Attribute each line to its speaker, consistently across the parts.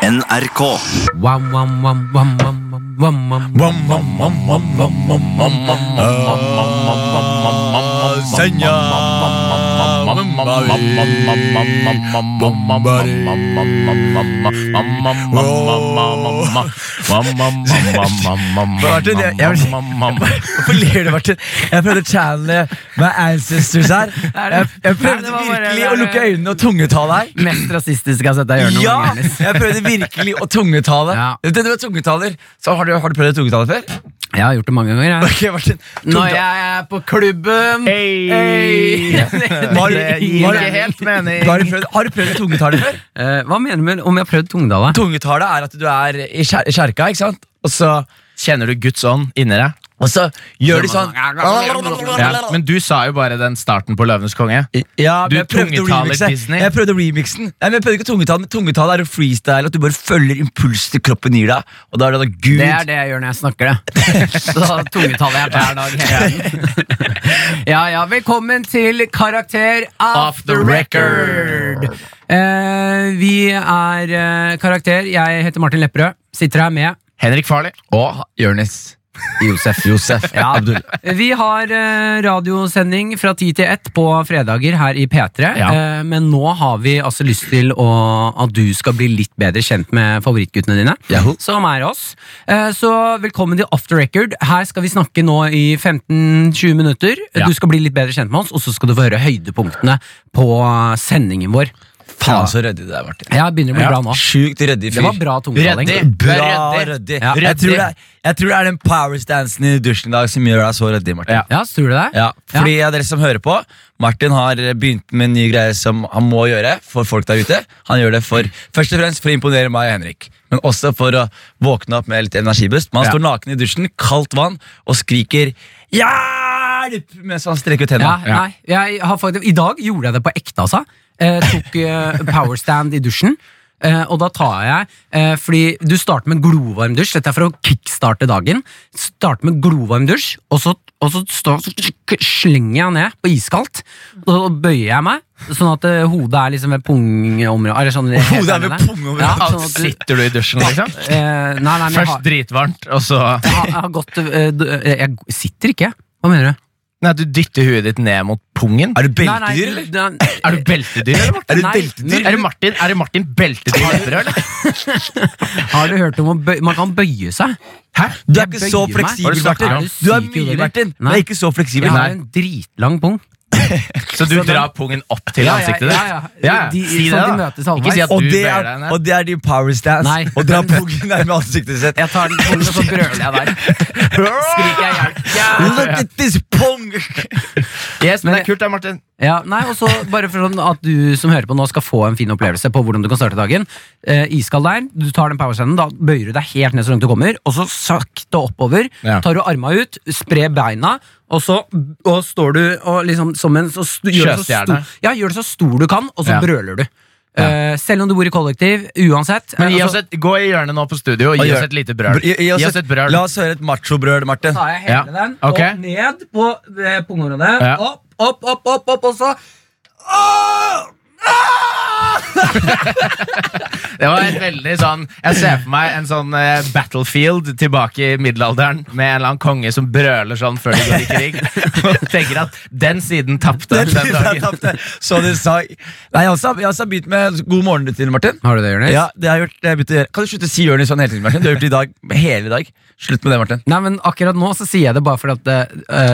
Speaker 1: NRK.
Speaker 2: Wam, wam, wam, wam, wam, wam, wam, wam.
Speaker 3: Senja
Speaker 2: Martin, jeg- jeg Hvorfor ler du, Martin? Jeg prøvde å channele my ancestors her. Jeg, jeg
Speaker 4: Nei,
Speaker 2: prøvde
Speaker 4: det var bare-
Speaker 2: virkelig å lukke øynene og tungetale her.
Speaker 4: Mest rasistiske jeg har sett deg gjøre noen
Speaker 2: Ja!
Speaker 4: ganger. Dennis.
Speaker 2: Jeg prøvde virkelig å tungetale.
Speaker 4: Ja.
Speaker 2: Du, du er tungetaler. Så har du, har du prøvd å tungetale før?
Speaker 4: Jeg har gjort det mange ganger. Jeg.
Speaker 2: Ok, Martin.
Speaker 4: Når
Speaker 2: Tungetale.
Speaker 4: jeg er på klubben Hey.
Speaker 2: Var-
Speaker 4: Det gir
Speaker 2: var-
Speaker 4: ikke helt mening.
Speaker 2: Har du prøvd, har du prøvd å tungetale før?
Speaker 4: Eh, Hva mener du med om jeg har prøvd tungdala?
Speaker 2: Tungetale er at du er i kjer- i kjerka, ikke sant? Og så,
Speaker 3: Kjenner du Guds ånd inni deg?
Speaker 2: og så gjør de sånn
Speaker 3: Ja. Men du sa jo bare den starten på Løvenes konge.
Speaker 2: Ja, men
Speaker 3: Du
Speaker 2: jeg prøvde å
Speaker 3: tungetaler
Speaker 2: remixe.
Speaker 3: Disney.
Speaker 2: Jeg prøvde å remixen. Nei, men jeg prøvde ikke å tungetale, men tungetale er å freestyle. At du bare følger impulsen til kroppen gir deg. Og da er det da Gud
Speaker 4: Det er det jeg gjør når jeg snakker, det. Så tungetallet jeg hver dag. hele tiden. Ja, ja, velkommen til Karakter off the record. Eh, vi er eh, Karakter. Jeg heter Martin Lepperød. Sitter her med
Speaker 3: Henrik Farley og Jonis.
Speaker 4: Josef. Ja. Vi har eh, radiosending fra 10 til 1 på fredager her i P3.
Speaker 3: Ja.
Speaker 4: Eh, men nå har vi altså lyst til å, at du skal bli litt bedre kjent med favorittguttene dine.
Speaker 2: Yahoo.
Speaker 4: Som er oss. Eh, så velkommen til After Record. Her skal vi snakke nå i 15-20 minutter.
Speaker 3: Ja.
Speaker 4: Du skal bli litt bedre kjent med oss, og så skal du få høre høydepunktene på eh, sendingen vår.
Speaker 2: Faen, så ryddig det er, Martin.
Speaker 4: Jeg begynner å bli
Speaker 3: Ja.
Speaker 4: glad nå.
Speaker 2: Sjukt ryddig fyr.
Speaker 4: Det var bra tungetaling.
Speaker 3: Ryddig.
Speaker 2: Bra
Speaker 3: Ryddig.
Speaker 2: ryddig.
Speaker 3: Ja.
Speaker 2: Jeg, tror
Speaker 3: Ryddig.
Speaker 2: det er- jeg tror det er den powerstansen i dusjen i dag som gjør deg så ryddig, Martin.
Speaker 3: Ja.
Speaker 4: Ja, tror du det?
Speaker 2: Ja, fordi av dere som hører på Martin har begynt med en ny greie som han må gjøre for folk der ute. Han gjør det for, først og fremst for å imponere meg og Henrik, men også for å våkne opp med litt energibust. Men han
Speaker 3: Ja.
Speaker 2: står naken i dusjen, kaldt vann, og skriker 'hjelp!' mens han strekker ut
Speaker 4: Ja,
Speaker 2: hendene.
Speaker 3: Ja.
Speaker 4: Nei, jeg har faktisk, I dag gjorde jeg det på ekte, altså. Eh, tok eh, powerstand i dusjen. Eh, og da tar jeg eh, Fordi du starter med en glovarm dusj. Dette er for å kickstarte dagen. Start med en glovarm dusj, og så, og så, står- så slenger jeg ned på iskaldt. Og så bøyer jeg meg, sånn at eh, hodet er liksom ved pungområdet. eller Sånn,
Speaker 2: Hodet er ved pungområdet.
Speaker 4: Ja, sånn at du,
Speaker 3: Sitter du i dusjen, liksom?
Speaker 4: eh, nei, nei, men jeg
Speaker 3: Først
Speaker 4: har,
Speaker 3: dritvarmt, og så
Speaker 4: jeg har, jeg har gått eh, d- eh, Jeg sitter ikke. Hva mener du?
Speaker 3: Nei, Du dytter huet ditt ned mot pungen.
Speaker 2: Er du
Speaker 4: Nei, nei,
Speaker 2: beltedyr, eller?
Speaker 4: du- du-
Speaker 3: Er du beltedyr, eller?
Speaker 2: Er
Speaker 3: Martin?
Speaker 2: du
Speaker 4: nei,
Speaker 2: beltedyr?
Speaker 3: Er det Martin, er det Martin beltedyr lepperød, eller?
Speaker 4: Har du hørt om å bøye Man kan bøye seg.
Speaker 3: Hæ?
Speaker 2: Du er
Speaker 4: Jeg
Speaker 2: ikke
Speaker 4: bøyer
Speaker 2: så
Speaker 4: meg.
Speaker 3: Har du
Speaker 2: fleksibel,
Speaker 3: snakket
Speaker 2: Martin.
Speaker 3: om-
Speaker 2: Du er
Speaker 4: syk i
Speaker 2: mye,
Speaker 4: hodet?
Speaker 2: Martin. Du
Speaker 4: Nei.
Speaker 2: er ikke så fleksibel.
Speaker 4: Jeg har
Speaker 2: Nei.
Speaker 4: en dritlang pung.
Speaker 3: Så du drar pungen opp til
Speaker 4: Ja, ja,
Speaker 3: ansiktet ditt?
Speaker 4: ja, ja. De-
Speaker 3: Si
Speaker 4: sånn
Speaker 3: det,
Speaker 4: de
Speaker 3: da.
Speaker 4: møtes halvveis.
Speaker 3: Ikke si at
Speaker 2: Og
Speaker 3: du
Speaker 2: det
Speaker 3: bøyer
Speaker 2: er,
Speaker 3: deg
Speaker 2: og
Speaker 3: ned.
Speaker 2: det er din power stance.
Speaker 4: Nei.
Speaker 2: Å dra pungen nærme ansiktet sitt.
Speaker 4: Jeg tar den pungen, og så brøler jeg der. Skriker jeg hjelp.
Speaker 2: Look
Speaker 4: Ja.
Speaker 2: at this pung!
Speaker 3: Yes,
Speaker 4: Men-
Speaker 3: men det er kult, da, Martin.
Speaker 4: Ja, nei, og så Bare for sånn at du som hører på nå, skal få en fin opplevelse på hvordan du kan starte dagen. Eh, iskald der, du tar den powerstanden, da bøyer du deg helt ned så langt du kommer, og så sakte oppover.
Speaker 3: Ja.
Speaker 4: Tar du arma ut, sprer beina, og så og står du og liksom som en så st gjør, det så
Speaker 3: Sjøstjerne.
Speaker 4: stor, ja, gjør det så stor du kan, og så
Speaker 3: Ja.
Speaker 4: brøler du.
Speaker 3: Ja.
Speaker 4: Eh, selv om du bor i kollektiv, uansett.
Speaker 3: Men
Speaker 4: eh,
Speaker 3: gi
Speaker 4: altså-
Speaker 3: oss et, Gå i hjørnet nå på studio og gi
Speaker 2: gjør-
Speaker 3: oss et lite brøl.
Speaker 2: Gi, gi oss et,
Speaker 3: brøl.
Speaker 2: La oss høre et machobrøl, Martin.
Speaker 4: tar jeg hele
Speaker 3: Ja.
Speaker 4: den
Speaker 3: Ok.
Speaker 4: opp ned på eh, pungområdet.
Speaker 3: Ja.
Speaker 4: Opp, opp, opp, opp, opp, og så Åh!
Speaker 3: Det var et veldig sånn Jeg ser for meg en sånn eh, battlefield tilbake i middelalderen med en eller annen konge som brøler sånn før de går i krig. Og tenker at den siden tapte
Speaker 2: Den
Speaker 3: den
Speaker 2: tiden jeg
Speaker 3: dagen.
Speaker 2: tapte. Så du sa Nei, jeg også har jeg også har begynt med god morgenrutine, Martin.
Speaker 4: Har du det, Jonis?
Speaker 2: Ja, det har jeg gjort, det har jeg begynt å gjøre. Kan du slutte å si Jonis sånn hele tiden, Martin? Du har gjort det i dag, hele dag. Slutt med det, Martin.
Speaker 4: Nei, men akkurat nå så sier jeg det bare fordi at eh,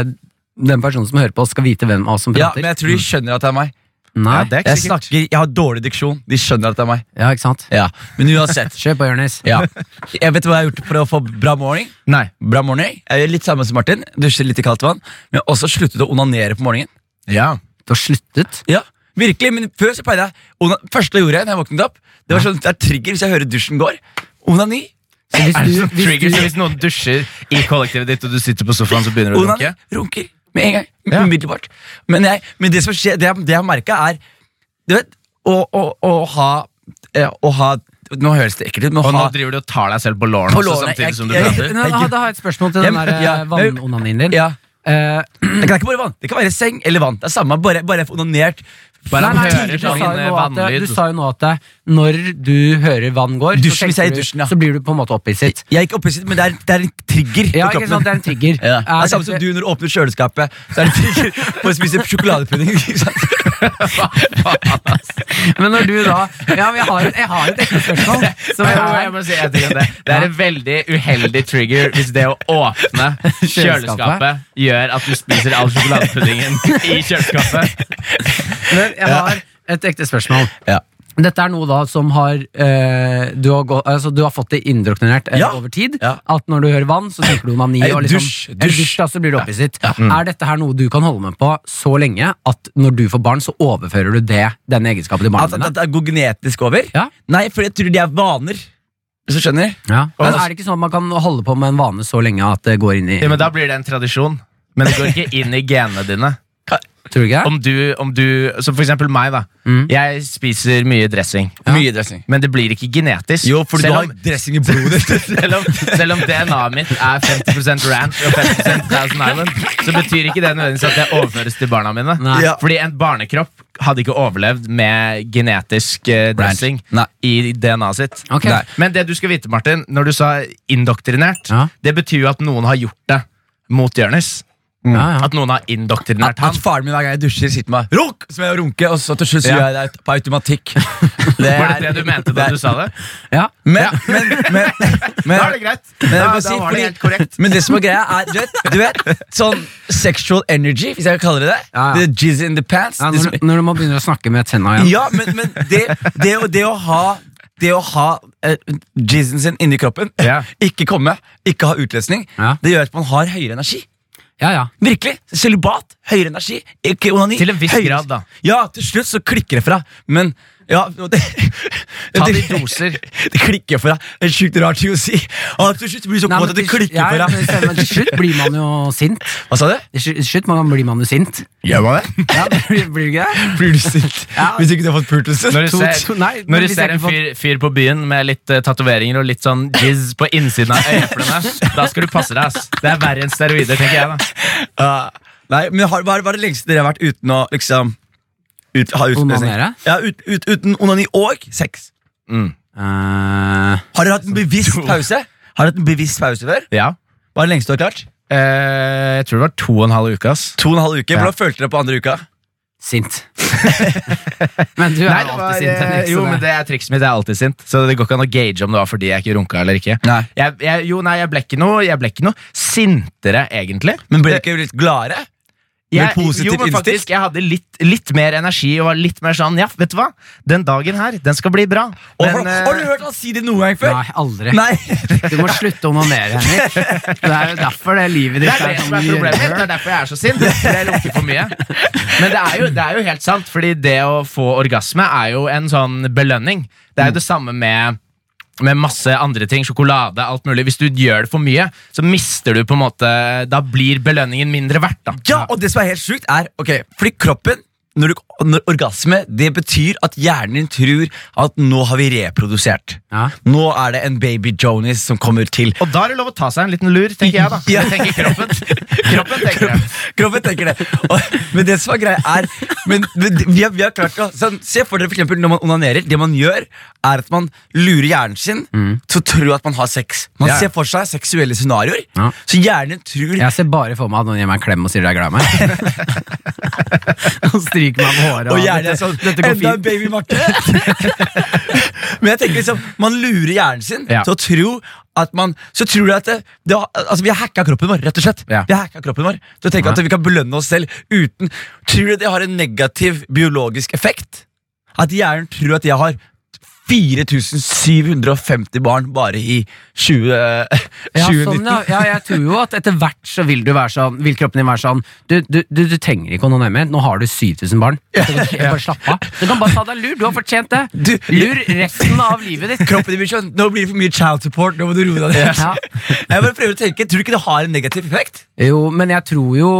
Speaker 4: den personen som hører på, skal vite hvem av oss som
Speaker 2: Ja,
Speaker 4: prater.
Speaker 2: men jeg tror de skjønner at det er meg.
Speaker 4: Nei,
Speaker 3: Ja,
Speaker 4: ja,
Speaker 3: Mm. det er ikke
Speaker 2: Jeg
Speaker 3: sikkert.
Speaker 2: snakker, jeg har dårlig diksjon. De skjønner at det er meg.
Speaker 4: ikke sant?
Speaker 2: Ja, Men uansett.
Speaker 4: Kjør på, Jonis.
Speaker 2: Ja. Jeg vet hva jeg har gjort for å få bra morgen.
Speaker 3: Nei.
Speaker 2: Bra morgen. Jeg gjør litt samme som Martin. Dusjer litt i kaldt vann. Men jeg har også sluttet å onanere på morgenen.
Speaker 3: Ja.
Speaker 4: Du har sluttet.
Speaker 2: Ja, virkelig, men før så pleide jeg ona- Første jeg gjorde når jeg våknet opp Det var sånn, det er trigger hvis jeg hører dusjen går Onani
Speaker 4: Så hvis
Speaker 3: Er det sånn
Speaker 4: du, hvis
Speaker 3: trigger,
Speaker 4: du,
Speaker 3: så hvis noen dusjer i kollektivet ditt, og du sitter på sofaen, så begynner du å
Speaker 2: Onani
Speaker 3: runke?
Speaker 2: runker med en gang
Speaker 3: Ja.
Speaker 2: Umiddelbart men, jeg, men det som skjer, det jeg, det jeg har merket er Du vet, å, å, å ha eh, Å ha Nå høres det ekkelt ut men å
Speaker 3: Og nå
Speaker 2: ha-
Speaker 3: driver du og tar deg selv på låren
Speaker 2: På
Speaker 3: også,
Speaker 2: lårene, jeg-
Speaker 3: samtidig som du
Speaker 2: jeg-
Speaker 3: prater?
Speaker 4: Nå, da, da har jeg et spørsmål til den
Speaker 2: Ja,
Speaker 4: der
Speaker 2: ja.
Speaker 4: eh, vannonanien din.
Speaker 2: ja,
Speaker 4: Eh,
Speaker 2: det kan ikke bare vann Det kan være seng eller vann Det er samme, bare, bare jeg får onanert
Speaker 3: Bare han
Speaker 4: Nei, nei,
Speaker 3: hører
Speaker 4: du, sa
Speaker 3: sånn
Speaker 4: jo nå at,
Speaker 3: vannlyd.
Speaker 4: du sa jo nå at eh, når du hører vann går,
Speaker 2: Dusjen,
Speaker 4: så,
Speaker 2: hvis jeg er i
Speaker 4: tenker du-
Speaker 2: dusjen, ja.
Speaker 4: så blir du på en måte opphisset.
Speaker 2: Jeg er ikke opphisset, men det er, det er en trigger.
Speaker 4: Ja,
Speaker 2: på
Speaker 4: ikke
Speaker 2: kroppen
Speaker 4: sant, det er en trigger.
Speaker 2: Ja. Det
Speaker 4: Er
Speaker 2: er samme som
Speaker 4: dette-
Speaker 2: du når du åpner kjøleskapet. Så er det en trigger for å spise sjokoladepudding. ikke sant?
Speaker 4: Men når du da Ja, men jeg har, jeg har et ekte spørsmål. Som
Speaker 3: Nei,
Speaker 4: jeg
Speaker 3: jeg må- jeg må si en ting om det. det er en veldig uheldig trigger hvis det å åpne kjøleskapet gjør at du spiser all sjokoladepuddingen i kjøleskapet.
Speaker 4: Men jeg har et ekte spørsmål.
Speaker 2: Ja.
Speaker 4: Dette er noe da som har eh, du, har gå, altså, du har fått det indoktrinert eh,
Speaker 2: Ja.
Speaker 4: over tid.
Speaker 2: Ja.
Speaker 4: At når du hører vann, så tenker du onani.
Speaker 2: Eller
Speaker 4: og liksom,
Speaker 2: dusj,
Speaker 4: eller
Speaker 2: dusj. Mm.
Speaker 4: dusj da, så blir du opphisset. Er dette her noe du kan holde med på så lenge at når du får barn, så overfører du det, denne egenskapen til
Speaker 2: At,
Speaker 4: barna
Speaker 2: at,
Speaker 4: dine?
Speaker 2: at det går genetisk over?
Speaker 4: Ja.
Speaker 2: Nei, for jeg tror de er vaner. Hvis du skjønner?
Speaker 4: Ja. Men
Speaker 2: Altså-
Speaker 4: er det ikke sånn at man kan holde på med en vane så lenge at det går inn i
Speaker 3: Ja, men da blir det en tradisjon. Men det går ikke inn i genene dine.
Speaker 4: Tror du ikke det?
Speaker 3: Om du, om du, som for eksempel meg, da.
Speaker 4: Mm.
Speaker 3: Jeg spiser mye dressing.
Speaker 2: Mye dressing.
Speaker 3: Men det blir ikke genetisk.
Speaker 2: Jo, fordi
Speaker 3: selv,
Speaker 2: du har dressing i blodet.
Speaker 3: om, selv, om, selv om DNA-et mitt er 50 ranch og 50 Thousand Island, så betyr ikke det nødvendigvis at det overføres til barna mine.
Speaker 4: Nei.
Speaker 2: Ja.
Speaker 3: Fordi en barnekropp hadde ikke overlevd med genetisk eh,
Speaker 2: Ranch.
Speaker 3: dressing
Speaker 2: Nei.
Speaker 3: i DNA-et sitt.
Speaker 4: Ok.
Speaker 3: Nei. Men det du skal vite, Martin, når du sa indoktrinert,
Speaker 4: Ja.
Speaker 3: det betyr jo at noen har gjort det mot Jonis.
Speaker 4: Ja, ja.
Speaker 3: At noen har indoktrinert
Speaker 2: At, at
Speaker 3: han.
Speaker 2: faren min hver gang jeg dusjer, sitter med Runk! Så må jeg runke, og så til slutt så
Speaker 3: Ja.
Speaker 2: gjør jeg det på automatikk. Det
Speaker 3: Var det
Speaker 2: er-
Speaker 3: det du mente da
Speaker 2: er-
Speaker 3: du sa det?
Speaker 4: ja.
Speaker 2: Men, men, men, men,
Speaker 3: Da er det greit.
Speaker 2: Men, jeg
Speaker 3: Da,
Speaker 2: må si,
Speaker 3: da var
Speaker 2: fordi-
Speaker 3: det helt korrekt.
Speaker 2: men det som er greia, er du vet, du vet sånn sexual energy, hvis jeg kan kalle det det.
Speaker 4: Ja, ja.
Speaker 2: The jizz in the pants.
Speaker 4: Ja, når,
Speaker 2: det som,
Speaker 4: når man begynner å snakke med tenna igjen.
Speaker 2: ja men, men det, det, å, det å ha det å ha eh, jizzen sin inni kroppen,
Speaker 3: Ja.
Speaker 2: ikke komme, ikke ha utløsning,
Speaker 4: Ja.
Speaker 2: det gjør at man har høyere energi.
Speaker 4: Ja, ja.
Speaker 2: Virkelig, Celibat, høyere energi, ikke onani.
Speaker 3: Til en viss
Speaker 2: høyere-
Speaker 3: grad, da.
Speaker 2: Ja, til slutt så klikker det fra. Men ja det,
Speaker 3: Ta de
Speaker 2: det-
Speaker 3: doser.
Speaker 2: Det klikker fra. Det er sjukt rart å si. Og til slutt blir det så
Speaker 4: Nei,
Speaker 2: godt
Speaker 4: men
Speaker 2: at det
Speaker 4: til-
Speaker 2: klikker
Speaker 4: ja,
Speaker 2: for
Speaker 4: men
Speaker 2: deg.
Speaker 4: til- men til slutt blir man jo sint.
Speaker 2: Hva sa du?
Speaker 4: Til slu- til slutt man- blir man jo sint.
Speaker 2: Gjør man det?
Speaker 4: Ja, blir, blir du ikke det?
Speaker 2: Blir du sint
Speaker 4: Ja.
Speaker 2: hvis ikke du har fått pultelse?
Speaker 3: Når du
Speaker 4: To-
Speaker 3: ser,
Speaker 4: to- nei, men
Speaker 3: når du
Speaker 4: hvis jeg
Speaker 3: ser en
Speaker 4: ikke
Speaker 3: fyr, fyr på byen med litt eh, tatoveringer og litt sånn jizz på innsiden av øyeeplene, da skal du passe deg. ass. Det er verre enn steroider, tenker jeg. da
Speaker 2: Ja. nei, men har, hva, er, hva er det lengste dere har vært uten å liksom ut, ha utløsning?
Speaker 4: Onanere?
Speaker 2: Ja, ut, ut, uten onani og sex.
Speaker 4: Eh,
Speaker 2: Har dere hatt en bevisst pause? Har dere hatt en bevisst pause før?
Speaker 3: Ja
Speaker 2: Hva er det lengste du har klart?
Speaker 3: Eh, Jeg tror det var to og en halv uke. ass
Speaker 2: To og en halv uke.
Speaker 3: Ja.
Speaker 2: Hvordan følte dere på andre uka?
Speaker 4: sint. men du er jo
Speaker 3: Nei, det
Speaker 4: alltid
Speaker 3: var,
Speaker 4: sint.
Speaker 3: eh,
Speaker 4: Henrik, så
Speaker 3: jo,
Speaker 4: det-
Speaker 3: men det er trikset mitt. Jeg er alltid sint. Så det går ikke an å gauge om det var fordi jeg ikke runka eller ikke.
Speaker 2: Nei.
Speaker 3: Jeg, jeg, jo, nei, jeg ble ikke noe, jeg ble ikke noe sintere, egentlig.
Speaker 2: Men ble dere ikke litt gladere?
Speaker 3: Jeg,
Speaker 2: Med positiv
Speaker 3: jo, men faktisk, jeg hadde litt, litt mer energi og var litt mer sånn Ja, vet du hva? Den dagen her, den skal bli bra.
Speaker 2: Og har,
Speaker 3: Men, eh,
Speaker 2: har du hørt han si det noen gang før?
Speaker 4: Nei, aldri.
Speaker 2: Nei.
Speaker 4: Du må slutte å onanere, Henrik. Det er jo derfor det livet ditt
Speaker 3: Det er det som er problemet. Det er derfor jeg er så sint. fordi Jeg lukter for mye. Men det er, jo, det er jo helt sant, fordi det å få orgasme er jo en sånn belønning. Det er jo det samme med med masse andre ting, sjokolade, alt mulig. Hvis du gjør det for mye, så mister du på en måte Da blir belønningen mindre verdt, da.
Speaker 2: Ja, og det som er helt sjukt er Ok, fordi kroppen når, du, når orgasme, det betyr at hjernen din tror at nå har vi reprodusert.
Speaker 4: Ja.
Speaker 2: Nå er det en baby Jonis som kommer til.
Speaker 3: Og da er det lov å ta seg en liten lur, tenker jeg, da.
Speaker 2: Ja.
Speaker 3: Det tenker kroppen. Kroppen tenker det.
Speaker 2: Kroppen tenker det. Og, men det som er greia, er men, men vi, har, vi har klart å sånn, Se for dere for eksempel når man onanerer. Det man gjør, er at man lurer hjernen sin til å tro at man har sex. Man
Speaker 3: Ja.
Speaker 2: ser for seg seksuelle scenarioer,
Speaker 4: Ja.
Speaker 2: så hjernen tror
Speaker 4: Jeg ser bare for meg at noen gir meg en klem og sier du er glad i meg. og stryker meg på håret.
Speaker 2: Og gjerne
Speaker 4: dette,
Speaker 2: sånn
Speaker 4: dette går
Speaker 2: Enda en
Speaker 4: fint.
Speaker 2: baby Marte! Men jeg tenker liksom Man lurer hjernen sin
Speaker 3: Ja.
Speaker 2: til å tro at man Så tror du at det, det, har- Altså Vi har hacka kroppen vår, rett og slett.
Speaker 3: Ja.
Speaker 2: Vi har hacka kroppen vår Til å tenke at vi kan belønne oss selv uten Tror du det har en negativ biologisk effekt? At hjernen tror at jeg har 4750 barn bare i 20,
Speaker 4: Ja,
Speaker 2: 2019.
Speaker 4: sånn, ja. ja, jeg tror jo at etter hvert så vil, du være sånn, vil kroppen din være sånn Du, du, du, du trenger ikke å onanere mer. Nå har du 7000 barn. Du kan ikke- Bare slapp av. Du kan bare ta deg en lur. Du har fortjent det.
Speaker 2: Du-
Speaker 4: Lur resten av livet ditt.
Speaker 2: Kroppen din blir sånn Nå blir det for mye child support. Nå må du roe deg ned.
Speaker 4: Ja.
Speaker 2: Jeg bare prøver å tenke Tror du ikke det har en negativ effekt?
Speaker 4: Jo, men jeg tror jo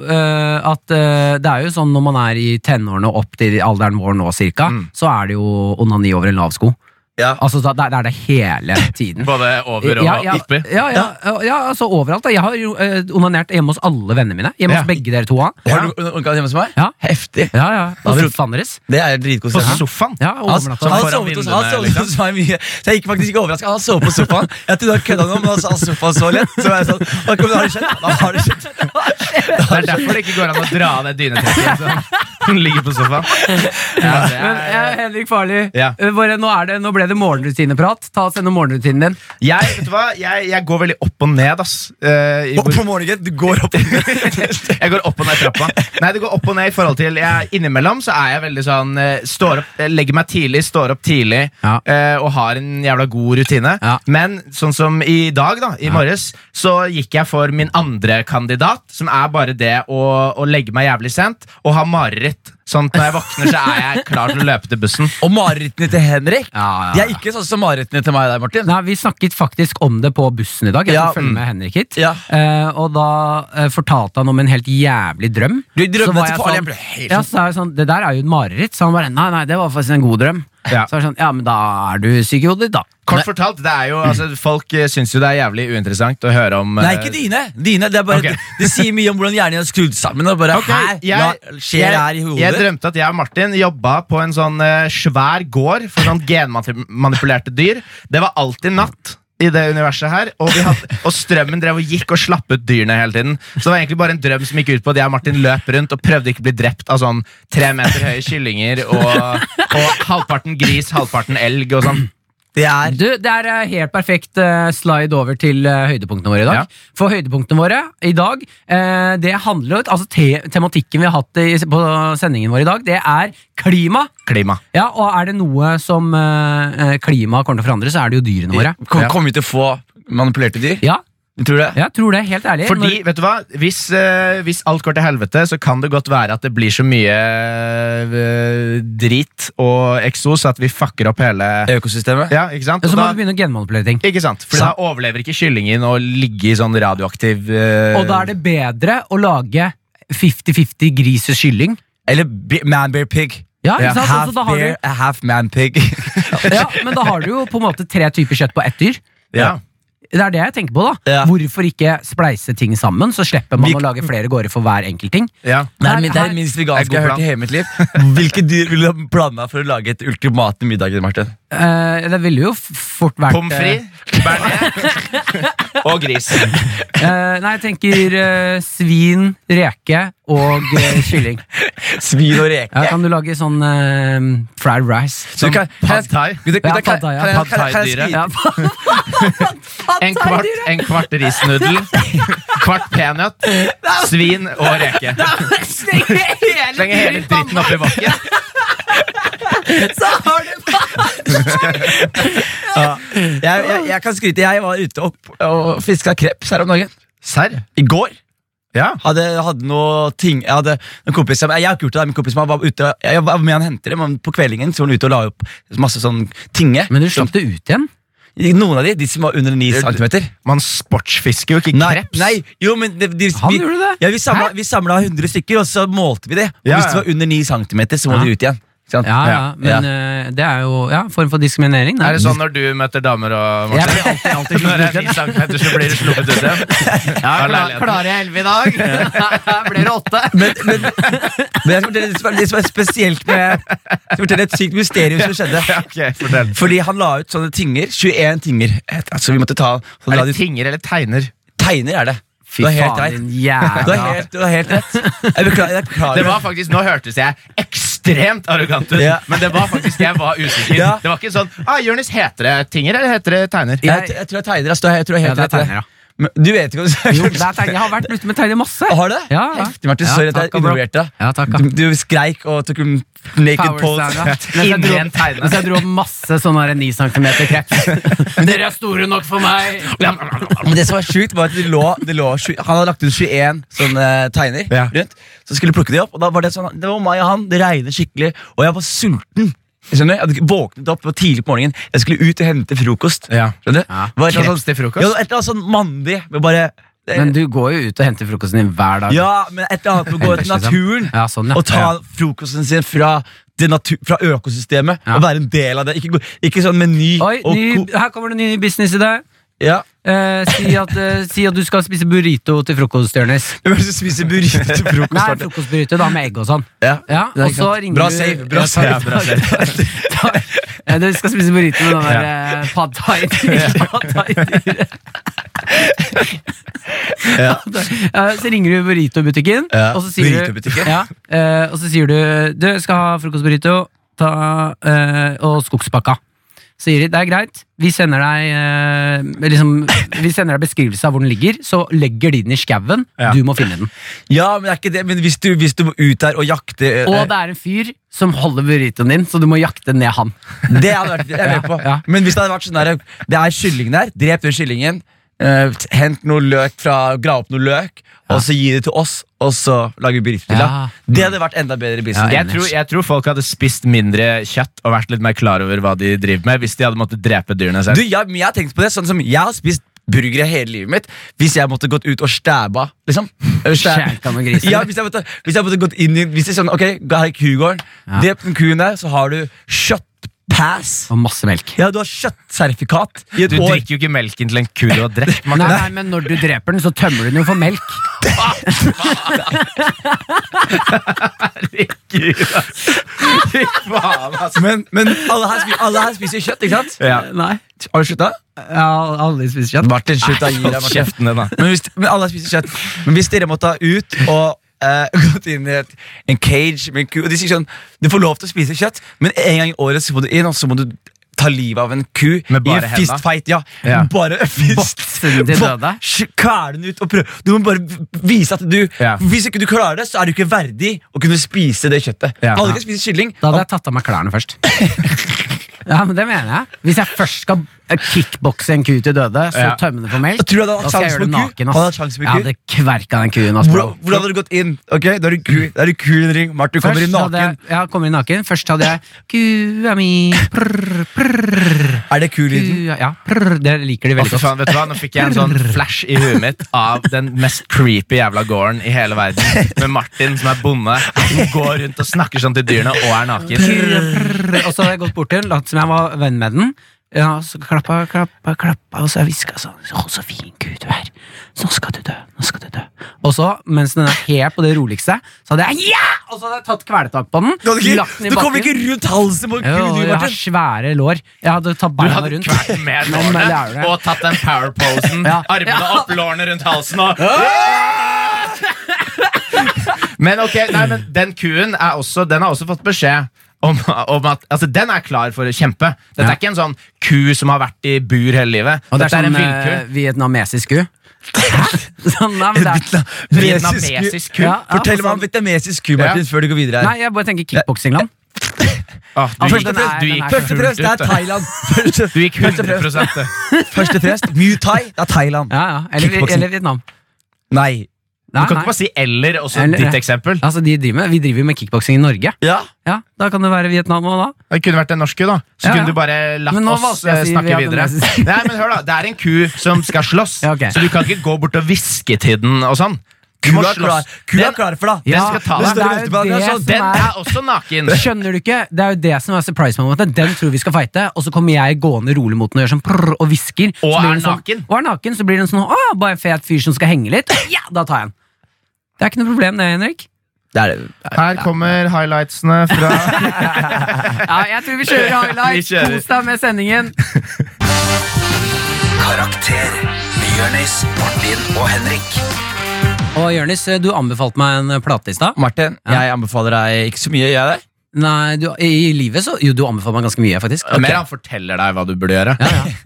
Speaker 4: øh, at øh, det er jo sånn
Speaker 2: Mm.
Speaker 4: når man er i tenårene opp til alderen vår nå cirka, så er det jo onani over en lav sko.
Speaker 2: Ja.
Speaker 4: Altså, da, der, der er det hele tiden.
Speaker 3: Både over og
Speaker 4: ja, ja,
Speaker 3: oppi.
Speaker 4: ja, ja, ja, altså overalt. da. Jeg har jo eh, onanert hjemme hos alle vennene mine. Hjemme
Speaker 3: Ja.
Speaker 4: hos begge dere to. Ja,
Speaker 2: Har du onkel hjemme hos meg?
Speaker 4: Ja.
Speaker 2: Heftig.
Speaker 4: ja. ja.
Speaker 2: Har du-
Speaker 4: Hos Fandres. Altså,
Speaker 2: Det er dritkoselig.
Speaker 3: På Altså, sofaen.
Speaker 4: Ja, og
Speaker 2: Han, han,
Speaker 4: overnatta.
Speaker 3: foran
Speaker 2: sovet hos, han
Speaker 3: vinduene,
Speaker 2: sovet hos meg mye, så jeg gikk faktisk ikke overraska. Han sov på sofaen. Jeg trodde han kødda noe, men han sa sofaen så lett. Så var jeg sånn, «Hva kommer- har det skjedd? Da har det skjedd.
Speaker 3: Det er derfor det ikke går an å dra av det dynetrekket. som- Hun ligger på sofaen. Ja, det
Speaker 4: Men eh,
Speaker 3: er,
Speaker 4: Henrik Farli,
Speaker 3: Ja.
Speaker 4: eh, bare, nå, er det, nå ble det morgenrutineprat. Ta oss gjennom morgenrutinen din.
Speaker 3: jeg, vet du hva? Jeg, jeg går veldig opp og ned, ass. Eh, i
Speaker 2: Og
Speaker 3: hvor-
Speaker 2: på morgenen, du går opp
Speaker 3: jeg går opp og ned trappa. Nei, det går opp og ned i forhold til jeg, Innimellom så er jeg veldig sånn eh, står opp, eh, Legger meg tidlig, står opp tidlig
Speaker 4: Ja.
Speaker 3: eh, og har en jævla god rutine.
Speaker 4: Ja.
Speaker 3: Men sånn som i dag, da, i morges, så gikk jeg for min andre kandidat, som er bare det å, å legge meg jævlig sent og ha mareritt. Sånn at når jeg våkner, så er jeg klar til å løpe til bussen.
Speaker 2: Og marerittene til Henrik
Speaker 4: Ja, ja,
Speaker 2: De er ikke sånn som marerittene til meg der, Martin.
Speaker 4: Nei, Vi snakket faktisk om det på bussen i dag. Jeg
Speaker 2: Ja,
Speaker 4: skulle følge
Speaker 2: mm.
Speaker 4: med Henrik hit
Speaker 2: Ja.
Speaker 4: eh, Og da eh, fortalte han om en helt jævlig drøm.
Speaker 2: Du, drømmene
Speaker 4: Så var
Speaker 2: til
Speaker 4: jeg
Speaker 2: Farli,
Speaker 4: sånn-
Speaker 2: jeg ble helt
Speaker 4: ja,
Speaker 2: sånn-
Speaker 4: så er jeg sånn, Det der er jo et mareritt. Så han bare Nei, nei, det var faktisk en god drøm.
Speaker 3: Ja.
Speaker 4: Så er det sånn, ja, men da er du syk i hodet, ditt, da.
Speaker 3: Kort fortalt, det er jo, altså, Folk eh, syns jo det er jævlig uinteressant å høre om eh,
Speaker 2: Nei, ikke dine. dine det, er bare,
Speaker 3: Ok.
Speaker 2: det, det sier mye om hvordan hjernen din er skrudd sammen. Og bare,
Speaker 3: Ok,
Speaker 2: her, hva skjer her i hodet?
Speaker 3: jeg drømte at jeg og Martin jobba på en sånn eh, svær gård for sånn genmanipulerte dyr. Det var alltid natt i det universet her, og, vi hadde, og strømmen drev og gikk og slapp ut dyrene hele tiden. Så det var egentlig bare en drøm som gikk ut på at jeg og Martin løp rundt og prøvde ikke å bli drept av sånn tre meter høye kyllinger og, og halvparten gris, halvparten elg og sånn.
Speaker 2: det er
Speaker 4: Du, Det er eh, helt perfekt eh, slide over til eh, høydepunktene våre i dag.
Speaker 3: Ja.
Speaker 4: For høydepunktene våre i dag, eh, det handler jo altså te Tematikken vi har hatt i, på sendingen vår i dag, det er klima.
Speaker 3: Klima.
Speaker 4: Ja, Og er det noe som eh, eh, klimaet kommer til å forandre, så er det jo dyrene våre.
Speaker 2: Kom-
Speaker 3: Ja.
Speaker 2: Kommer vi til å få manipulerte dyr?
Speaker 4: Ja,
Speaker 2: Tror du det?
Speaker 4: jeg tror det. Helt ærlig.
Speaker 3: Fordi, vet du hva, hvis, eh, hvis alt går til helvete, så kan det godt være at det blir så mye eh, drit og eksos at vi fucker opp hele
Speaker 2: Økosystemet?
Speaker 3: Ja, ikke sant?
Speaker 4: Når,
Speaker 3: Og
Speaker 4: så må
Speaker 3: da,
Speaker 4: du begynne å genmanipulere ting.
Speaker 3: ikke sant? For da overlever ikke kyllingen å ligge i sånn radioaktiv eh,
Speaker 4: Og da er det bedre å lage 50-50 gris og kylling.
Speaker 2: Eller bi- man bear pig?
Speaker 4: Ja, ikke sant?
Speaker 2: Half
Speaker 4: Altså, da har
Speaker 2: bear,
Speaker 4: du,
Speaker 2: half man pig.
Speaker 4: ja, men da har du jo på en måte tre typer kjøtt på ett dyr.
Speaker 3: ja.
Speaker 4: Det er det jeg tenker på, da.
Speaker 2: Ja.
Speaker 4: Hvorfor ikke spleise ting sammen? Så slipper man
Speaker 2: Vi-
Speaker 4: å lage flere gårder for hver enkelt ting.
Speaker 3: Ja.
Speaker 2: Det er,
Speaker 4: Her-
Speaker 2: min- det er det
Speaker 4: her-
Speaker 2: minst
Speaker 3: Det
Speaker 2: veganske
Speaker 3: er
Speaker 2: jeg
Speaker 3: god
Speaker 2: har hørt i hele mitt liv. Hvilke dyr ville du ha planla for å lage et ultimate middag? Martin?
Speaker 4: Eh, det ville jo f- fort vært
Speaker 3: Pommes frites, bearnés og gris.
Speaker 4: eh, nei, jeg tenker eh, svin, reke og eh, kylling.
Speaker 2: Svin og reke.
Speaker 4: Ja, kan du lage sånn eh, fried rice?
Speaker 2: Så kan- kan jeg-
Speaker 3: Pad thai.
Speaker 2: Kan jeg-
Speaker 4: Ja,
Speaker 2: kan jeg-
Speaker 4: pad thai, ja.
Speaker 2: kan jeg-
Speaker 3: Pad
Speaker 2: kan jeg- kan jeg
Speaker 3: thai-dyret.
Speaker 2: skryte-
Speaker 4: Ja,
Speaker 3: En kvart, en kvart risnudel, kvart peanøtt, svin og reke.
Speaker 4: Slenger hele
Speaker 3: Slenger hele dritten oppi bakken.
Speaker 4: så har du
Speaker 2: Jeg, jeg, jeg kan skryte. Jeg var ute opp og fiska kreps her om dagen.
Speaker 3: Serr?
Speaker 2: I går.
Speaker 3: Ja.
Speaker 2: Hadde, hadde noe ting Jeg hadde en kompis som Jeg har ikke gjort det, det er min kompis som han var ute Jeg var med han henter det, men på kveldingen så var han ute og la opp masse sånn tinge.
Speaker 4: Men du slapp det ut igjen?
Speaker 2: Noen av de, de som var under 9 cm.
Speaker 3: Man sportsfisker jo ikke
Speaker 2: Nei,
Speaker 3: kreps.
Speaker 2: nei, jo, men det, de,
Speaker 4: Han gjorde det.
Speaker 2: Ja, vi samla, vi samla 100 stykker, og så målte vi det. Og
Speaker 3: Ja,
Speaker 2: Hvis det
Speaker 3: ja.
Speaker 2: var under 9 cm, så må
Speaker 4: Ja.
Speaker 2: de ut igjen. Ikke sant?
Speaker 4: Ja, ja,
Speaker 3: Ja,
Speaker 4: men eh, det er jo ja, form for diskriminering. da.
Speaker 3: Er det sånn når du møter damer og
Speaker 4: Jeg blir alltid, alltid
Speaker 3: Når det er ni centimeter, så blir du sluppet ut igjen? Ja,
Speaker 4: Klarer jeg elleve i dag? Her blir det åtte.
Speaker 2: Men, men, men jeg skal fortelle det som er- det som er spesielt med Jeg skal fortelle et sykt mysterium som skjedde.
Speaker 3: Ok, fortell.
Speaker 2: Fordi han la ut sånne tinger. 21 tinger. Et- Altså, vi måtte ta så la
Speaker 3: Er
Speaker 2: de,
Speaker 3: det tinger eller tegner?
Speaker 2: Tegner er det.
Speaker 4: Fy
Speaker 2: du har helt
Speaker 4: faen,
Speaker 2: rett.
Speaker 4: din
Speaker 2: Du
Speaker 4: jævla
Speaker 2: har helt, du har helt rett. Jeg beklager. Jeg beklager.
Speaker 3: Det var faktisk, Nå hørtes jeg ekstremt arrogant ut,
Speaker 2: Ja.
Speaker 3: men det var faktisk jeg var usikker.
Speaker 2: Ja.
Speaker 3: Det var ikke sånn ah, 'Jonis, heter det tinger eller heter det tegner?'
Speaker 2: jeg, jeg tror jeg tegner. Altså, du har- jeg tror jeg helt
Speaker 4: Ja, det er
Speaker 2: rett.
Speaker 4: tegner, ja.
Speaker 2: Men Du vet ikke hva
Speaker 4: Jo, det er tegn. Jeg har vært ute med tegner masse.
Speaker 2: Har du det?
Speaker 4: Ja, ja.
Speaker 2: Heftig, Martin. Sorry at
Speaker 4: Ja, takk,
Speaker 2: jeg
Speaker 4: bro.
Speaker 2: undervurderte deg.
Speaker 4: Ja, takk, ja.
Speaker 2: Du, du skreik og tok en naked pose.
Speaker 4: Inni
Speaker 3: Inni
Speaker 4: en
Speaker 3: en tegne.
Speaker 4: Mens jeg dro opp masse sånn her 9 cm kreps. Dere er store nok for meg!
Speaker 2: Men det som var sjukt, var at det lå, det lå sju- Han hadde lagt ut 21 sånne eh, tegner
Speaker 3: Ja.
Speaker 2: rundt. Så skulle jeg plukke de opp, og da var det sånn Det var meg og han, det regnet skikkelig, og jeg var sulten. Skjønner du? Jeg hadde ikke våknet opp det var tidlig på morgenen. Jeg skulle ut og hente frokost.
Speaker 3: Ja.
Speaker 2: Skjønner du?
Speaker 4: Ja.
Speaker 2: Det var et eller annet
Speaker 3: Kreps til
Speaker 2: Ja,
Speaker 3: frokost?
Speaker 2: det var et eller annet sånn mandig. Med bare det-
Speaker 4: Men du går jo ut og henter frokosten din hver dag.
Speaker 2: Ja, men et eller annet med å gå
Speaker 4: Ellers,
Speaker 2: til
Speaker 4: liksom.
Speaker 2: naturen
Speaker 4: Ja, sånn, ja.
Speaker 2: og ta frokosten sin fra ekte natur, fra økosystemet.
Speaker 4: Ja.
Speaker 2: Og være en del av det. Ikke, gå- ikke sånn meny
Speaker 4: Oi,
Speaker 2: og
Speaker 4: ny,
Speaker 2: ko-
Speaker 4: her kommer det en ny businessidé.
Speaker 2: ja.
Speaker 4: Eh, si, at, eh, si at du skal spise burrito til frokost, Jonis.
Speaker 2: Hvem er det som spiser burrito til frokost?
Speaker 4: Nei,
Speaker 2: Arne?
Speaker 4: frokostburrito da med egg og sånn.
Speaker 2: Ja.
Speaker 4: Ja,
Speaker 2: Det er
Speaker 4: og
Speaker 2: ikke
Speaker 4: så
Speaker 2: sant.
Speaker 4: ringer
Speaker 2: bra
Speaker 4: du-
Speaker 2: save, bra
Speaker 4: Ja,
Speaker 2: save.
Speaker 4: takk, takk. Ja, Du skal spise burrito med den der eh, pad thai pad thai-dyret.
Speaker 2: Ja.
Speaker 4: Ja, eh, Så ringer du burrito-butikken,
Speaker 2: Ja,
Speaker 4: og så sier du
Speaker 2: burrito-butikken.
Speaker 4: ja, eh, Og så sier du Du skal ha frokostburrito ta, eh, og skogspakka. Så sier de det er greit, vi sender deg eh, liksom, Vi sender deg beskrivelse av hvor den ligger, så legger de den i skauen.
Speaker 3: Ja.
Speaker 4: Du må finne den.
Speaker 2: ja, men det er ikke det. Men hvis du, hvis du må ut der og jakte eh,
Speaker 4: Og det er en fyr som holder burritoen din, så du må jakte ned han.
Speaker 2: Det hadde vært jeg er med på.
Speaker 4: Ja.
Speaker 2: Men hvis det hadde vært sånn der, det er kylling der, drep den kyllingen, eh, t- hent noe løk fra, grav opp noe løk, og så gi det til oss, og så lager vi burrito til deg.
Speaker 4: Ja.
Speaker 2: Det hadde vært enda bedre business.
Speaker 3: jeg, tror, jeg tror folk hadde spist mindre kjøtt og vært litt mer klar over hva de driver med, hvis de hadde måttet drepe dyrene
Speaker 2: Du,
Speaker 3: selv.
Speaker 2: jeg, men jeg har tenkt på det, sånn som jeg har spist burgere hele livet mitt, hvis jeg måtte gått ut og stæba, liksom. Eller stæ-
Speaker 4: Skjænka med grisen.
Speaker 2: Ja, hvis jeg måtte, hvis jeg måtte gått inn i, hvis det er sånn, ok, her er kugården, drep den kuen der, så har du kjøttpass.
Speaker 4: Og masse melk.
Speaker 2: Ja, du har kjøttsertifikat i et
Speaker 3: Du
Speaker 2: år.
Speaker 3: drikker jo ikke melken til en ku du har drept.
Speaker 4: Nei, nei, men når du dreper den, så tømmer du den jo for melk.
Speaker 3: Fy faen, altså.
Speaker 2: Men, men alle, her spiser, alle her spiser kjøtt, ikke sant?
Speaker 3: Ja.
Speaker 4: Nei,
Speaker 2: Har du slutta?
Speaker 4: jeg har aldri spist kjøtt.
Speaker 2: Martin, slutt å gi deg,
Speaker 3: Hold
Speaker 2: Martin.
Speaker 3: kjeften din, da.
Speaker 2: Men, hvis, men alle her spiser kjøtt. Men hvis dere måtte ha ut og eh, gått inn i et, en cage med en ku Og de sier sånn Du får lov til å spise kjøtt, men en gang i året så må du inn, og så må du ta livet av en ku
Speaker 3: Med bare
Speaker 2: i en
Speaker 3: henda.
Speaker 2: fistfight. Ja,
Speaker 3: Ja.
Speaker 2: Bare fist.
Speaker 4: Boksen til
Speaker 2: Bok-
Speaker 4: døde.
Speaker 2: sk- Kæle den ut og prøv. Du må bare v- vise at du
Speaker 3: Ja.
Speaker 2: Hvis ikke du klarer det, så er du ikke verdig å kunne spise det kjøttet.
Speaker 3: Ja.
Speaker 2: Alle kan spise kylling.
Speaker 4: Da hadde jeg tatt av meg klærne først. Ja, men det mener jeg. Hvis jeg først skal kickbokse en ku til døde, så
Speaker 3: Ja.
Speaker 4: tømme den for melk,
Speaker 2: Da tror du hadde hatt
Speaker 4: da skal jeg
Speaker 2: sjans
Speaker 4: gjøre det
Speaker 2: på ku?
Speaker 4: naken.
Speaker 2: Hadde hatt
Speaker 4: Ass.
Speaker 2: sjans på
Speaker 4: Jeg
Speaker 2: ku?
Speaker 4: hadde kverka den kuen. Ass, bro.
Speaker 2: Hvordan, hvordan hadde du gått inn? Ok, Da er du kul, da er du kul i en ring. Martin kommer i
Speaker 4: Først hadde
Speaker 2: naken.
Speaker 4: jeg, ja, kommer inn naken. Først hadde jeg Kua mi prr, prr,
Speaker 2: Er det kul lyden?
Speaker 4: kua, Ja, prr, det liker de
Speaker 3: Å,
Speaker 4: veldig
Speaker 3: fy
Speaker 4: godt.
Speaker 3: faen, vet du hva? Nå fikk jeg en sånn flash i huet mitt av den mest creepy jævla gården i hele verden. Med Martin som er bonde, som går rundt og snakker sånn til dyrene og er naken.
Speaker 4: Prrr, Og så hadde jeg gått bort til den, latt som jeg var venn med den. Ja, så klappa, klappa, klappa, og så hviska sånn Å, så fin gud du er. Nå skal du dø. Nå skal du dø. Og så, mens den er helt på det roligste, så hadde jeg ja! Og så hadde jeg tatt kvelertak på den.
Speaker 2: Du, hadde ikke,
Speaker 4: lagt den i
Speaker 2: du kommer
Speaker 4: bakken.
Speaker 2: ikke rundt halsen på en
Speaker 4: Jo,
Speaker 2: kul, du,
Speaker 4: jeg har
Speaker 2: Martin.
Speaker 4: svære lår. Jeg hadde tatt
Speaker 3: Du
Speaker 4: beina
Speaker 3: hadde
Speaker 4: rundt.
Speaker 3: kvalt med
Speaker 4: Men det er det.
Speaker 3: lårene og tatt den powerposen.
Speaker 4: Ja.
Speaker 3: Armene opp, lårene rundt halsen og Men ok, nei, men den kuen er også, den har også fått beskjed om, om at altså, den er klar for å kjempe. Dette
Speaker 4: Ja.
Speaker 3: er ikke en sånn ku som har vært i bur hele livet.
Speaker 4: Og det er
Speaker 3: Dette er
Speaker 4: sånn
Speaker 3: en villku.
Speaker 4: eh, vietnamesisk ku. Sånn, nei, men det er,
Speaker 3: Vietnamesisk ku.
Speaker 4: Ja, ja,
Speaker 2: Fortell
Speaker 4: og
Speaker 2: meg om vietnamesisk ku, Martin,
Speaker 3: Ja.
Speaker 2: før du går videre
Speaker 4: nei,
Speaker 2: her.
Speaker 4: jeg bare tenker kickboksingland.
Speaker 3: Ah, du,
Speaker 4: Altså,
Speaker 3: gikk,
Speaker 4: den er-
Speaker 3: du,
Speaker 4: den
Speaker 3: gikk,
Speaker 4: er
Speaker 3: fullt
Speaker 2: Først og fremst, det
Speaker 3: ut,
Speaker 2: er
Speaker 3: da.
Speaker 2: Thailand. Først,
Speaker 3: du gikk
Speaker 2: først og
Speaker 3: 100
Speaker 2: fremst,
Speaker 3: det.
Speaker 2: først og fremst, Muay Thai, det er Thailand.
Speaker 4: Ja, ja. Eller,
Speaker 2: Kickboksing.
Speaker 4: eller Vietnam.
Speaker 2: Nei.
Speaker 3: Du
Speaker 4: Nei,
Speaker 3: kan
Speaker 4: nei.
Speaker 3: ikke bare si 'eller' og så
Speaker 4: Eller,
Speaker 3: ditt
Speaker 4: ja.
Speaker 3: eksempel.
Speaker 4: Altså, de driver med, vi driver jo med kickboksing i Norge.
Speaker 2: Ja.
Speaker 4: Ja, Da kan det være Vietnam òg, da.
Speaker 3: Det kunne vært en norsk ku, da.
Speaker 4: Ja,
Speaker 3: Så
Speaker 4: ja.
Speaker 3: kunne du bare latt
Speaker 4: Men nå
Speaker 3: oss
Speaker 4: valgte jeg å
Speaker 3: eh,
Speaker 4: si
Speaker 3: snakke
Speaker 4: vi
Speaker 3: videre.
Speaker 4: hadde nesten-
Speaker 3: Nei, men hør da, Det er en ku som skal slåss,
Speaker 4: Ja, ok.
Speaker 3: så du kan ikke gå bort og hviske til den og sånn. Du
Speaker 2: Ku
Speaker 3: må
Speaker 2: er
Speaker 3: slåss.
Speaker 2: klar, ku er
Speaker 3: Den-
Speaker 2: klar for deg.
Speaker 3: Ja, skal ta
Speaker 2: Den står
Speaker 3: deg.
Speaker 4: det
Speaker 2: i
Speaker 4: er jo
Speaker 2: venstrebanen,
Speaker 4: det
Speaker 2: og
Speaker 4: som
Speaker 2: sånn.
Speaker 3: Den er også naken.
Speaker 4: Skjønner du ikke? Det er jo det som er surprise momentet. Den tror vi skal fighte, og så kommer jeg gående rolig mot den og gjør sånn prrr, og hvisker. Så
Speaker 3: Og
Speaker 4: blir
Speaker 3: er
Speaker 4: den sånn-
Speaker 3: naken.
Speaker 4: Og er naken, så blir den sånn Å, bare en fet fyr som skal henge litt. Ja, da tar jeg den. Det er ikke noe problem, det, Henrik.
Speaker 2: Det er det.
Speaker 3: Her kommer highlightsene fra
Speaker 4: Ja, jeg tror vi kjører highlight.
Speaker 3: Vi kjører.
Speaker 4: Kos deg med sendingen.
Speaker 1: Karakter med Jonis, Martin og Henrik.
Speaker 4: Og Jonis, du anbefalte meg en plate i stad.
Speaker 2: Martin, jeg anbefaler deg ikke så mye. gjør Jeg det.
Speaker 4: Nei, du, i, i livet så Jo, du anbefalte meg ganske mye, faktisk.
Speaker 3: Mer han forteller deg hva du burde gjøre.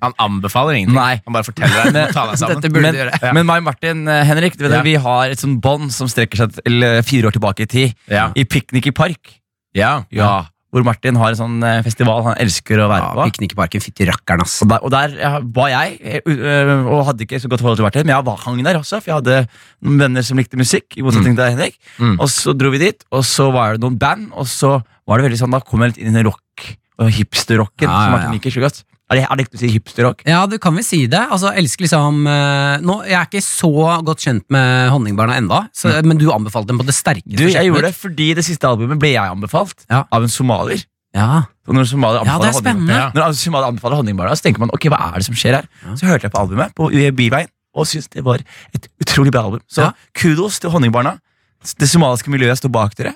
Speaker 3: Han anbefaler ingenting.
Speaker 2: Nei.
Speaker 3: Han bare forteller deg. Du må ta deg sammen.
Speaker 4: Dette burde
Speaker 2: men,
Speaker 4: du gjøre.
Speaker 2: men meg og Martin eh, Henrik, du vet,
Speaker 3: Ja.
Speaker 2: det, vi har et sånn bånd som strekker seg til eh, fire år tilbake i tid.
Speaker 3: Ja.
Speaker 2: I Piknik i park.
Speaker 3: Ja.
Speaker 2: Ja, hvor Martin har en sånn eh, festival han elsker å være
Speaker 4: Ja,
Speaker 2: på.
Speaker 4: Piknikparken, fytti rakkeren, ass.
Speaker 2: Og der, og der ja, var jeg, eh, ø- ø- og hadde ikke så godt forhold til Martin, men jeg var, hang der også, for jeg hadde noen venner som likte musikk, i motsetning til deg, Henrik.
Speaker 3: Mm.
Speaker 2: Og så dro vi dit, og så var det noen band, og så var det veldig sånn, da kom jeg litt inn i rock, og hipster-rocken,
Speaker 4: Ja, ja,
Speaker 2: som
Speaker 4: ja.
Speaker 2: Martin liker så godt.
Speaker 5: Er det, er det ikke å si hipsterrock?
Speaker 4: Ja, du kan vel si det. Altså, jeg elsker liksom eh, nå, Jeg er ikke så godt kjent med Honningbarna enda, så, men du anbefalte dem på det sterkeste.
Speaker 2: Du, jeg
Speaker 4: sjekken ut.
Speaker 2: gjorde det fordi det siste albumet ble jeg anbefalt
Speaker 4: Ja.
Speaker 2: av en somalier.
Speaker 4: Ja.
Speaker 2: Og når somalier
Speaker 4: Ja, det
Speaker 2: anbefaler
Speaker 4: er
Speaker 2: honning-
Speaker 4: spennende.
Speaker 2: Ja. Når somalier anbefaler honningbarna, så tenker man ok, hva er det som skjer her? Så hørte jeg på albumet på i Byveien og syntes det var et utrolig bra album. Så
Speaker 4: Ja.
Speaker 2: kudos til honningbarna. Det somaliske miljøet står bak dere,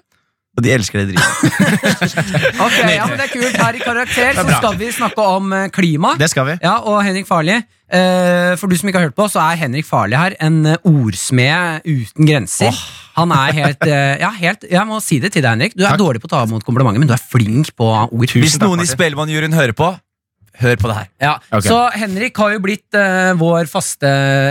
Speaker 2: og de elsker det drivet.
Speaker 4: Ok, ja, men det er kult. Her i Karakter så
Speaker 3: bra.
Speaker 4: skal vi snakke om eh, klima.
Speaker 3: Det skal vi.
Speaker 4: Ja, og Henrik Farli. eh, for du som ikke har hørt på, så er Henrik Farli her en eh, ordsmed uten grenser. Han er helt, eh, ja, helt Jeg må si det til deg, Henrik. Du er
Speaker 3: Takk.
Speaker 4: dårlig på å ta imot komplimenter, men du er flink på ord.
Speaker 2: Hvis
Speaker 3: takk,
Speaker 2: noen i
Speaker 3: Martin.
Speaker 2: Spellemannjuryen hører på, hør på det her.
Speaker 4: Ja,
Speaker 3: Ok.
Speaker 4: Så Henrik har jo blitt eh, vår faste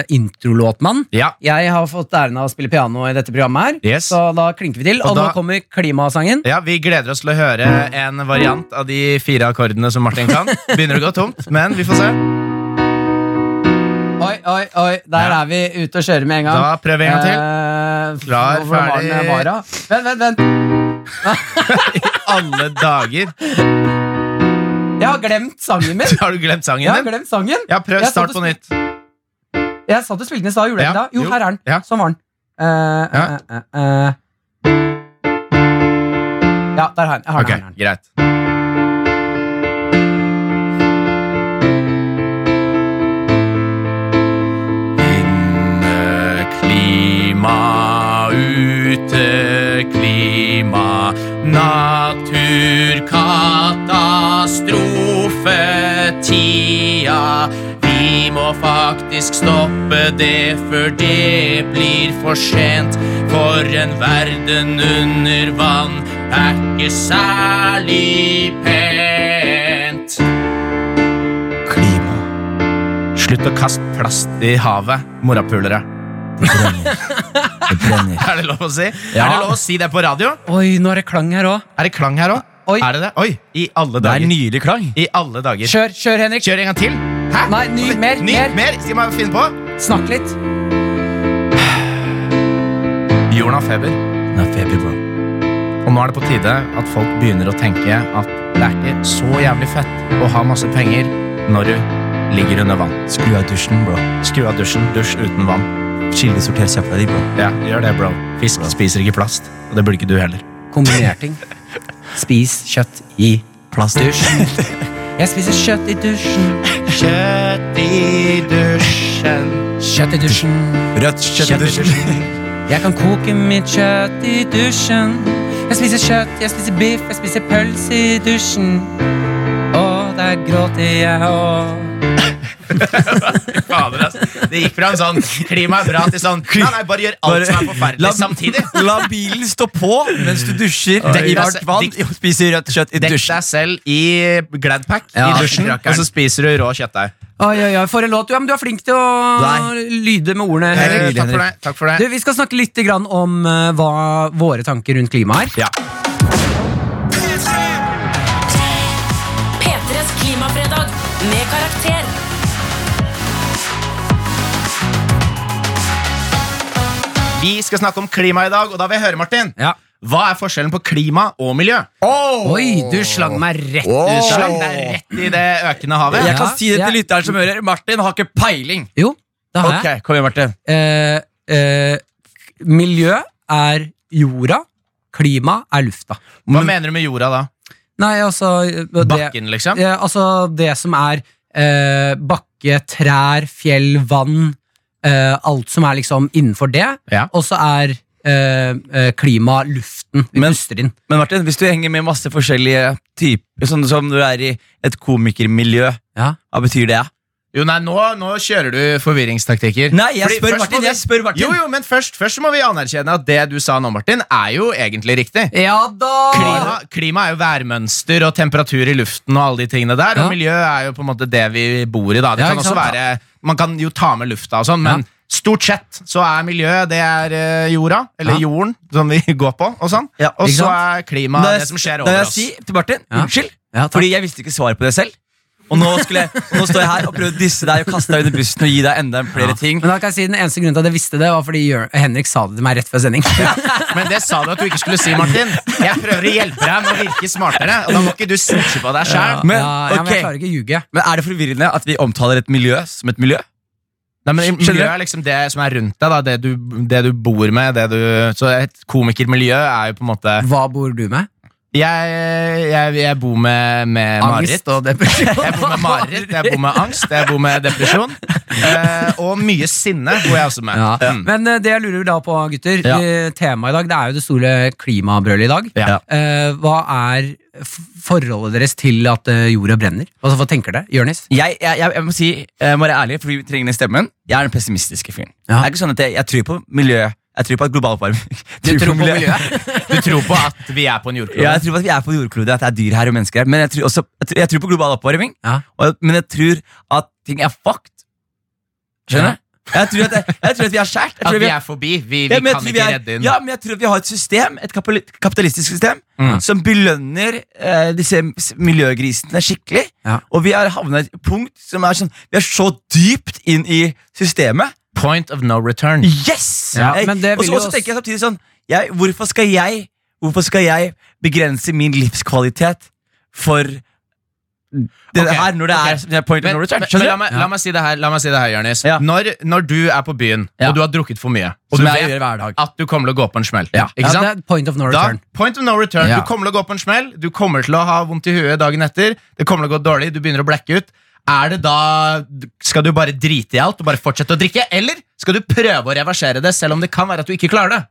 Speaker 4: introlåtmann.
Speaker 3: Ja.
Speaker 4: Jeg har fått æren av å spille piano i dette programmet her,
Speaker 3: Yes.
Speaker 4: så da klinker vi til. Og,
Speaker 3: Og da-
Speaker 4: nå kommer klimasangen.
Speaker 3: Ja, Vi gleder oss til å høre en variant av de fire akkordene som Martin kan. Begynner å gå tomt, men vi får se.
Speaker 4: Oi, oi, oi, der er vi ute og kjører med en gang.
Speaker 3: Da prøver vi en gang til.
Speaker 4: Eh,
Speaker 3: Klar,
Speaker 4: hvor var den,
Speaker 3: ferdig.
Speaker 4: Mara? Vent, vent, vent.
Speaker 3: Alle dager.
Speaker 4: Jeg har glemt sangen min.
Speaker 3: Har du glemt sangen
Speaker 4: Jeg har
Speaker 3: din?
Speaker 4: glemt sangen.
Speaker 3: Ja, prøv
Speaker 4: Jeg
Speaker 3: start
Speaker 4: satt og
Speaker 3: på nytt.
Speaker 4: Jeg sa du spilte den i stad. Gjorde jeg ikke
Speaker 3: Ja,
Speaker 4: det? Jo,
Speaker 3: jo.
Speaker 4: her er den.
Speaker 3: Ja.
Speaker 4: Sånn var den. Eh,
Speaker 3: Ja.
Speaker 4: eh, eh, eh. Ja, der har jeg den. Jeg har
Speaker 3: Ok,
Speaker 4: den, her er den.
Speaker 3: greit. Inne klima, ute klima, naturkatastrofe tida. Vi må faktisk stoppe det før det blir for sent. For en verden under vann er ikke særlig pent. Klima. Slutt å kaste plast i havet, morapulere.
Speaker 2: Det brenner.
Speaker 3: Er det lov å si? Er det lov å si det på radio?
Speaker 4: Oi, nå er det klang her òg.
Speaker 3: Er det klang her òg?
Speaker 4: Oi.
Speaker 3: Er det det? Oi, i alle
Speaker 2: Det er
Speaker 3: dager.
Speaker 2: nydelig klang.
Speaker 3: I alle dager.
Speaker 4: Kjør, kjør, Henrik.
Speaker 3: Kjør en gang til. Hæ?
Speaker 4: Nei, ny, mer,
Speaker 3: Ny,
Speaker 4: mer.
Speaker 3: mer. Skal man finne på?
Speaker 4: Snakk litt.
Speaker 3: Jorden har feber.
Speaker 2: Den er feber, bro.
Speaker 3: Og nå er det på tide at folk begynner å tenke at det er ikke så jævlig fett å ha masse penger når du ligger under vann.
Speaker 2: Skru av dusjen, bro.
Speaker 3: Skru av dusjen. Dusj uten vann.
Speaker 2: Kildesorter søpla di, bro.
Speaker 3: Ja, gjør det, bro. Fisk spiser ikke plast. Og det burde ikke du heller.
Speaker 4: Kombinering. Spis kjøtt i plastdusjen. Jeg spiser kjøtt i dusjen.
Speaker 3: Kjøtt i dusjen.
Speaker 4: Kjøtt i dusjen.
Speaker 2: Rødt kjøtt i dusjen.
Speaker 4: Jeg kan koke mitt kjøtt i dusjen. Jeg spiser kjøtt, jeg spiser biff, jeg spiser pølse i dusjen. Å, der gråter jeg òg.
Speaker 3: Fader, ass. Det gikk fra en sånn klima er bra til sånn Nei, nei, bare gjør alt
Speaker 2: Bare-
Speaker 3: som er forferdelig
Speaker 2: La-
Speaker 3: samtidig.
Speaker 2: La bilen stå på mens du dusjer
Speaker 3: Oi.
Speaker 2: i varmt vann
Speaker 3: Dikt-
Speaker 2: og spiser rødt kjøtt i
Speaker 3: Dekk
Speaker 2: dusjen.
Speaker 3: deg selv i Gladpack
Speaker 4: Ja,
Speaker 3: i dusjen,
Speaker 4: rakkeren.
Speaker 3: og så spiser du rå kjøttdeig.
Speaker 4: Oi, oi, oi, for en låt. Ja, men du er flink til å
Speaker 2: Nei.
Speaker 4: lyde med ordene.
Speaker 3: Eh,
Speaker 4: Henrik.
Speaker 2: Herregud,
Speaker 3: Takk for det.
Speaker 2: Henrik.
Speaker 3: Takk for
Speaker 4: Du,
Speaker 3: det.
Speaker 4: Vi skal snakke litt grann om eh, hva våre tanker rundt klima er.
Speaker 3: Ja.
Speaker 6: P3s klimafredag med karakter.
Speaker 3: Vi skal snakke om klima i dag, og da vil jeg høre, Martin.
Speaker 4: Ja.
Speaker 3: Hva er forskjellen på klima og miljø?
Speaker 4: Oi, du slang meg rett
Speaker 3: Du
Speaker 4: ut.
Speaker 3: slang deg rett i det økende havet.
Speaker 2: Jeg kan
Speaker 4: Ja,
Speaker 2: si det til
Speaker 4: jeg-
Speaker 2: lytteren som hører. Martin har ikke peiling.
Speaker 4: Jo, det har jeg.
Speaker 2: Ok, Kom igjen, Martin.
Speaker 4: eh, eh, miljø er jorda, klima er lufta.
Speaker 2: Mm.
Speaker 3: Hva mener du med jorda da?
Speaker 4: Nei, altså eh, det,
Speaker 3: Bakken, liksom?
Speaker 4: eh, altså det som er eh, bakke, trær, fjell, vann, eh, alt som er liksom innenfor det,
Speaker 3: Ja.
Speaker 4: og så er eh, eh, klima luften vi
Speaker 2: Men-
Speaker 4: puster inn.
Speaker 2: Men Martin, hvis du henger med masse forskjellige typer, sånn som du er i et komikermiljø,
Speaker 4: Ja.
Speaker 2: hva betyr det?
Speaker 3: Jo, nei, nå, nå kjører du forvirringstaktikker.
Speaker 2: Nei, jeg
Speaker 3: Fordi
Speaker 2: spør
Speaker 3: først må
Speaker 2: Martin!
Speaker 3: vi-
Speaker 2: jeg spør Martin
Speaker 3: Jo, jo, men først, først så må vi anerkjenne at det du sa nå, Martin, er jo egentlig riktig.
Speaker 4: Ja da!
Speaker 3: Klima, klima er jo værmønster og temperatur i luften og alle de tingene der.
Speaker 4: Ja.
Speaker 3: Og miljø er jo på en måte det vi bor i, da. Det
Speaker 4: Ja,
Speaker 3: kan
Speaker 4: ikke
Speaker 3: også
Speaker 4: sant?
Speaker 3: være Man kan jo ta med lufta og sånn, men
Speaker 4: Ja.
Speaker 3: stort sett så er miljø det er eh, jorda, eller
Speaker 4: Ja.
Speaker 3: jorden, som vi går på, og sånn.
Speaker 2: Ja,
Speaker 3: og
Speaker 4: ikke
Speaker 3: så
Speaker 4: sant?
Speaker 3: er klima
Speaker 2: Da
Speaker 3: det,
Speaker 2: jeg-
Speaker 3: som skjer
Speaker 2: da
Speaker 3: over
Speaker 2: jeg
Speaker 3: oss.
Speaker 2: sier til Martin,
Speaker 4: Ja.
Speaker 2: unnskyld,
Speaker 4: Ja, takk.
Speaker 2: fordi jeg visste ikke svaret på det selv. Og nå, skulle jeg, og nå står jeg her og prøver å disse deg og kaste deg under bussen og gi deg enda flere ting.
Speaker 4: Men da kan jeg si Den eneste grunnen til at jeg visste det, var fordi Jør- Henrik sa det til meg rett før sending.
Speaker 3: Men det sa du at du ikke skulle si, Martin. Jeg prøver å hjelpe deg med å virke smartere, og da må ikke du snitche på deg sjæl.
Speaker 2: Men,
Speaker 4: ja, ja, men
Speaker 2: ok.
Speaker 4: jeg klarer ikke å ljuge.
Speaker 2: Men er det forvirrende at vi omtaler et miljø som et miljø?
Speaker 3: Nei, men
Speaker 2: Skjønner du?
Speaker 3: Miljø er liksom det som er rundt deg, da. Det, du, det du bor med. Det du, så et komikermiljø er jo på en måte
Speaker 4: Hva bor du med?
Speaker 3: Jeg, jeg, jeg bor med, med Marit.
Speaker 4: og depresjon.
Speaker 3: Jeg bor med mareritt, jeg bor med angst, jeg bor med depresjon. Eh, og mye sinne bor jeg også med.
Speaker 4: Ja.
Speaker 3: Mm.
Speaker 4: Men eh, det jeg lurer da på, gutter,
Speaker 2: Ja.
Speaker 4: eh, temaet i dag, det er jo det store klimabrølet i dag.
Speaker 3: Ja.
Speaker 4: Eh, hva er f- forholdet deres til at eh, jorda brenner? Altså, hva tenker dere, Jørnis?
Speaker 2: Jeg, jeg, jeg, jeg må si, jeg må være ærlig, for vi trenger den stemmen. Jeg er den pessimistiske fyren.
Speaker 4: Ja.
Speaker 2: Det er ikke sånn at jeg, jeg tror på miljø. Jeg tror på at global oppvarming Du
Speaker 4: tror på
Speaker 3: Du tror på at vi er på en jordklode?
Speaker 2: Ja, jeg tror på at vi er på jordklodet, at det er dyr her og mennesker her. Men jeg tror, også, jeg tror, jeg tror på global oppvarming.
Speaker 4: Ja.
Speaker 2: Og, men jeg tror at ting er fucked. Skjønner du? Jeg, tror at- jeg tror at vi er skjært. Jeg tror
Speaker 3: At vi
Speaker 2: er-
Speaker 3: er forbi? Vi, vi
Speaker 2: Ja, men jeg
Speaker 3: kan
Speaker 2: tror
Speaker 3: ikke
Speaker 2: vi er-
Speaker 3: redde inn
Speaker 2: Ja, men jeg tror at vi har et system, et kapitali- kapitalistisk system,
Speaker 3: Mm.
Speaker 2: som belønner eh, disse s- miljøgrisene skikkelig.
Speaker 4: Ja.
Speaker 2: Og vi har havna et punkt som er sånn Vi er så dypt inn i systemet.
Speaker 3: Point of no return.
Speaker 2: Yes!
Speaker 4: Ja,
Speaker 2: Jeg-
Speaker 4: men det
Speaker 2: og
Speaker 4: vil
Speaker 2: så
Speaker 4: jo
Speaker 2: og så
Speaker 4: s-
Speaker 2: tenker jeg samtidig sånn jeg, hvorfor, skal jeg, hvorfor skal jeg begrense min livskvalitet for det
Speaker 3: Ok,
Speaker 2: her, når det
Speaker 3: ok.
Speaker 2: er som det er point of
Speaker 3: Men,
Speaker 2: no return?
Speaker 3: men, men
Speaker 2: Skjønner
Speaker 3: la,
Speaker 2: du?
Speaker 3: meg, la meg si det her, la meg si det her Jørnis.
Speaker 2: Ja.
Speaker 3: Når, når du er på byen,
Speaker 2: Ja.
Speaker 3: og du har drukket for mye, og
Speaker 4: Som
Speaker 3: du
Speaker 4: jeg
Speaker 3: vet
Speaker 4: gjør hver dag.
Speaker 3: at du kommer til å gå på en smell
Speaker 4: Ja,
Speaker 3: Ikke sant?
Speaker 4: det er point of no
Speaker 3: Da,
Speaker 4: return.
Speaker 3: point of no return.
Speaker 4: Ja.
Speaker 3: Du kommer til å gå på en smell, du kommer til å ha vondt i huet dagen etter, det kommer til å gå dårlig, du begynner å blacke ut. Er det da, Skal du bare drite i alt og bare fortsette å drikke, eller skal du prøve å reversere det, selv om det kan være at du ikke klarer det?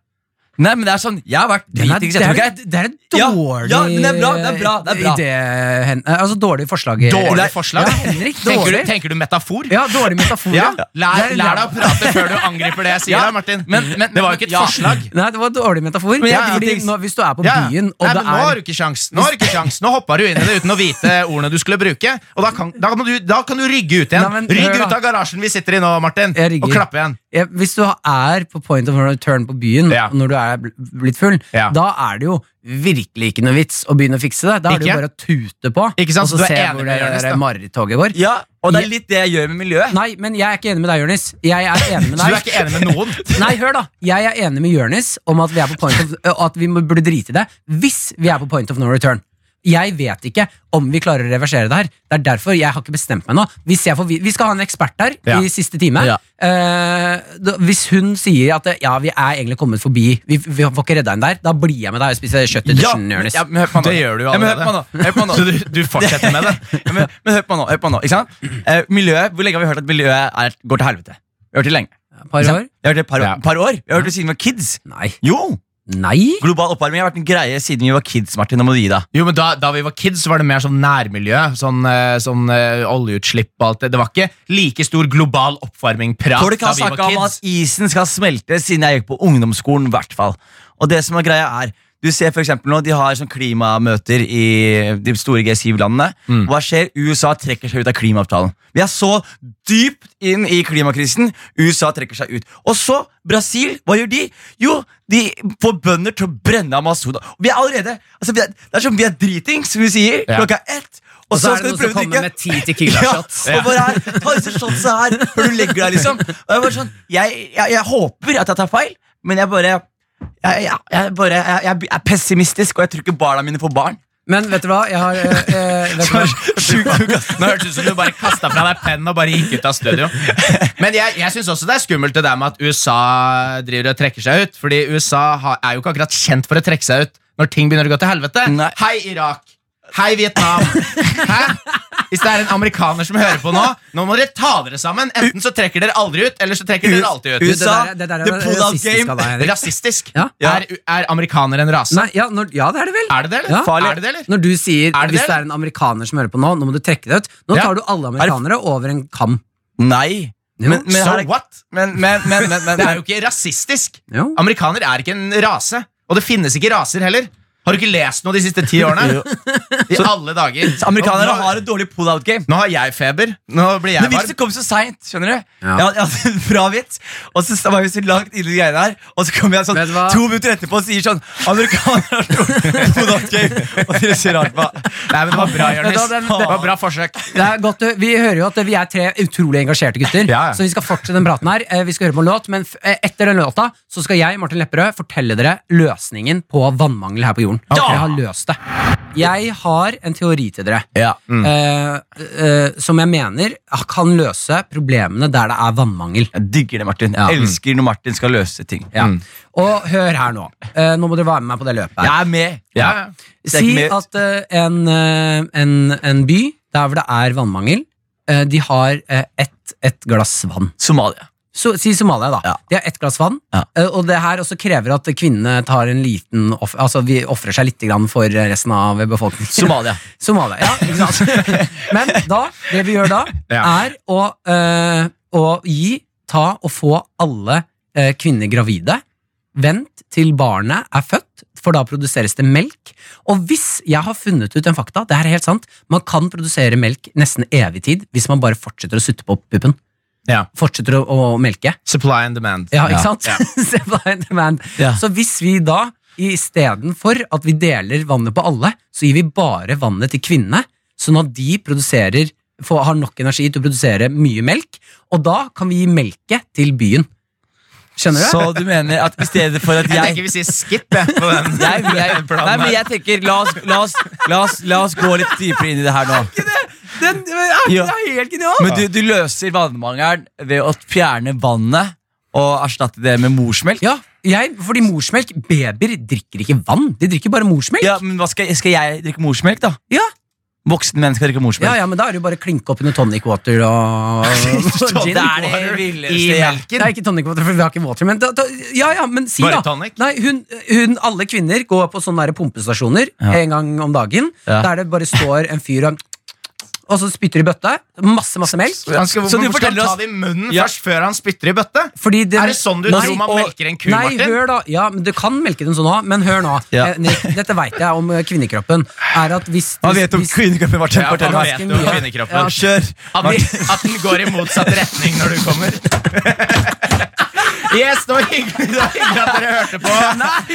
Speaker 2: Nei, men det er sånn, Jeg har vært
Speaker 4: Den er-
Speaker 2: dritings.
Speaker 4: det,
Speaker 2: jeg tror
Speaker 4: er,
Speaker 2: ikke jeg-
Speaker 4: det er et
Speaker 2: Ja,
Speaker 4: dårlig
Speaker 2: ja, men det er bra, det er bra, det er bra.
Speaker 4: idé, Hen- eh, Altså dårlig forslag.
Speaker 3: Dårlig
Speaker 4: Nei,
Speaker 3: forslag.
Speaker 4: Ja, Henrik,
Speaker 3: Tenker du,
Speaker 4: dårlig.
Speaker 3: tenker du metafor?
Speaker 4: Ja, dårlig metafor.
Speaker 3: Ja.
Speaker 4: ja.
Speaker 3: Lær,
Speaker 4: Det er-
Speaker 3: lær deg å prate før du angriper det jeg sier,
Speaker 2: Ja.
Speaker 3: da, Martin.
Speaker 2: Men- men-
Speaker 3: det var jo ikke et
Speaker 2: ja.
Speaker 3: forslag.
Speaker 4: Nei, det var dårlig metafor.
Speaker 2: Men jeg-
Speaker 4: fordi
Speaker 2: jeg-
Speaker 4: nå, hvis du er på
Speaker 3: Ja, ja.
Speaker 4: byen, og
Speaker 3: Nei,
Speaker 4: det
Speaker 3: men Nå har
Speaker 4: er
Speaker 3: du ikke sjans Nå har du ikke sjans Nå hoppa du inn i det uten å vite ordene du skulle bruke. Og da kan, da må du, da kan du rygge ut igjen.
Speaker 4: Nei, men hør
Speaker 3: Rygg
Speaker 4: da.
Speaker 3: ut av garasjen vi sitter i nå, Martin.
Speaker 4: Jeg rygger.
Speaker 3: Og klappe igjen.
Speaker 4: ja, Hvis du er på point of no return på byen
Speaker 3: Ja.
Speaker 4: når du er bl- blitt full,
Speaker 3: Ja.
Speaker 4: da er det jo virkelig ikke noe vits å begynne å fikse det. Da er det
Speaker 3: Ikke?
Speaker 4: jo bare å tute på,
Speaker 3: Ikke sant?
Speaker 4: og
Speaker 3: Du
Speaker 4: så
Speaker 3: er
Speaker 4: se
Speaker 3: enig
Speaker 4: hvor
Speaker 3: med
Speaker 4: det
Speaker 3: Jonis, da.
Speaker 4: der marerittoget går.
Speaker 2: Ja, Og det er litt det jeg gjør med miljøet.
Speaker 4: Nei, men jeg er ikke enig med deg, Jonis. Jeg er enig med
Speaker 3: Så du er
Speaker 4: deg.
Speaker 3: ikke enig med noen?
Speaker 4: Nei, hør da Jeg er enig med Jonis om at vi, er på point of, ø, at vi må- burde drite i det hvis vi er på point of no return. Jeg vet ikke om vi klarer å reversere det her. Det er derfor jeg har ikke bestemt meg nå. Hvis jeg får, vi- vi skal ha en ekspert her
Speaker 3: Ja.
Speaker 4: i siste time.
Speaker 2: Ja.
Speaker 4: Eh, da, hvis hun sier at eh, ja, vi er egentlig kommet forbi, vi, vi får ikke redda henne der, da blir jeg med deg og spiser kjøtt i
Speaker 2: Ja,
Speaker 4: dusjen,
Speaker 2: men-
Speaker 4: Jonis.
Speaker 2: ja, men hør på meg nå.
Speaker 3: Det gjør du jo
Speaker 2: Ja, men hør på
Speaker 3: allerede.
Speaker 2: meg nå, hør på meg nå.
Speaker 3: Så du, du fortsetter med det?
Speaker 2: Ja, men, men hør på nå, hør på nå, ikke sant? Eh, miljøet, Hvor lenge har vi hørt at miljøet er, går til helvete? Vi har hørt det lenge.
Speaker 4: Par
Speaker 2: Ikke
Speaker 4: år?
Speaker 2: sant? Vi har hørt det et par,
Speaker 3: Ja.
Speaker 2: par år. Vi har hørt det siden vi var kids.
Speaker 4: Nei.
Speaker 2: Jo!
Speaker 4: Nei?
Speaker 2: Global oppvarming har vært en greie siden vi var kids, Martin. Nå må du gi deg.
Speaker 3: Jo, men da, da vi var kids, så var det mer sånn nærmiljø. Sånn, eh, sånn eh, oljeutslipp og alt det. Det var ikke like stor global oppvarming-prat
Speaker 2: Folk
Speaker 3: da
Speaker 2: har
Speaker 3: vi var
Speaker 2: snakka om at
Speaker 3: kids.
Speaker 2: isen skal smelte siden jeg gikk på ungdomsskolen, i hvert fall. Og det som er greia, er du ser for eksempel nå, De har sånn klimamøter i de store G7-landene.
Speaker 4: Mm.
Speaker 2: Hva skjer? USA trekker seg ut av klimaavtalen. Vi er så dypt inn i klimakrisen. USA trekker seg ut. Og så Brasil. Hva gjør de? Jo, de får bønder til å brenne Amazonas. Vi er allerede, altså vi er, Det er som vi er dritings, som vi sier.
Speaker 3: Ja.
Speaker 2: Klokka er ett. Og,
Speaker 4: Og så
Speaker 2: så,
Speaker 4: er det
Speaker 2: skal du
Speaker 4: noen som
Speaker 2: prøve å
Speaker 4: kommer
Speaker 2: drikke
Speaker 4: med ti tequila-shots.
Speaker 2: og bare her, ta disse shotsa her før du legger deg, liksom. Og jeg, bare sånn, jeg, jeg, jeg håper at jeg tar feil, men jeg bare jeg, jeg, jeg, bare, jeg, jeg er pessimistisk, og jeg tror ikke barna mine får barn.
Speaker 4: Men vet du hva? Jeg har eh, eh, vet du hva?
Speaker 2: Sjukt sjuk, ass.
Speaker 3: Nå hørtes det ut som du bare kasta fra deg pennen og bare gikk ut av studio. Men jeg, jeg syns også det er skummelt det der med at USA driver og trekker seg ut. Fordi USA har, er jo ikke akkurat kjent for å trekke seg ut når ting begynner å gå til helvete.
Speaker 2: Nei.
Speaker 3: Hei, Irak. Hei, Vietnam. Hæ? Hvis det er en amerikaner som hører på nå, nå må dere ta dere sammen. Enten så trekker dere aldri ut, eller så trekker dere alltid ut.
Speaker 4: det
Speaker 2: USA,
Speaker 4: der er- det der er
Speaker 2: the pull-out
Speaker 4: rasistisk av deg,
Speaker 2: game.
Speaker 4: Henrik.
Speaker 3: Rasistisk.
Speaker 4: Ja.
Speaker 3: Er, er amerikanere en rase?
Speaker 4: Nei, ja, når, ja, det er det vel.
Speaker 3: Er det det, eller?
Speaker 4: Ja.
Speaker 3: Farlig. Er det det, eller?
Speaker 4: Når du sier
Speaker 3: Er det
Speaker 4: hvis
Speaker 3: det?
Speaker 4: det er en amerikaner som hører på nå, nå må du trekke det ut. Nå
Speaker 3: Ja.
Speaker 4: tar du alle amerikanere over en kam.
Speaker 2: Nei.
Speaker 4: Jo.
Speaker 2: Men, men,
Speaker 3: so
Speaker 2: her,
Speaker 3: what?
Speaker 2: men, men, men, men, men,
Speaker 3: Det er jo ikke rasistisk.
Speaker 4: Jo.
Speaker 3: Amerikaner er ikke en rase, og det finnes ikke raser heller. Har du ikke lest noe de siste ti årene?
Speaker 2: Jo.
Speaker 3: I alle dager.
Speaker 2: Så Amerikanere
Speaker 3: Nå-
Speaker 2: har et dårlig pull-out game.
Speaker 3: Nå har jeg feber. Nå blir
Speaker 2: Men
Speaker 3: jeg
Speaker 2: vitsen
Speaker 3: varm.
Speaker 2: kom så seint, skjønner du?
Speaker 4: Ja.
Speaker 2: Jeg, hadde, jeg hadde en bra vits, og så var vi så langt inne i de greiene her, og så kom jeg sånn
Speaker 4: Vet du hva?
Speaker 2: to minutter etterpå og sier sånn Amerikanere har dårlig pull-out game, og dere ser rart på meg.
Speaker 3: Nei, men det var bra, Jonis.
Speaker 4: Vet du hva, den-
Speaker 3: Det var bra forsøk.
Speaker 4: Det er godt, eh, Vi hører jo at vi er tre utrolig engasjerte gutter,
Speaker 3: Ja, ja.
Speaker 4: så vi skal fortsette den praten her. Eh, Vi skal høre på en låt, men f- eh, etter den låta så skal jeg Martin Lepperød, fortelle dere løsningen på vannmangel her på jorden. Jeg har løst det. Jeg har en teori til dere eh, eh, som jeg mener kan løse problemene der det er vannmangel.
Speaker 2: Jeg digger det, Martin.
Speaker 4: Ja.
Speaker 2: Jeg elsker når Martin skal løse ting.
Speaker 4: Ja. Og hør her nå. Eh, nå må dere være med meg på det løpet. her.
Speaker 2: Jeg er med.
Speaker 3: Ja.
Speaker 2: Det er ikke
Speaker 4: Si
Speaker 2: mer-
Speaker 4: at eh, en, eh, en, en by der hvor det er vannmangel, eh, de har eh, ett et glass vann.
Speaker 2: Somalia.
Speaker 4: Så, si Somalia, da.
Speaker 2: Ja.
Speaker 4: De har ett glass vann.
Speaker 2: Ja.
Speaker 4: eh, Og det her også krever at kvinnene tar en liten off Altså vi ofrer seg litt grann for resten av befolkningen.
Speaker 2: Somalia.
Speaker 4: Somalia, ja, ikke sant? Men da, det vi gjør da,
Speaker 3: Ja.
Speaker 4: er å, eh, å gi, ta og få alle eh, kvinner gravide. Vent til barnet er født, for da produseres det melk. Og hvis jeg har funnet ut en fakta, det her er helt sant, man kan produsere melk nesten evig tid hvis man bare fortsetter å sutte på puppen.
Speaker 3: Ja.
Speaker 4: Fortsetter å, å melke.
Speaker 3: Supply and demand.
Speaker 4: Ja, ikke sant? Se på deg, the man.
Speaker 2: Ja.
Speaker 4: Så hvis vi da, istedenfor at vi deler vannet på alle, så gir vi bare vannet til kvinnene, sånn at de produserer, får, har nok energi til å produsere mye melk, og da kan vi gi melket til byen. Skjønner du?
Speaker 2: Så du mener at i stedet for at
Speaker 3: Jeg
Speaker 2: jeg
Speaker 3: tenker vi sier skip jeg, på den.
Speaker 2: jeg, jeg, nei, men jeg tenker, la oss, la, oss, la, oss, la oss gå litt dypere inn i det her nå.
Speaker 4: Den, er,
Speaker 2: Ja.
Speaker 4: helt genialt!
Speaker 2: Men du, du løser vannmangelen ved å fjerne vannet og erstatte det med morsmelk?
Speaker 4: Ja, jeg, fordi morsmelk, babyer drikker ikke vann, de drikker bare morsmelk.
Speaker 2: Ja, men hva skal, skal jeg drikke morsmelk, da?
Speaker 4: Ja.
Speaker 2: Voksen menneske drikker
Speaker 4: Ja,
Speaker 2: morsmelk.
Speaker 4: ja, men da er det jo bare å klinke opp under tonic water og og gin.
Speaker 2: Det er det villeste
Speaker 3: I
Speaker 2: jeg
Speaker 4: Det er ikke tonic water, for vi har ikke water. Men da, da, ja, ja, men si
Speaker 3: Bare
Speaker 4: da.
Speaker 3: tonic?
Speaker 4: Nei, hun, hun, alle kvinner går på sånne der pumpestasjoner
Speaker 2: Ja.
Speaker 4: en gang om dagen.
Speaker 2: Ja.
Speaker 4: Der det bare står en fyr og og så spytter i bøtte. Masse, masse melk.
Speaker 3: Han skal,
Speaker 2: Så du
Speaker 3: hvorfor skal
Speaker 2: forteller
Speaker 3: han ta
Speaker 2: oss-
Speaker 3: det i munnen
Speaker 2: Ja.
Speaker 3: først før han spytter i bøtte?
Speaker 4: Fordi det,
Speaker 3: Er det sånn du tror man melker en ku,
Speaker 4: nei,
Speaker 3: Martin?
Speaker 4: Hør da, ja, men Du kan melke den sånn òg, men hør nå.
Speaker 2: Ja.
Speaker 4: Eh, Nick, dette veit jeg om eh, kvinnekroppen. Er at hvis,
Speaker 2: Hva
Speaker 4: hvis,
Speaker 2: vet du om
Speaker 4: hvis-
Speaker 2: kvinnekroppen, Martin?
Speaker 3: Ja,
Speaker 2: Fortell
Speaker 3: hva
Speaker 2: meg.
Speaker 3: vet du om kvinnekroppen?
Speaker 2: Ja, Kjør.
Speaker 3: At, de- at den går i motsatt retning når du kommer. Yes, det var hyggelig, det var hyggelig at dere hørte på.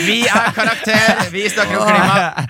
Speaker 3: Vi er karakter, vi snakker om klima.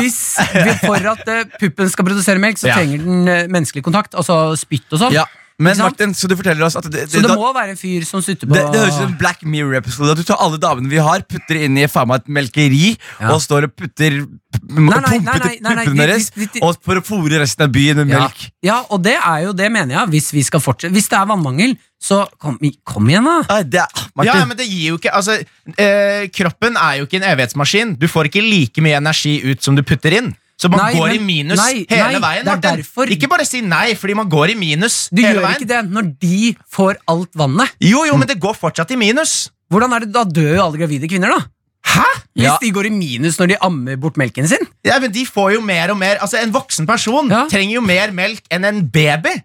Speaker 4: hvis vi- For at eh, puppen skal produsere melk, så
Speaker 3: Ja.
Speaker 4: trenger den eh, menneskelig kontakt. Altså spytt og sånn.
Speaker 2: Ja. Men
Speaker 4: Ikke sant?
Speaker 2: Martin, så du forteller oss at det,
Speaker 4: Så det
Speaker 2: da-
Speaker 4: må være en fyr som sutter på
Speaker 2: det, det høres ut som en Black Mirror-episode. At du tar alle damene vi har, putter inn i faen meg et melkeri
Speaker 4: Ja.
Speaker 2: og står og putter
Speaker 4: nei,
Speaker 2: pumper
Speaker 4: nei,
Speaker 2: til
Speaker 4: nei, nei,
Speaker 2: puppene
Speaker 4: de-
Speaker 2: deres
Speaker 4: de- de-
Speaker 2: og for å fôre resten av byen med
Speaker 4: ja.
Speaker 2: melk.
Speaker 4: ja, og det er jo det, mener jeg. Hvis vi skal fortsette Hvis det er vannmangel, så kom, i- kom igjen, da.
Speaker 2: Nei, det er,
Speaker 3: Ja,
Speaker 2: Martin,
Speaker 3: men det gir jo ikke altså, eh, Kroppen er jo ikke en evighetsmaskin. Du får ikke like mye energi ut som du putter inn. Så man
Speaker 4: Nei,
Speaker 3: går
Speaker 4: men-
Speaker 3: i minus
Speaker 4: nei, nei,
Speaker 3: hele veien.
Speaker 4: det er
Speaker 3: Martin.
Speaker 4: derfor-
Speaker 3: Ikke bare si nei fordi man går i minus
Speaker 4: Du
Speaker 3: hele
Speaker 4: gjør
Speaker 3: veien.
Speaker 4: ikke det når de får alt vannet.
Speaker 3: Jo, jo, men det går fortsatt i minus.
Speaker 4: Hvordan er det, Da dør jo alle gravide kvinner, da.
Speaker 3: Hæ?
Speaker 4: Hvis
Speaker 2: Ja.
Speaker 4: de går i minus når de ammer bort melken sin.
Speaker 3: Ja, men De får jo mer og mer Altså, En voksen person
Speaker 4: Ja.
Speaker 3: trenger jo mer melk enn en baby.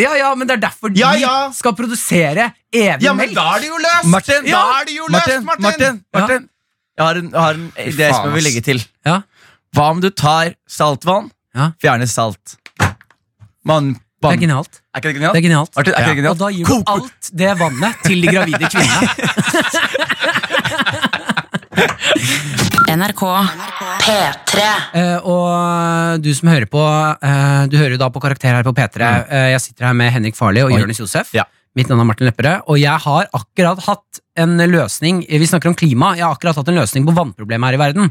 Speaker 4: Ja, ja, men det er derfor
Speaker 3: Ja,
Speaker 4: de
Speaker 3: ja.
Speaker 4: skal produsere evig
Speaker 3: Ja, men
Speaker 4: melk.
Speaker 3: da er det jo løst!
Speaker 2: Martin,
Speaker 3: da er det jo løst,
Speaker 2: Martin,
Speaker 3: Martin!
Speaker 2: Martin,
Speaker 4: Ja.
Speaker 2: Martin. Jeg har en, jeg har en idé
Speaker 3: faen,
Speaker 2: som jeg vil
Speaker 3: ass.
Speaker 2: legge til.
Speaker 4: Ja.
Speaker 2: Hva om du tar saltvann,
Speaker 4: Ja.
Speaker 2: fjerner salt Man,
Speaker 4: Det
Speaker 2: vann.
Speaker 4: er genialt.
Speaker 2: Er ikke det
Speaker 4: Det
Speaker 2: genialt?
Speaker 4: er genialt.
Speaker 2: Martin, er
Speaker 4: Og
Speaker 2: ikke det genialt?
Speaker 4: da gir du alt det vannet til de gravide kvinnene.
Speaker 6: NRK P3
Speaker 4: Eh, og du som hører på, eh, du hører jo da på Karakter her på P3.
Speaker 3: Mm.
Speaker 4: Eh, jeg sitter her med Henrik Farli og Jonis Josef.
Speaker 2: Ja.
Speaker 4: Mitt navn er Martin Lepperød, og jeg har akkurat hatt en løsning Eh, Vi snakker om klima. Jeg har akkurat hatt en løsning på vannproblemet her i verden.
Speaker 3: Du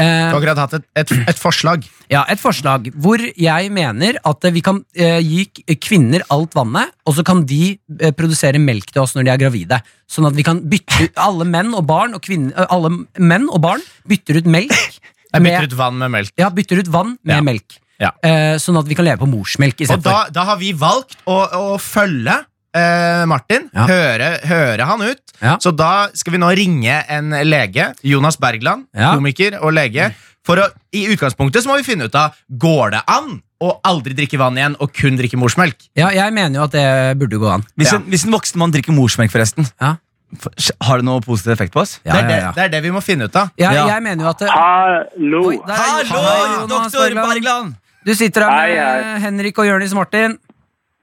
Speaker 4: Eh,
Speaker 3: har akkurat hatt et, et, et forslag.
Speaker 4: ja, Et forslag hvor jeg mener at vi kan eh, gi k- kvinner alt vannet, og så kan de eh, produsere melk til oss når de er gravide. Sånn at vi kan bytte ut alle menn og barn og kvinner, eh, alle menn og barn bytter ut melk.
Speaker 3: Jeg
Speaker 4: med-
Speaker 3: bytter ut vann med melk.
Speaker 4: ja, bytter ut vann med
Speaker 3: Ja.
Speaker 4: melk.
Speaker 3: Ja.
Speaker 4: Eh, sånn at vi kan leve på morsmelk
Speaker 3: Og da,
Speaker 4: istedenfor.
Speaker 3: da har vi valgt å, å følge eh, Martin,
Speaker 4: Ja.
Speaker 3: høre, høre han ut.
Speaker 4: Ja.
Speaker 3: Så da skal vi nå ringe en lege, Jonas Bergland,
Speaker 4: Ja.
Speaker 3: komiker og lege. For å, I utgangspunktet så må vi finne ut av går det an å aldri drikke vann igjen og kun drikke morsmelk.
Speaker 4: Ja, jeg mener jo at det burde gå an.
Speaker 2: Hvis,
Speaker 3: Ja.
Speaker 2: en, hvis en voksen mann drikker morsmelk, forresten,
Speaker 4: Ja.
Speaker 2: F- Har det noe positiv effekt på oss?
Speaker 4: Ja,
Speaker 3: det, er det,
Speaker 4: ja, ja.
Speaker 3: det er det vi må finne ut av.
Speaker 4: Jeg,
Speaker 2: Ja.
Speaker 4: jeg mener jo at det-
Speaker 5: Hallo.
Speaker 4: Oi, der- Hei, hei,
Speaker 2: Hallo,
Speaker 4: Jonas
Speaker 2: doktor
Speaker 4: Bergland.
Speaker 2: Bergland!
Speaker 4: Du sitter her med
Speaker 5: Hei, hei.
Speaker 4: eh, Henrik og Jørnis Martin.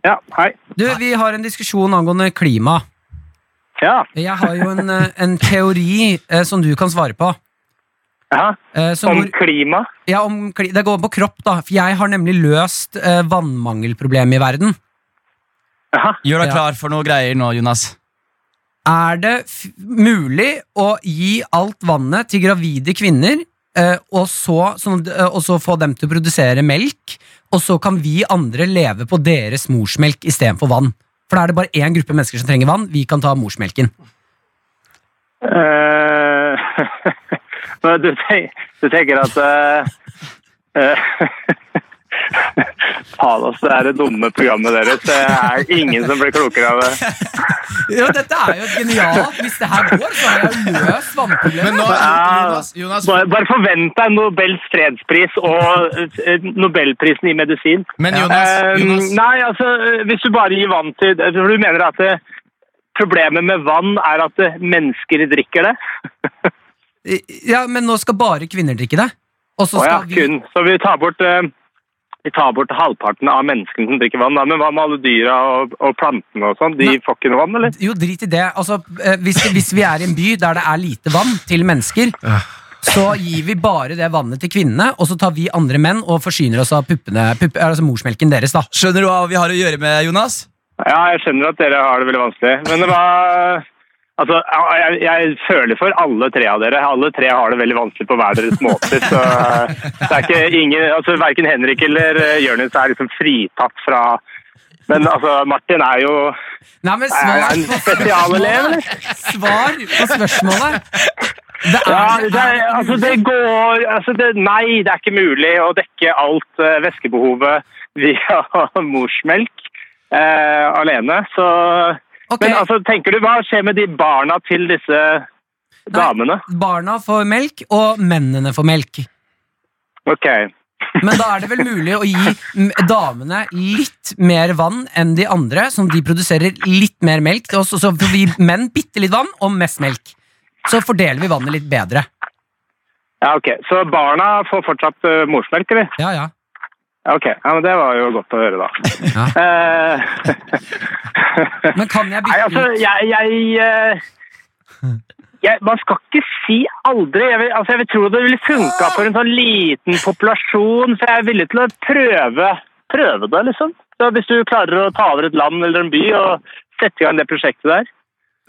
Speaker 5: Ja, hei.
Speaker 4: Du, Vi har en diskusjon angående klima.
Speaker 5: Ja.
Speaker 4: Jeg har jo en, eh, en teori eh, som du kan svare på.
Speaker 5: ja.
Speaker 4: Eh, som
Speaker 5: Om
Speaker 4: hvor,
Speaker 5: klima.
Speaker 4: ja, om, kli- det går på kropp, da. For jeg har nemlig løst eh, vannmangelproblemet i verden.
Speaker 5: Ja.
Speaker 2: Gjør deg
Speaker 4: Ja.
Speaker 2: klar for noe greier nå, Jonas.
Speaker 4: Er det f mulig å gi alt vannet til gravide kvinner, eh, og, så, sånn, eh, og så få dem til å produsere melk, og så kan vi andre leve på deres morsmelk istedenfor vann? For da er det bare én gruppe mennesker som trenger vann. Vi kan ta morsmelken.
Speaker 5: Eh, men du, tenk- du tenker at eh, eh, Faen, altså, det er det dumme programmet deres. Det er ingen som blir klokere av det.
Speaker 4: Jo, dette er jo genialt. Hvis det her går, så har jeg løst
Speaker 3: Men nå,
Speaker 4: vannproblemet.
Speaker 3: Jonas, Jonas
Speaker 5: Bare, bare forvent deg Nobels fredspris og eh, Nobelprisen i medisin.
Speaker 3: Men Jonas,
Speaker 5: Eh,
Speaker 3: Jonas
Speaker 5: Nei, altså, eh, hvis du bare gir vann til eh, for Du mener at eh, problemet med vann er at eh, mennesker drikker det?
Speaker 4: Ja, men nå skal bare kvinner drikke det. Og så
Speaker 5: Å ja,
Speaker 4: skal vi
Speaker 5: kun. Så vi tar bort eh, vi tar bort halvparten av menneskene som drikker vann. Da. Men hva med alle dyra og, og plantene og sånn? De
Speaker 4: Nei.
Speaker 5: får ikke noe vann, eller?
Speaker 4: Jo, drit i det. Altså, eh, hvis, hvis vi er i en by der det er lite vann til mennesker, så gir vi bare det vannet til kvinnene, og så tar vi andre menn og forsyner oss av puppene, pupp, altså morsmelken deres. da.
Speaker 2: Skjønner du hva vi har å gjøre med, Jonas?
Speaker 5: Ja, jeg skjønner at dere har det veldig vanskelig. Men det var Altså, jeg, jeg føler for alle tre av dere. Alle tre har det veldig vanskelig på hver deres måte. Så eh, det er ikke ingen Altså, verken Henrik eller eh, Jonis er liksom fritatt fra Men altså, Martin er jo
Speaker 4: Nei, men
Speaker 5: Er
Speaker 4: svar
Speaker 5: han
Speaker 4: på
Speaker 5: spesialelev,
Speaker 4: spørsmålet! Svar på spørsmålet! Det er,
Speaker 5: Ja, det, er, altså det går altså det, Nei, det er ikke mulig å dekke alt eh, væskebehovet via morsmelk eh, alene. Så,
Speaker 4: Ok,
Speaker 5: Men altså, tenker du, hva skjer med de barna til disse damene?
Speaker 4: Barna får melk, og mennene får melk.
Speaker 5: Ok.
Speaker 4: Men da er det vel mulig å gi mm, damene litt mer vann enn de andre, som de produserer litt mer melk til oss, og så får vi menn bitte litt vann og mest melk. Så fordeler vi vannet litt bedre.
Speaker 5: Ja, ok. Så barna får fortsatt eh, morsmelk, eller?
Speaker 4: Ja, ja.
Speaker 5: Ja, Ok, ja, men det var jo godt å høre, da.
Speaker 4: Ja.
Speaker 5: Eh,
Speaker 4: Men kan jeg
Speaker 5: Nei,
Speaker 4: bytte
Speaker 5: altså,
Speaker 4: ut?
Speaker 5: jeg, jeg, eh, jeg Man skal ikke si aldri. Jeg vil, altså, jeg vil tro det ville funka for en sånn liten populasjon, for jeg er villig til å prøve, prøve det, liksom. Så hvis du klarer å ta over et land eller en by og sette i gang det prosjektet der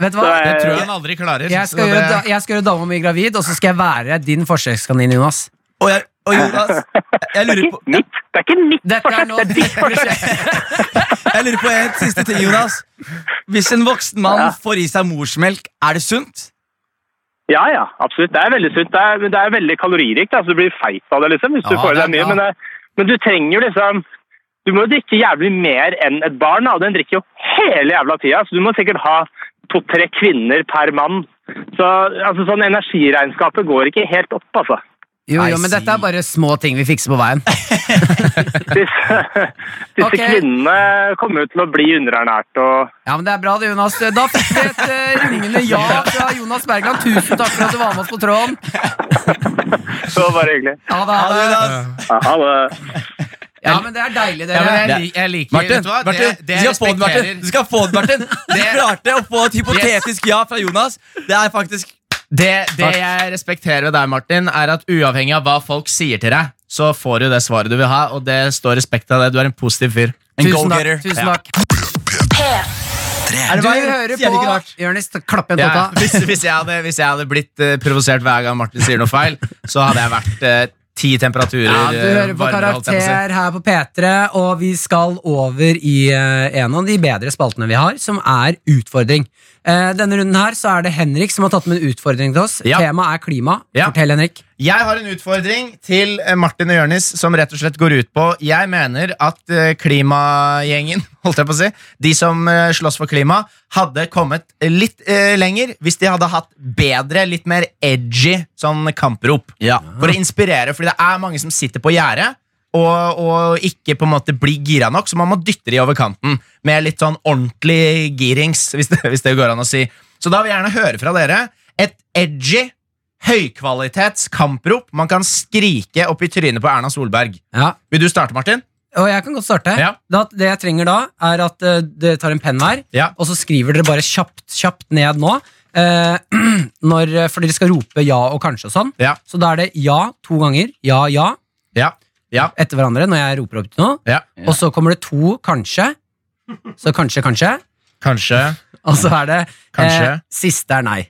Speaker 4: Vet du
Speaker 5: så
Speaker 4: hva?
Speaker 5: er-
Speaker 3: det tror jeg han aldri klarer.
Speaker 4: Jeg
Speaker 3: så
Speaker 4: skal, gjøre,
Speaker 3: det-
Speaker 4: da- jeg skal gjøre dama mi gravid, og så skal jeg være din forsøkskanin, Jonas.
Speaker 2: Og, jeg, og Jonas, jeg
Speaker 5: Det er
Speaker 2: lurer
Speaker 5: ikke
Speaker 2: på
Speaker 5: mitt, det er ikke mitt
Speaker 4: Dette er
Speaker 5: forsøk,
Speaker 4: nå
Speaker 5: det er ditt forsøk!
Speaker 2: Jeg lurer på en siste ting, Jonas. Hvis en voksen mann
Speaker 5: Ja.
Speaker 2: får i seg morsmelk, er det sunt?
Speaker 5: Ja, ja, absolutt. Det er veldig sunt. Det er, men det er veldig kaloririkt. Altså, du blir feit av det liksom, hvis du
Speaker 4: Ja,
Speaker 5: får i
Speaker 4: det er
Speaker 5: deg
Speaker 4: bra.
Speaker 5: mye. Men, det, men du trenger jo liksom Du må jo drikke jævlig mer enn et barn. Da. og Den drikker jo hele jævla tida, så du må sikkert ha to-tre kvinner per mann. Så altså, sånn energiregnskapet går ikke helt opp, altså.
Speaker 4: Jo,
Speaker 2: I
Speaker 4: jo, men
Speaker 2: see.
Speaker 4: dette er bare små ting vi fikser på veien.
Speaker 5: Disse, disse
Speaker 4: Ok.
Speaker 5: kvinnene kommer jo til å bli underernært og
Speaker 4: Ja, men Det er bra, det, Jonas. Da fikk vi et eh, rungende ja fra Jonas Bergland. Tusen takk for at du var med oss på tråden.
Speaker 5: Så bare hyggelig.
Speaker 4: Ha det, ha det.
Speaker 5: Ja, Ha det.
Speaker 4: Ja, men det er deilig,
Speaker 3: ja, men
Speaker 4: dere.
Speaker 3: jeg, lik- jeg liker
Speaker 2: Martin,
Speaker 3: vet du hva?
Speaker 2: Martin,
Speaker 3: det, det
Speaker 2: du skal
Speaker 3: jeg
Speaker 2: få den, Martin.
Speaker 3: respekterer-
Speaker 2: Du skal få den, Martin. Du klarte å få et hypotetisk ja fra Jonas. Det er faktisk
Speaker 3: Det, det
Speaker 2: Takk.
Speaker 3: jeg respekterer ved deg, Martin, er at uavhengig av hva folk sier til deg, så får du det svaret du vil ha, og det står respekt av det. Du er en positiv fyr.
Speaker 2: en
Speaker 4: Tusen takk.
Speaker 2: go-getter.
Speaker 4: Tusen takk.
Speaker 2: Er det
Speaker 4: Du
Speaker 2: hva jeg
Speaker 4: hører
Speaker 2: sier det ikke
Speaker 4: på
Speaker 2: rart?
Speaker 4: Jonis, klapp igjen
Speaker 3: Ja,
Speaker 4: tåta.
Speaker 3: hvis, hvis, jeg hadde, hvis jeg hadde blitt eh, provosert hver gang Martin sier noe feil, så hadde jeg vært eh, ti temperaturer
Speaker 4: Ja, du
Speaker 3: eh,
Speaker 4: hører på
Speaker 3: varmere, holdt jeg på å si.
Speaker 4: Karakter her på P3, og vi skal over i eh, en av de bedre spaltene vi har, som er utfordring. Eh, denne runden her så er det Henrik som har tatt med en utfordring til oss.
Speaker 3: Ja.
Speaker 4: Temaet er klima.
Speaker 3: Ja.
Speaker 4: Fortell, Henrik.
Speaker 3: Jeg har en utfordring til eh, Martin og Jørnis som rett og slett går ut på Jeg mener at eh, klimagjengen, holdt jeg på å si, de som eh, slåss for klima, hadde kommet litt eh, lenger hvis de hadde hatt bedre, litt mer edgy sånn kamprop. For å inspirere, fordi det er mange som sitter på gjerdet. Og, og ikke på en måte blir gira nok, så man må dytte de over kanten med litt sånn ordentlig girings, hvis det, hvis det går an å si. Så da vil jeg gjerne høre fra dere et edgy, høykvalitets kamprop man kan skrike opp i trynet på Erna Solberg.
Speaker 4: Ja.
Speaker 3: Vil du starte, Martin?
Speaker 4: Og jeg kan godt starte.
Speaker 3: Ja.
Speaker 4: Da, det jeg trenger da, er at eh, dere tar en penn hver,
Speaker 3: Ja.
Speaker 4: og så skriver dere bare kjapt, kjapt ned nå. eh, når, for dere skal rope ja og kanskje og sånn.
Speaker 3: Ja.
Speaker 4: Så da er det ja to ganger, ja, ja,
Speaker 3: Ja. Ja.
Speaker 4: etter hverandre når jeg roper opp til noe.
Speaker 3: ja.
Speaker 4: Og så kommer det to kanskje. Så kanskje, kanskje.
Speaker 3: Kanskje.
Speaker 4: Og så er det eh,
Speaker 3: Kanskje.
Speaker 4: siste er nei.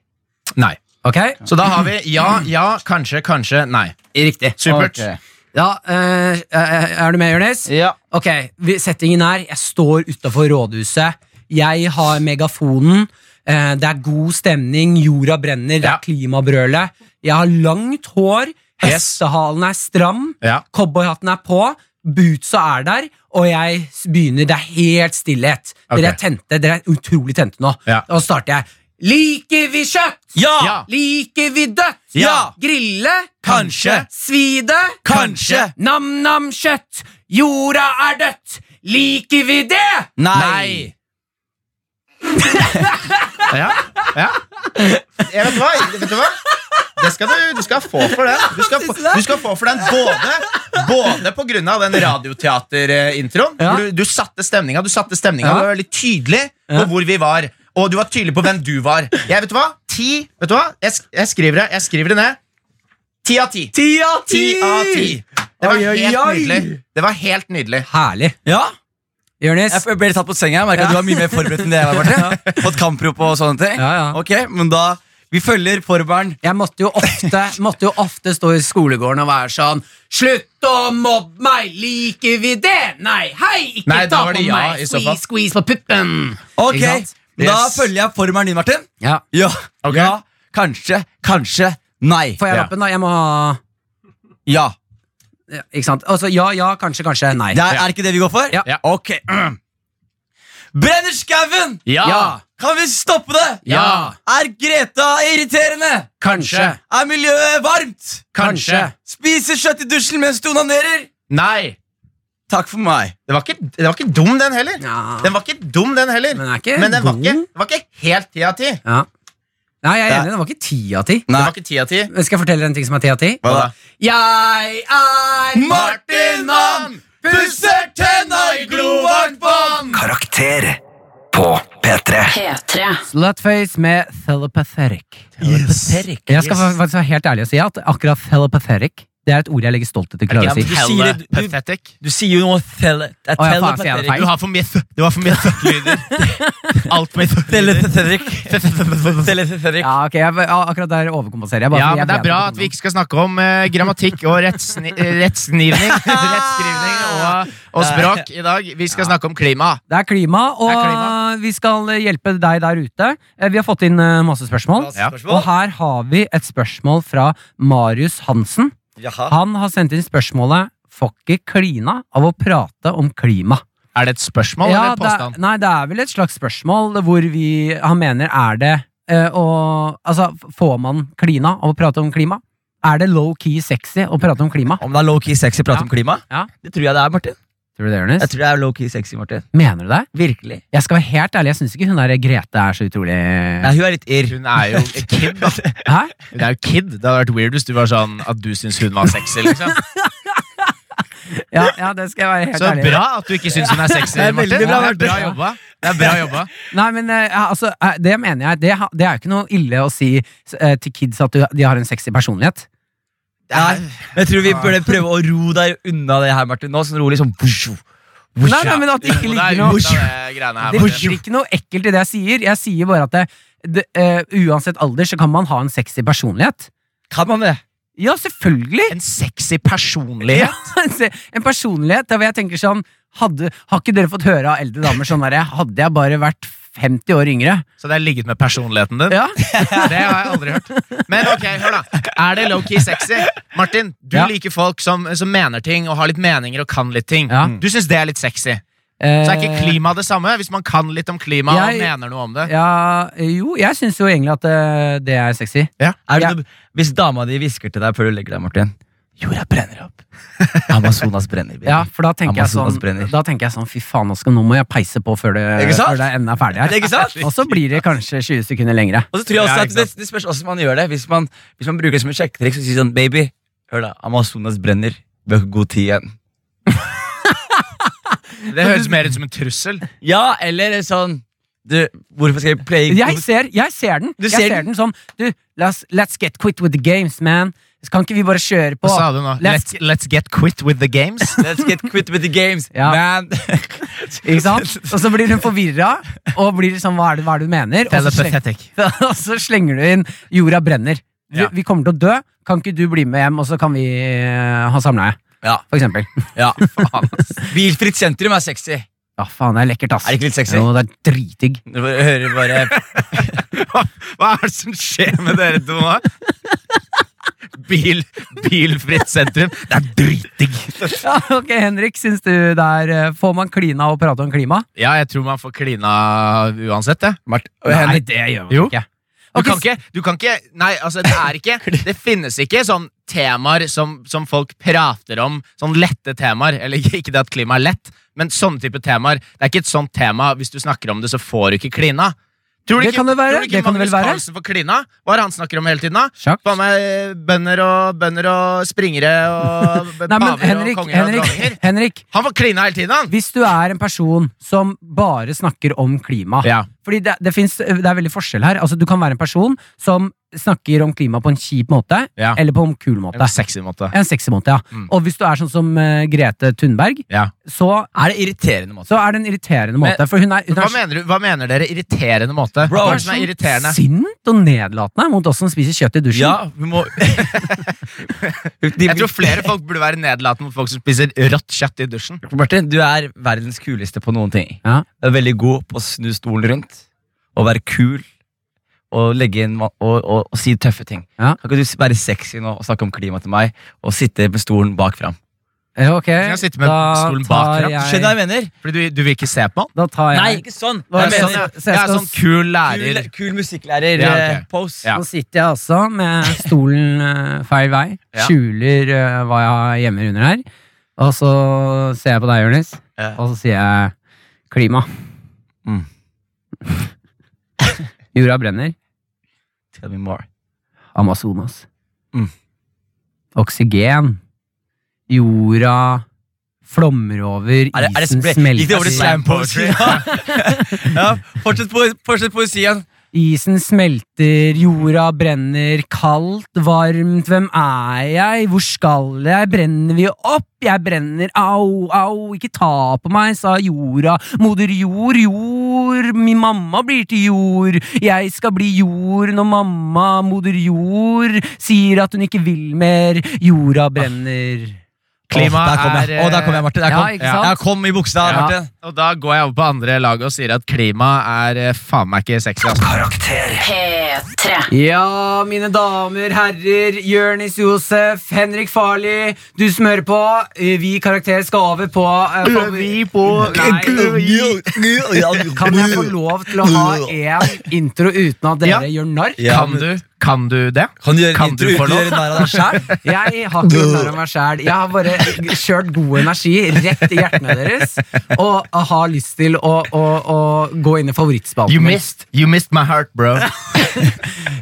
Speaker 3: Nei.
Speaker 4: Ok?
Speaker 3: Så da har vi ja, ja, kanskje, kanskje, nei.
Speaker 4: Riktig.
Speaker 3: Supert.
Speaker 2: Ok.
Speaker 4: Ja, eh, er du med, Jonis?
Speaker 2: Ja.
Speaker 4: Ok, vi- settingen er Jeg står utenfor rådhuset Jeg har megafonen eh, Det er god stemning, jorda brenner Det
Speaker 3: Ja.
Speaker 4: er klimabrølet Jeg har langt hår Hestehalen er stram
Speaker 3: Ja.
Speaker 4: Cowboyhatten er på Bootsa er der Og jeg s- begynner, det er helt stillhet Dere
Speaker 3: Ok.
Speaker 4: er tente, dere er utrolig tente nå
Speaker 3: Ja.
Speaker 4: Og starter jeg Liker vi kjøtt?
Speaker 3: Ja.
Speaker 4: Liker vi dødt?
Speaker 2: Ja.
Speaker 4: Grille?
Speaker 2: Kanskje.
Speaker 4: Svide?
Speaker 2: Kanskje.
Speaker 4: Nam-nam-kjøtt, jorda er dødt. Liker vi det?
Speaker 2: Nei.
Speaker 3: Ja. ja.
Speaker 7: Jeg vet, hva, vet du hva? Det skal du, du skal få for den. Du skal, få- du skal få for den både
Speaker 3: Både på grunn av den radioteaterintroen.
Speaker 4: Ja.
Speaker 3: hvor Du, du satte stemninga. Du satte stemninga
Speaker 4: Ja.
Speaker 3: Du var veldig tydelig på
Speaker 4: Ja.
Speaker 3: hvor vi var. Og du var tydelig på hvem du var. Jeg vet du hva? Ti, vet du hva? Jeg, sk- jeg, skriver, det, jeg skriver det ned. Ti av ti.
Speaker 4: Ti av
Speaker 3: Ti av ti. Det var
Speaker 4: Oi, oi,
Speaker 3: helt
Speaker 4: oi.
Speaker 3: nydelig. Det var helt nydelig.
Speaker 4: Herlig.
Speaker 2: Ja.
Speaker 4: Jonis,
Speaker 2: Jeg ble litt tatt på senga. Jeg merker at du var mye mer forberedt enn det jeg var. Martin. Fått kamprop og sånne ting.
Speaker 4: Ja, ja.
Speaker 2: Ok, men da Vi følger formelen.
Speaker 4: jeg måtte jo, ofte, måtte jo ofte stå i skolegården og være sånn Slutt å mobbe meg! Liker vi det? Nei, hei, ikke
Speaker 3: Nei, da
Speaker 4: ta
Speaker 3: var
Speaker 4: på
Speaker 3: det ja,
Speaker 4: meg!
Speaker 3: i så fall.
Speaker 4: Squeeze, squeeze på puppen!
Speaker 2: Ok,
Speaker 4: Ikke sant?
Speaker 2: Da
Speaker 3: Yes.
Speaker 2: følger jeg formelen din, Martin.
Speaker 4: Ja,
Speaker 2: Ja. ja. Kanskje. Kanskje. Nei.
Speaker 4: Får jeg
Speaker 3: Ja.
Speaker 4: lappen, da? Jeg må ha
Speaker 2: Ja.
Speaker 4: ja, Ikke sant? Altså, ja, ja, kanskje, kanskje. Nei.
Speaker 2: Det er, er ikke det vi går for?
Speaker 4: Ja.
Speaker 3: Ja.
Speaker 2: Ok. Brenner skauen!
Speaker 3: Ja.
Speaker 2: Kan vi stoppe det?
Speaker 4: Ja.
Speaker 2: Er Greta irriterende?
Speaker 4: Kanskje.
Speaker 2: Er miljøet varmt?
Speaker 3: Kanskje.
Speaker 2: Spiser kjøtt i dusjen mens du onanerer?
Speaker 3: Nei.
Speaker 2: Takk for meg.
Speaker 3: Det var, ikke, det var ikke dum, den heller.
Speaker 4: Ja.
Speaker 3: Den var ikke dum, den heller.
Speaker 4: Men den er ikke
Speaker 3: Men den var
Speaker 4: dum.
Speaker 3: ikke, den var ikke helt ti av ti.
Speaker 4: Ja. Nei, jeg er
Speaker 2: Ja.
Speaker 4: enig. Det var ikke ti av ti.
Speaker 3: Den
Speaker 2: Nei.
Speaker 3: var ikke ti av ti.
Speaker 4: Men Skal jeg fortelle deg en ting som er ti av ti?
Speaker 2: Hva da?
Speaker 4: Jeg er
Speaker 2: pusser tenna i glovarmt vann!
Speaker 1: Karakter på P3.
Speaker 6: P3.
Speaker 4: Slutface med Telepathetic.
Speaker 2: Yes.
Speaker 4: Jeg skal fa- faktisk være helt ærlig og si at akkurat Telepathetic Det er et ord jeg legger stolthet til å klare å si.
Speaker 2: du sier det- du-
Speaker 3: Pathetic.
Speaker 2: Du sier jo noe tele... det er
Speaker 4: Å, ja, faen, sier jeg det
Speaker 2: telepathetic.
Speaker 4: feil?
Speaker 3: Du har for mye th- Det var for mye th-lyder. Alt for mye
Speaker 2: Telepathetic.
Speaker 3: th-lyder.
Speaker 2: Telepathetic.
Speaker 4: Ja, ok, jeg, ja, akkurat der overkompenserer jeg. bare
Speaker 3: Ja,
Speaker 4: fordi jeg
Speaker 3: men
Speaker 4: vet
Speaker 3: det er bra
Speaker 4: at
Speaker 3: at vi ikke skal snakke om eh, grammatikk og rettsni eh, rettskrivning Rettskrivning og, og språk i dag. Vi skal snakke om klima.
Speaker 4: Det er klima, og
Speaker 3: Det er klima.
Speaker 4: vi skal hjelpe deg der ute. Eh, Vi har fått inn eh, masse spørsmål.
Speaker 2: Masse Ja. spørsmål.
Speaker 4: Og her har vi et spørsmål fra Marius Hansen.
Speaker 2: Jaha.
Speaker 4: Han har sendt inn spørsmålet Får ikke klina av å prate om klima.
Speaker 3: Er det et
Speaker 4: Ja,
Speaker 3: spørsmål eller en
Speaker 4: det,
Speaker 3: påstand?
Speaker 4: nei, det er vel et slags spørsmål hvor vi Han mener er det eh, å Altså, f- får man klina av å prate om klima? Er det low-key sexy å prate om klima?
Speaker 2: Om det er low-key sexy å
Speaker 4: Ja.
Speaker 2: prate om klima?
Speaker 4: Ja.
Speaker 2: Det tror jeg det er, Martin.
Speaker 4: Tror du det,
Speaker 2: Jeg
Speaker 4: Jonis?
Speaker 2: tror det er low-key sexy, Martin.
Speaker 4: Mener du det?
Speaker 2: Virkelig.
Speaker 4: Jeg skal være helt ærlig, jeg syns ikke hun der Grete er så utrolig
Speaker 2: Nei, hun er litt irr.
Speaker 3: Hun er jo kid, da.
Speaker 4: Hæ?
Speaker 3: Hun er jo kid. Det hadde vært weird hvis du var sånn at du syns hun var sexy. liksom
Speaker 4: Ja, ja, det skal jeg være helt
Speaker 3: Så
Speaker 4: ærlig
Speaker 3: bra at du ikke syns hun er sexy,
Speaker 4: Det er veldig
Speaker 3: Martin.
Speaker 4: bra,
Speaker 3: det er bra
Speaker 4: Martin.
Speaker 3: jobba. Det er bra jobba.
Speaker 4: Nei, men eh, altså, eh, det mener jeg. Det, ha- det er jo ikke noe ille å si eh, til kids at du, de har en sexy personlighet.
Speaker 2: Nei, men jeg tror vi burde prøve å ro deg unna det her, Martin. Nå sånn rolig sånn vusjo,
Speaker 4: Nei,
Speaker 2: vusja.
Speaker 4: nei, men at det ikke
Speaker 3: Og det
Speaker 4: ligger
Speaker 3: er
Speaker 4: noe
Speaker 3: ut av det greiene her.
Speaker 4: Det
Speaker 3: Martin.
Speaker 4: ligger ikke noe ekkelt i det jeg sier. Jeg sier bare at det, det, eh, uansett alder så kan man ha en sexy personlighet.
Speaker 2: Kan man det?
Speaker 4: Ja, selvfølgelig!
Speaker 3: En sexy personlighet.
Speaker 4: Se, en personlighet der hvor jeg tenker sånn hadde, Har ikke dere fått høre av eldre damer sånn derre Hadde jeg bare vært 50 år yngre?
Speaker 3: Så det har ligget med personligheten din?
Speaker 4: Ja.
Speaker 3: Det har jeg aldri hørt. Men ok, hør da. Er det low-key sexy? Martin, du
Speaker 4: Ja.
Speaker 3: liker folk som, som mener ting og har litt meninger og kan litt ting.
Speaker 4: Ja.
Speaker 3: Du syns det er litt sexy. Så
Speaker 4: Eh,
Speaker 3: er ikke klima det samme? Hvis man kan litt om klima
Speaker 4: Jeg-
Speaker 3: og mener noe om det.
Speaker 4: Ja, jo, jeg syns jo egentlig at eh, det er sexy.
Speaker 2: Er det
Speaker 4: Ja.
Speaker 2: noe, hvis dama di hvisker til deg før du legger deg, Martin Jorda brenner opp. Amazonas brenner. baby.
Speaker 4: Ja, for da tenker, jeg
Speaker 2: Amazonas
Speaker 4: sånn,
Speaker 2: brenner.
Speaker 4: da tenker jeg sånn Fy faen, nå, skal, nå må jeg peise på før det,
Speaker 2: Ikke sant?
Speaker 4: før det enden er ferdig her.
Speaker 2: Ikke sant?
Speaker 4: Og så blir det kanskje 20 sekunder lengre.
Speaker 2: Og så tror jeg også
Speaker 3: Ja,
Speaker 2: at
Speaker 3: ikke
Speaker 2: det, det spørs også om man gjør det. Hvis man, hvis man bruker det som et sjekketriks og sier sånn Baby, hør da, Amazonas brenner. Vi har ikke god tid igjen.
Speaker 3: Det høres mer ut som en trussel.
Speaker 2: Ja, eller sånn Du, hvorfor skal jeg play
Speaker 4: Jeg ser, jeg ser den.
Speaker 2: Du
Speaker 4: jeg
Speaker 2: ser
Speaker 4: ser den sånn Du, let's, let's get quit with the games, man. Kan ikke vi bare kjøre på?
Speaker 3: Hva sa du nå?
Speaker 4: Let's,
Speaker 3: Let's, let's get quit with the games.
Speaker 2: Let's get quit with the games,
Speaker 4: Ja.
Speaker 2: man.
Speaker 4: ikke sant? Og så blir hun forvirra, og blir sånn Hva er det, hva er det du mener? Og så, slenger,
Speaker 3: Telepathetic.
Speaker 4: og så slenger du inn Jorda brenner. Vi,
Speaker 3: Ja.
Speaker 4: vi kommer til å dø. Kan ikke du bli med hjem, og så kan vi eh, ha samleie?
Speaker 2: Ja.
Speaker 4: For eksempel.
Speaker 2: ja. Bilfritt sentrum er sexy.
Speaker 4: Ja, faen, det er lekkert, ass.
Speaker 2: Er det ikke litt sexy?
Speaker 4: Jo, det er dritdigg.
Speaker 2: Du bare hører bare
Speaker 3: Hva, hva er det som skjer med dere to nå? Bil, bilfritt sentrum. Det er dritdigg!
Speaker 4: Ja, ok, Henrik, syns du det er eh, Får man klina og prate om klima?
Speaker 3: Ja, jeg tror man får klina uansett, jeg.
Speaker 2: Mart
Speaker 4: Nei, det gjør man
Speaker 3: Jo.
Speaker 4: ikke.
Speaker 3: Du
Speaker 4: Ok,
Speaker 3: kan ikke, du kan ikke Nei, altså, det er ikke Det finnes ikke sånn temaer som, som folk prater om, sånn lette temaer. Eller ikke ikke det at klima er lett, men sånne type temaer. Det er ikke et sånt tema. Hvis du snakker om det, så får du ikke klina. Tror du
Speaker 4: Det
Speaker 3: ikke,
Speaker 4: kan det være,
Speaker 3: Tror du ikke
Speaker 4: det kan det vel
Speaker 3: Magnus
Speaker 4: være.
Speaker 3: Carlsen får klina? Hva er det han snakker om hele tiden, da?
Speaker 4: Sjakk.
Speaker 3: Faen meg eh, bønder og, bønder og springere og b-
Speaker 4: Nei, men
Speaker 3: paver
Speaker 4: Henrik,
Speaker 3: og konger og
Speaker 4: Henrik,
Speaker 3: dronninger.
Speaker 4: Henrik,
Speaker 3: Han får klina hele tiden, han!
Speaker 4: hvis du er en person som bare snakker om klima
Speaker 3: Ja.
Speaker 4: Fordi det, det, finnes, det er veldig forskjell her. Altså, du kan være en person som snakker om klima på en kjip måte,
Speaker 3: Ja.
Speaker 4: eller på en kul måte.
Speaker 3: En sexy måte.
Speaker 4: En sexy måte, ja.
Speaker 3: Mm.
Speaker 4: Og hvis du er sånn som eh, Grete Thunberg,
Speaker 3: Ja.
Speaker 4: så,
Speaker 2: Er det irriterende måte?
Speaker 4: så er det en irriterende
Speaker 3: Men-
Speaker 4: måte. For hun er, hun
Speaker 3: Hva
Speaker 4: er
Speaker 3: mener, du, hva mener dere? Irriterende måte?
Speaker 2: Bro,
Speaker 3: hva er det som er irriterende?
Speaker 4: sånn sint og nedlatende mot oss som spiser kjøtt i dusjen.
Speaker 2: Ja, vi må
Speaker 3: Jeg tror flere folk burde være nedlatende mot folk som spiser rått kjøtt i dusjen.
Speaker 2: Martin, du er verdens kuleste på noen ting.
Speaker 4: Ja.
Speaker 2: Du er veldig god på å snu stolen rundt og være kul og, legge inn, ma- og, og, og si tøffe ting.
Speaker 4: Ja.
Speaker 2: Kan ikke du s- være sexy nå og snakke om klima til meg og sitte med stolen bak fram?
Speaker 4: Ja, Eh, ok.
Speaker 3: jeg sitte med stolen bak her, da?
Speaker 4: jeg-
Speaker 2: Skjønner du hva Eh, jeg mener?
Speaker 3: Fordi du, du vil ikke se på han?
Speaker 4: Da tar jeg
Speaker 2: Nei, ikke sånn!
Speaker 4: Hva
Speaker 2: Jeg
Speaker 4: mener
Speaker 2: mener
Speaker 4: du?
Speaker 3: jeg er sånn kul lærer.
Speaker 2: Kul, kul musikklærer
Speaker 3: Ja, ok.
Speaker 2: eh, pose.
Speaker 3: Ja.
Speaker 4: Nå sitter jeg altså med stolen eh, feil vei,
Speaker 3: Ja.
Speaker 4: skjuler eh, hva jeg gjemmer under her, og så ser jeg på deg, Jonis,
Speaker 2: Ja.
Speaker 4: og så sier jeg klima.
Speaker 2: Mm.
Speaker 4: Jorda brenner.
Speaker 2: Tell me more.
Speaker 4: Amazonas.
Speaker 2: Mm.
Speaker 4: Oksygen. Jorda flommer over,
Speaker 2: Er det, er det
Speaker 4: isen
Speaker 2: spre- Gikk det over til
Speaker 4: smelter.
Speaker 2: slam poetry? ja, fortsett, po fortsett poesien.
Speaker 4: Isen smelter, jorda brenner, kaldt, varmt, hvem er jeg, hvor skal jeg, brenner vi opp, jeg brenner, au, au, ikke ta på meg, sa jorda, moder jord, jord, min mamma blir til jord, jeg skal bli jord når mamma, moder jord, sier at hun ikke vil mer, jorda brenner.
Speaker 3: Klima
Speaker 2: Åh, der kom jeg.
Speaker 3: er, eh,
Speaker 2: Åh, der kom jeg, Martin. Der
Speaker 4: Ja,
Speaker 2: kom.
Speaker 4: ikke sant?
Speaker 2: Ja, kom i buksa,
Speaker 4: Ja.
Speaker 2: Martin.
Speaker 3: Og da går jeg over på andre laget og sier at klima er eh, faen meg ikke sexy. Altså.
Speaker 6: P3.
Speaker 4: Ja, mine damer, herrer, Jørnis Josef, Henrik Farli, du som hører på, eh, vi karakterer skal over på eh, favori- Nei. Kan jeg få lov til å ha én intro uten at dere
Speaker 3: Ja.
Speaker 4: gjør narr?
Speaker 2: Ja,
Speaker 3: Kan
Speaker 2: men-
Speaker 3: du, kan du det?
Speaker 2: Kan du gjøre
Speaker 3: Kan
Speaker 2: intro
Speaker 3: du
Speaker 2: uten
Speaker 3: få
Speaker 2: å
Speaker 3: lov?
Speaker 2: gjøre narr av deg sjæl?
Speaker 4: Jeg har ikke gjort narr av meg sjæl. Jeg har bare kjørt god energi rett i hjertene deres og har lyst til å, å, å gå inn i
Speaker 3: You
Speaker 4: favorittspalten. min.
Speaker 3: missed, you missed my heart, bro.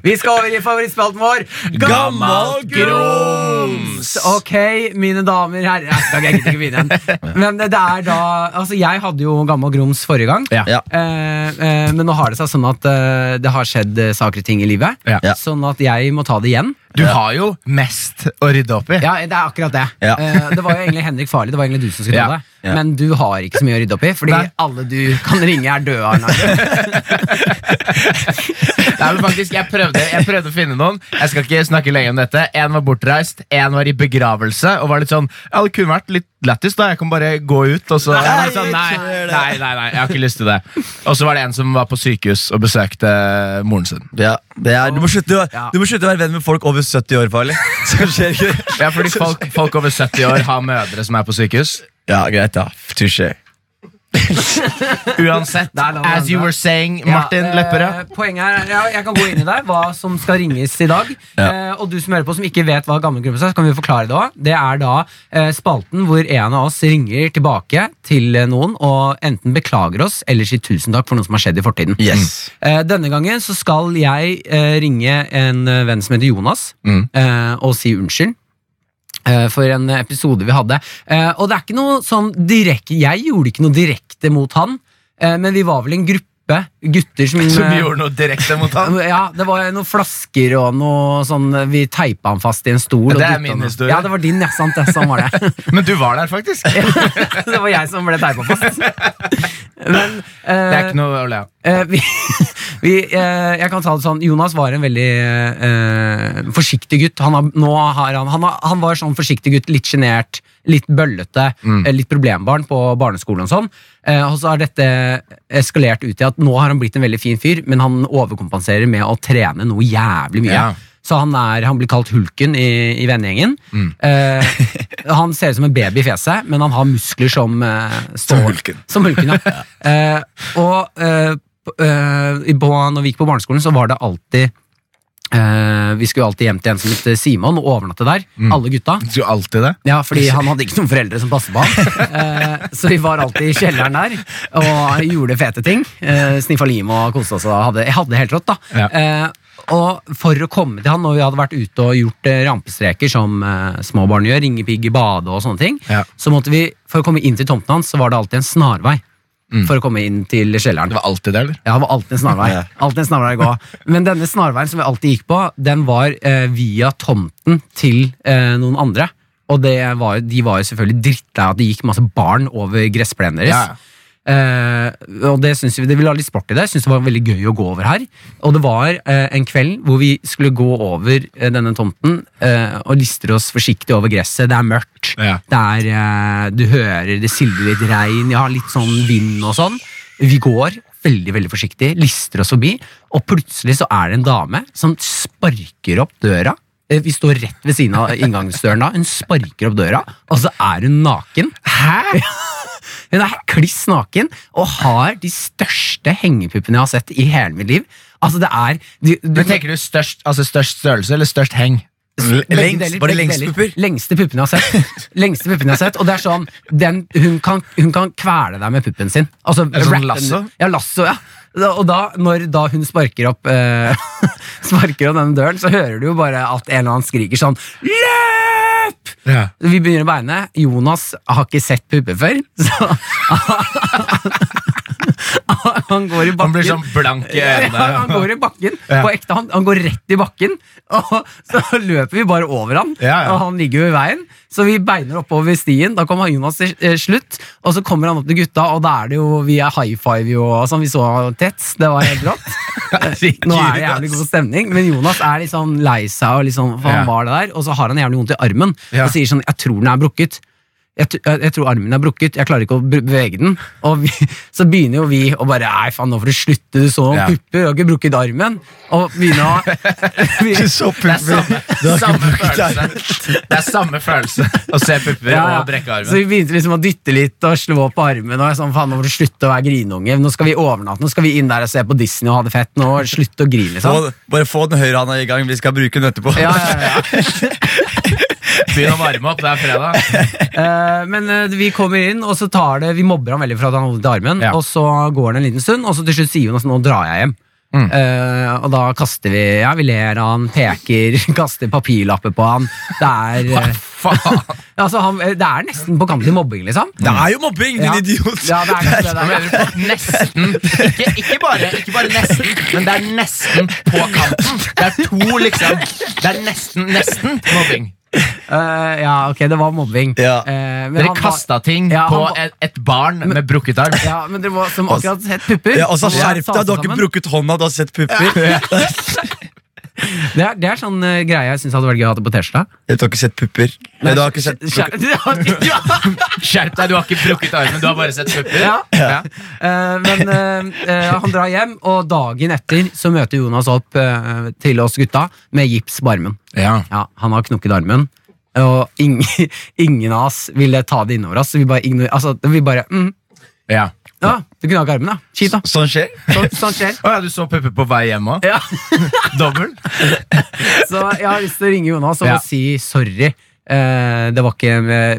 Speaker 4: Vi skal over i favorittspalten vår.
Speaker 2: Gammalt grums!
Speaker 4: Ok, mine damer herrer Jeg skal jeg gidder ikke begynne igjen. Men det er da Altså, jeg hadde jo gammel grums forrige gang.
Speaker 3: Ja.
Speaker 2: Ja.
Speaker 4: Eh, eh, men nå har det seg sånn at eh, det har skjedd eh, saker og ting i livet.
Speaker 3: Ja.
Speaker 2: Ja.
Speaker 4: Sånn at jeg må ta det igjen.
Speaker 3: Du har jo mest å rydde opp i.
Speaker 4: Ja, det er akkurat det.
Speaker 2: Ja.
Speaker 4: Eh, det var jo egentlig Henrik Farli, det var egentlig du som skulle
Speaker 3: Ja.
Speaker 4: ta det.
Speaker 2: Ja.
Speaker 4: Men du har ikke så mye å rydde opp i, fordi
Speaker 3: Nei.
Speaker 4: alle du kan ringe, er døde. Arne.
Speaker 3: Nei, men faktisk, jeg prøvde, jeg prøvde å finne noen. Jeg skal ikke snakke lenge om dette. En var bortreist, en var i begravelse. Og var litt sånn, ja Det kunne vært litt lættis, da. Jeg kan bare gå ut. Og så Jeg var litt sånn, nei, nei, nei, nei, jeg har ikke lyst til det. Og så var det en som var på sykehus og besøkte moren sin.
Speaker 2: Ja, det er, du, må slutte, å-
Speaker 4: Ja.
Speaker 2: du må slutte å være venn med folk over 70 år, farlig. Så skjer ikke det.
Speaker 3: Ja, fordi folk, folk over 70 år har mødre som er på sykehus.
Speaker 2: Ja, greit, da. Touché.
Speaker 3: Uansett,
Speaker 4: Der la vi
Speaker 3: as you
Speaker 4: den.
Speaker 3: were saying,
Speaker 4: Ja,
Speaker 3: Martin
Speaker 4: eh,
Speaker 3: Lepperød.
Speaker 4: Poenget er, ja, Jeg kan gå inn i deg hva som skal ringes i dag. Eh, og du som hører på som ikke vet hva gammel gruppe er, så kan vi forklare det også. Det er da eh, spalten hvor en av oss ringer tilbake til eh, noen og enten beklager oss eller sier tusen takk for noe som har skjedd i fortiden.
Speaker 2: Yes.
Speaker 4: Eh, denne gangen så skal jeg eh, ringe en eh, venn som heter Jonas,
Speaker 3: Mm.
Speaker 4: eh, og si unnskyld. eh, For en episode vi hadde. Eh, Og det er ikke noe sånn direkte Jeg gjorde ikke noe direkte mot han, eh, men vi var vel en gruppe gutter som
Speaker 3: Som
Speaker 4: eh,
Speaker 3: gjorde noe direkte mot han.
Speaker 4: ja, Det var noen flasker og noe sånn Vi teipa han fast i en stol. og
Speaker 3: Det er
Speaker 4: dyttet
Speaker 3: min
Speaker 4: han-
Speaker 3: historie.
Speaker 4: Ja, det var din, ja. Sant, det. Sånn var det.
Speaker 3: Men du var der, faktisk.
Speaker 4: eh,
Speaker 3: Det
Speaker 4: det var jeg som ble teipa fast. Men eh,
Speaker 3: er ikke noe å le av.
Speaker 4: Eh, vi, vi, eh, jeg kan ta det sånn Jonas var en veldig eh, forsiktig gutt. Han, har, nå har han, han, har, han var sånn forsiktig gutt, litt sjenert, litt bøllete, eh, litt problembarn på barneskolen. Og sånn eh, Og så har dette eskalert ut i at nå har han blitt en veldig fin fyr, men han overkompenserer med å trene noe jævlig mye.
Speaker 3: Ja.
Speaker 4: Så han, er, han blir kalt Hulken i, i vennegjengen. Eh, han ser ut som en baby i fjeset, men han har muskler som eh, står-
Speaker 2: Hulken.
Speaker 4: Som Hulken, ja. Eh, og eh, p- eh, i- på, når vi gikk på barneskolen, så var det alltid eh, Vi skulle alltid hjem til en som het Simon, og overnatte der. Alle gutta.
Speaker 3: Du gjorde alltid det.
Speaker 4: Ja, fordi han hadde ikke noen foreldre som passet på han. Eh, så vi var alltid i kjelleren der og gjorde fete ting. Eh, Sniffa lim og koste oss. og hadde- Jeg hadde det helt rått, da.
Speaker 3: Ja.
Speaker 4: Eh, og for å komme til han når vi hadde vært ute og gjort eh, rampestreker, som eh, små barn gjør, ringepigg i bade og sånne ting,
Speaker 3: Ja.
Speaker 4: så måtte vi, for å komme inn til tomten hans, så var det alltid en snarvei.
Speaker 3: Mm.
Speaker 4: For å komme inn til kjelleren.
Speaker 3: Det var alltid det, eller?
Speaker 4: Ja, det var alltid en snarvei. Alltid en snarvei å gå. Men denne snarveien som vi alltid gikk på, den var eh, via tomten til eh, noen andre. Og det var, jo- de var jo selvfølgelig drittlei at det gikk masse barn over gressplenen deres.
Speaker 3: Ja.
Speaker 4: Eh, og det synes vi, det ville ha litt sport i det. Jeg synes det var veldig gøy å gå over her. Og det var eh, en kveld hvor vi skulle gå over eh, denne tomten eh, og lister oss forsiktig over gresset. Det er mørkt.
Speaker 3: Ja.
Speaker 4: Det er, eh, du hører det silver litt regn, ja, litt sånn vind og sånn. Vi går veldig veldig forsiktig, lister oss forbi, og plutselig så er det en dame som sparker opp døra. Eh, Vi står rett ved siden av inngangsdøren da. Hun sparker opp døra, og så er hun naken. Hæ? Hun er kliss naken og har de største hengepuppene jeg har sett i hele mitt liv. Altså, det er du, du,
Speaker 3: Men tenker du størst, altså størst størrelse eller størst heng?
Speaker 4: Begge deler,
Speaker 2: var det
Speaker 4: begge
Speaker 2: lengst
Speaker 4: deler.
Speaker 2: pupper?
Speaker 4: Lengste puppene jeg har sett. lengste puppene jeg har sett Og det er sånn den, hun, kan, hun kan kvele deg med puppen sin. Altså,
Speaker 3: det sånn
Speaker 4: wrap den-
Speaker 3: lasso?
Speaker 4: Ja, lasso, ja. Da- Og da, når da hun sparker opp eh, Sparker opp denne døren, så hører du jo bare at en eller annen skriker sånn Løp!
Speaker 3: Ja.
Speaker 4: Vi begynner å beine. Jonas har ikke sett pupper før, så Han går i bakken.
Speaker 3: Han blir sånn blank i øynene.
Speaker 4: Ja, han går i bakken
Speaker 3: Ja.
Speaker 4: på ekte. Han, han går rett i bakken, og så løper vi bare over han.
Speaker 3: Ja, ja.
Speaker 4: Og han ligger jo i veien, så vi beiner oppover stien. Da kommer Jonas til eh, slutt, og så kommer han opp til gutta, og da er det jo vi er high five jo, og sånn. Vi så tett, det var helt rått. Nå er det jævlig god stemning, men Jonas er litt sånn lei seg, og litt sånn, for
Speaker 3: Ja.
Speaker 4: han var det der, og så har han jævlig vondt i armen,
Speaker 3: Ja.
Speaker 4: og sier sånn, jeg tror den er brukket. Jeg, t- jeg jeg tror armen min er brukket, jeg klarer ikke å br- bevege den. Og vi, så begynner jo vi å bare Nei, faen, nå får du slutte, du så noen
Speaker 3: Ja.
Speaker 4: pupper, du har ikke brukket armen. Og begynner å
Speaker 3: så pupper. Det er samme, samme følelse. Det er samme følelse å se pupper
Speaker 4: Ja, ja.
Speaker 3: og brekke
Speaker 4: Så
Speaker 3: armen.
Speaker 4: vi begynte liksom å dytte litt og slå på armen. Og jeg sånn, faen, nå får du slutte å være grinunge. Nå skal vi overnatte, nå skal vi inn der og se på Disney og ha det fett. Nå slutt å grine, liksom.
Speaker 2: Få- Bare få den høyrehånda i gang, vi skal bruke den etterpå.
Speaker 4: Ja, ja, ja.
Speaker 3: Begynn å varme opp, det er fredag.
Speaker 4: Eh, men eh, vi kommer inn, og så tar det Vi mobber han veldig for at han har vondt i armen.
Speaker 3: Ja.
Speaker 4: Og så går det en liten stund, og så til slutt sier hun at nå drar jeg hjem.
Speaker 2: Mm.
Speaker 4: Eh, og da kaster vi Ja, vi ler av han, peker, kaster papirlapper på han. Det er eh,
Speaker 3: Faen.
Speaker 4: altså, han, eh, Det er nesten på kanten til mobbing, liksom.
Speaker 2: Det er jo mobbing, din
Speaker 4: Ja.
Speaker 2: idiot!
Speaker 4: Ja, det er kanskje det
Speaker 3: Da
Speaker 4: der.
Speaker 3: mener du på nesten. Ikke, ikke, bare, ikke bare nesten, men det er nesten på kanten. Det er to, liksom. Det er nesten, nesten mobbing.
Speaker 4: Eh, ja, ok, det var mobbing.
Speaker 2: Ja.
Speaker 4: Eh, men han
Speaker 3: Dere
Speaker 4: var-
Speaker 3: kasta ting
Speaker 4: Ja,
Speaker 3: på
Speaker 4: han var-
Speaker 3: et, et barn med brukket arm.
Speaker 4: Ja, men dere var, som akkurat sett pupper.
Speaker 2: Ja, altså,
Speaker 4: Ja,
Speaker 2: Skjerp deg, du har
Speaker 4: sammen.
Speaker 2: ikke brukket hånda, du har sett pupper.
Speaker 4: Det er, det er sånn eh, greie jeg syns hadde vært gøy å ha det på T-skjorta.
Speaker 2: Du har ikke sett pupper. Nei, du har ikke sett
Speaker 4: Skjer- du har ikke- Ja.
Speaker 3: Skjerp deg, du har ikke brukket armen, du har bare sett pupper.
Speaker 4: Ja. Eh, men eh, eh, han drar hjem, og dagen etter så møter Jonas opp eh, til oss gutta med gips på armen.
Speaker 3: Ja.
Speaker 4: Ja, han har knukket armen, og ingen, ingen av oss ville ta det innover oss. Så vi bare, ignorer- altså, vi bare mm,
Speaker 3: Ja.
Speaker 4: Ja, Du knak armen, da. Kjipt, da.
Speaker 2: Sånn skjer.
Speaker 4: Sånn, sånn skjer.
Speaker 3: Å ja, du så pupper på vei hjem òg?
Speaker 4: Ja.
Speaker 3: Dobbel?
Speaker 4: Så jeg har lyst til å ringe Jonas og
Speaker 3: Ja.
Speaker 4: si sorry. Eh, det var ikke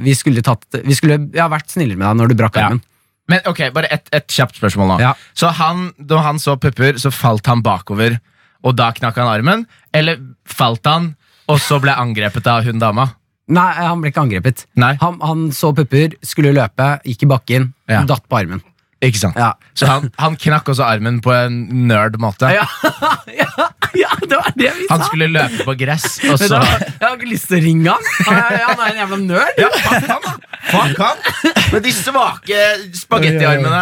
Speaker 4: Vi skulle tatt Vi skulle jeg har vært snillere med deg når du brakk
Speaker 3: Ja.
Speaker 4: armen.
Speaker 3: Men ok, Bare et, et kjapt spørsmål nå.
Speaker 4: Ja.
Speaker 3: Så han, Da han så pupper, så falt han bakover, og da knakk han armen? Eller falt han, og så ble angrepet av hun dama?
Speaker 4: Nei, han ble ikke angrepet.
Speaker 3: Nei.
Speaker 4: Han, han så pupper, skulle løpe, gikk i bakken,
Speaker 3: Ja.
Speaker 4: datt på armen.
Speaker 3: Ikke sant?
Speaker 4: Ja.
Speaker 3: Så han, han knakk også armen på en nerd måte.
Speaker 4: Ja, ja, ja, det var det vi
Speaker 3: Han
Speaker 4: sa!
Speaker 3: skulle løpe på gress, og
Speaker 4: Vet du
Speaker 3: så
Speaker 4: hva? jeg har ikke lyst til å ringe han. Han er, han er en jævla nerd. Ja.
Speaker 7: Fuck han!
Speaker 3: Med de svake spagettiarmene.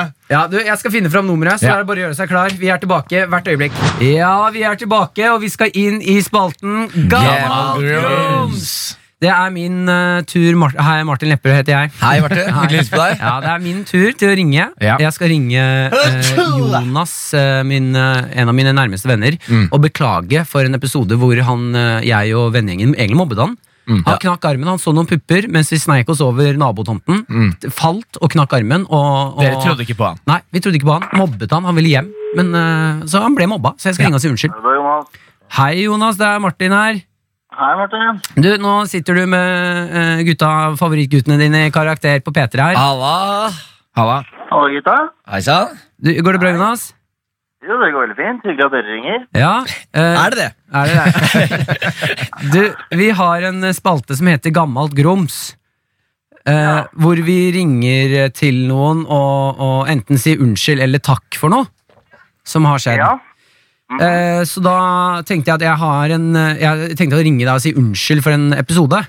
Speaker 4: du, Jeg skal finne fram nummeret, så
Speaker 3: Ja.
Speaker 4: er det bare å gjøre seg klar. Vi er tilbake hvert øyeblikk. Ja, vi er tilbake, og vi skal inn i spalten Gammal grums! Det er min eh, tur. Mar Hei, Martin Lepperød heter jeg.
Speaker 2: Hei, Marte. Hyggelig å hilse på deg.
Speaker 4: Ja, Det er min tur til å ringe.
Speaker 3: Ja.
Speaker 4: Jeg skal ringe eh, Jonas, eh, min, eh, en av mine nærmeste venner,
Speaker 2: Mm.
Speaker 4: og beklage for en episode hvor han, eh, jeg og vennegjengen egentlig mobbet han.
Speaker 2: Mm.
Speaker 4: Han knakk armen, han så noen pupper mens vi sneik oss over nabotomten.
Speaker 2: Mm.
Speaker 4: T- Falt og knakk armen. Og, og,
Speaker 3: Dere trodde ikke på han.
Speaker 4: Nei, vi trodde ikke på han. Mobbet han, han ville hjem. Men, eh, så han ble mobba, så jeg skal ringe og si unnskyld.
Speaker 8: Hallo, Jonas.
Speaker 4: Hei, Jonas, det er Martin her.
Speaker 8: Hei, Martin.
Speaker 4: Du, Nå sitter du med eh, gutta, favorittguttene dine i karakter på P3 her.
Speaker 2: Halla.
Speaker 3: Halla.
Speaker 8: Hallo, gutta.
Speaker 2: Hei sann.
Speaker 4: Du, går det bra, Jonas?
Speaker 8: Jo, det går veldig fint. Hyggelig at dere ringer.
Speaker 4: Ja, eh,
Speaker 2: Er det det?
Speaker 4: er det det? Du, vi har en spalte som heter Gammalt grums. eh, Hvor vi ringer til noen og, og enten sier unnskyld eller takk for noe som har skjedd.
Speaker 8: Ja.
Speaker 4: Eh, så da tenkte jeg at jeg har en eh, Jeg tenkte å ringe deg og si unnskyld for en episode.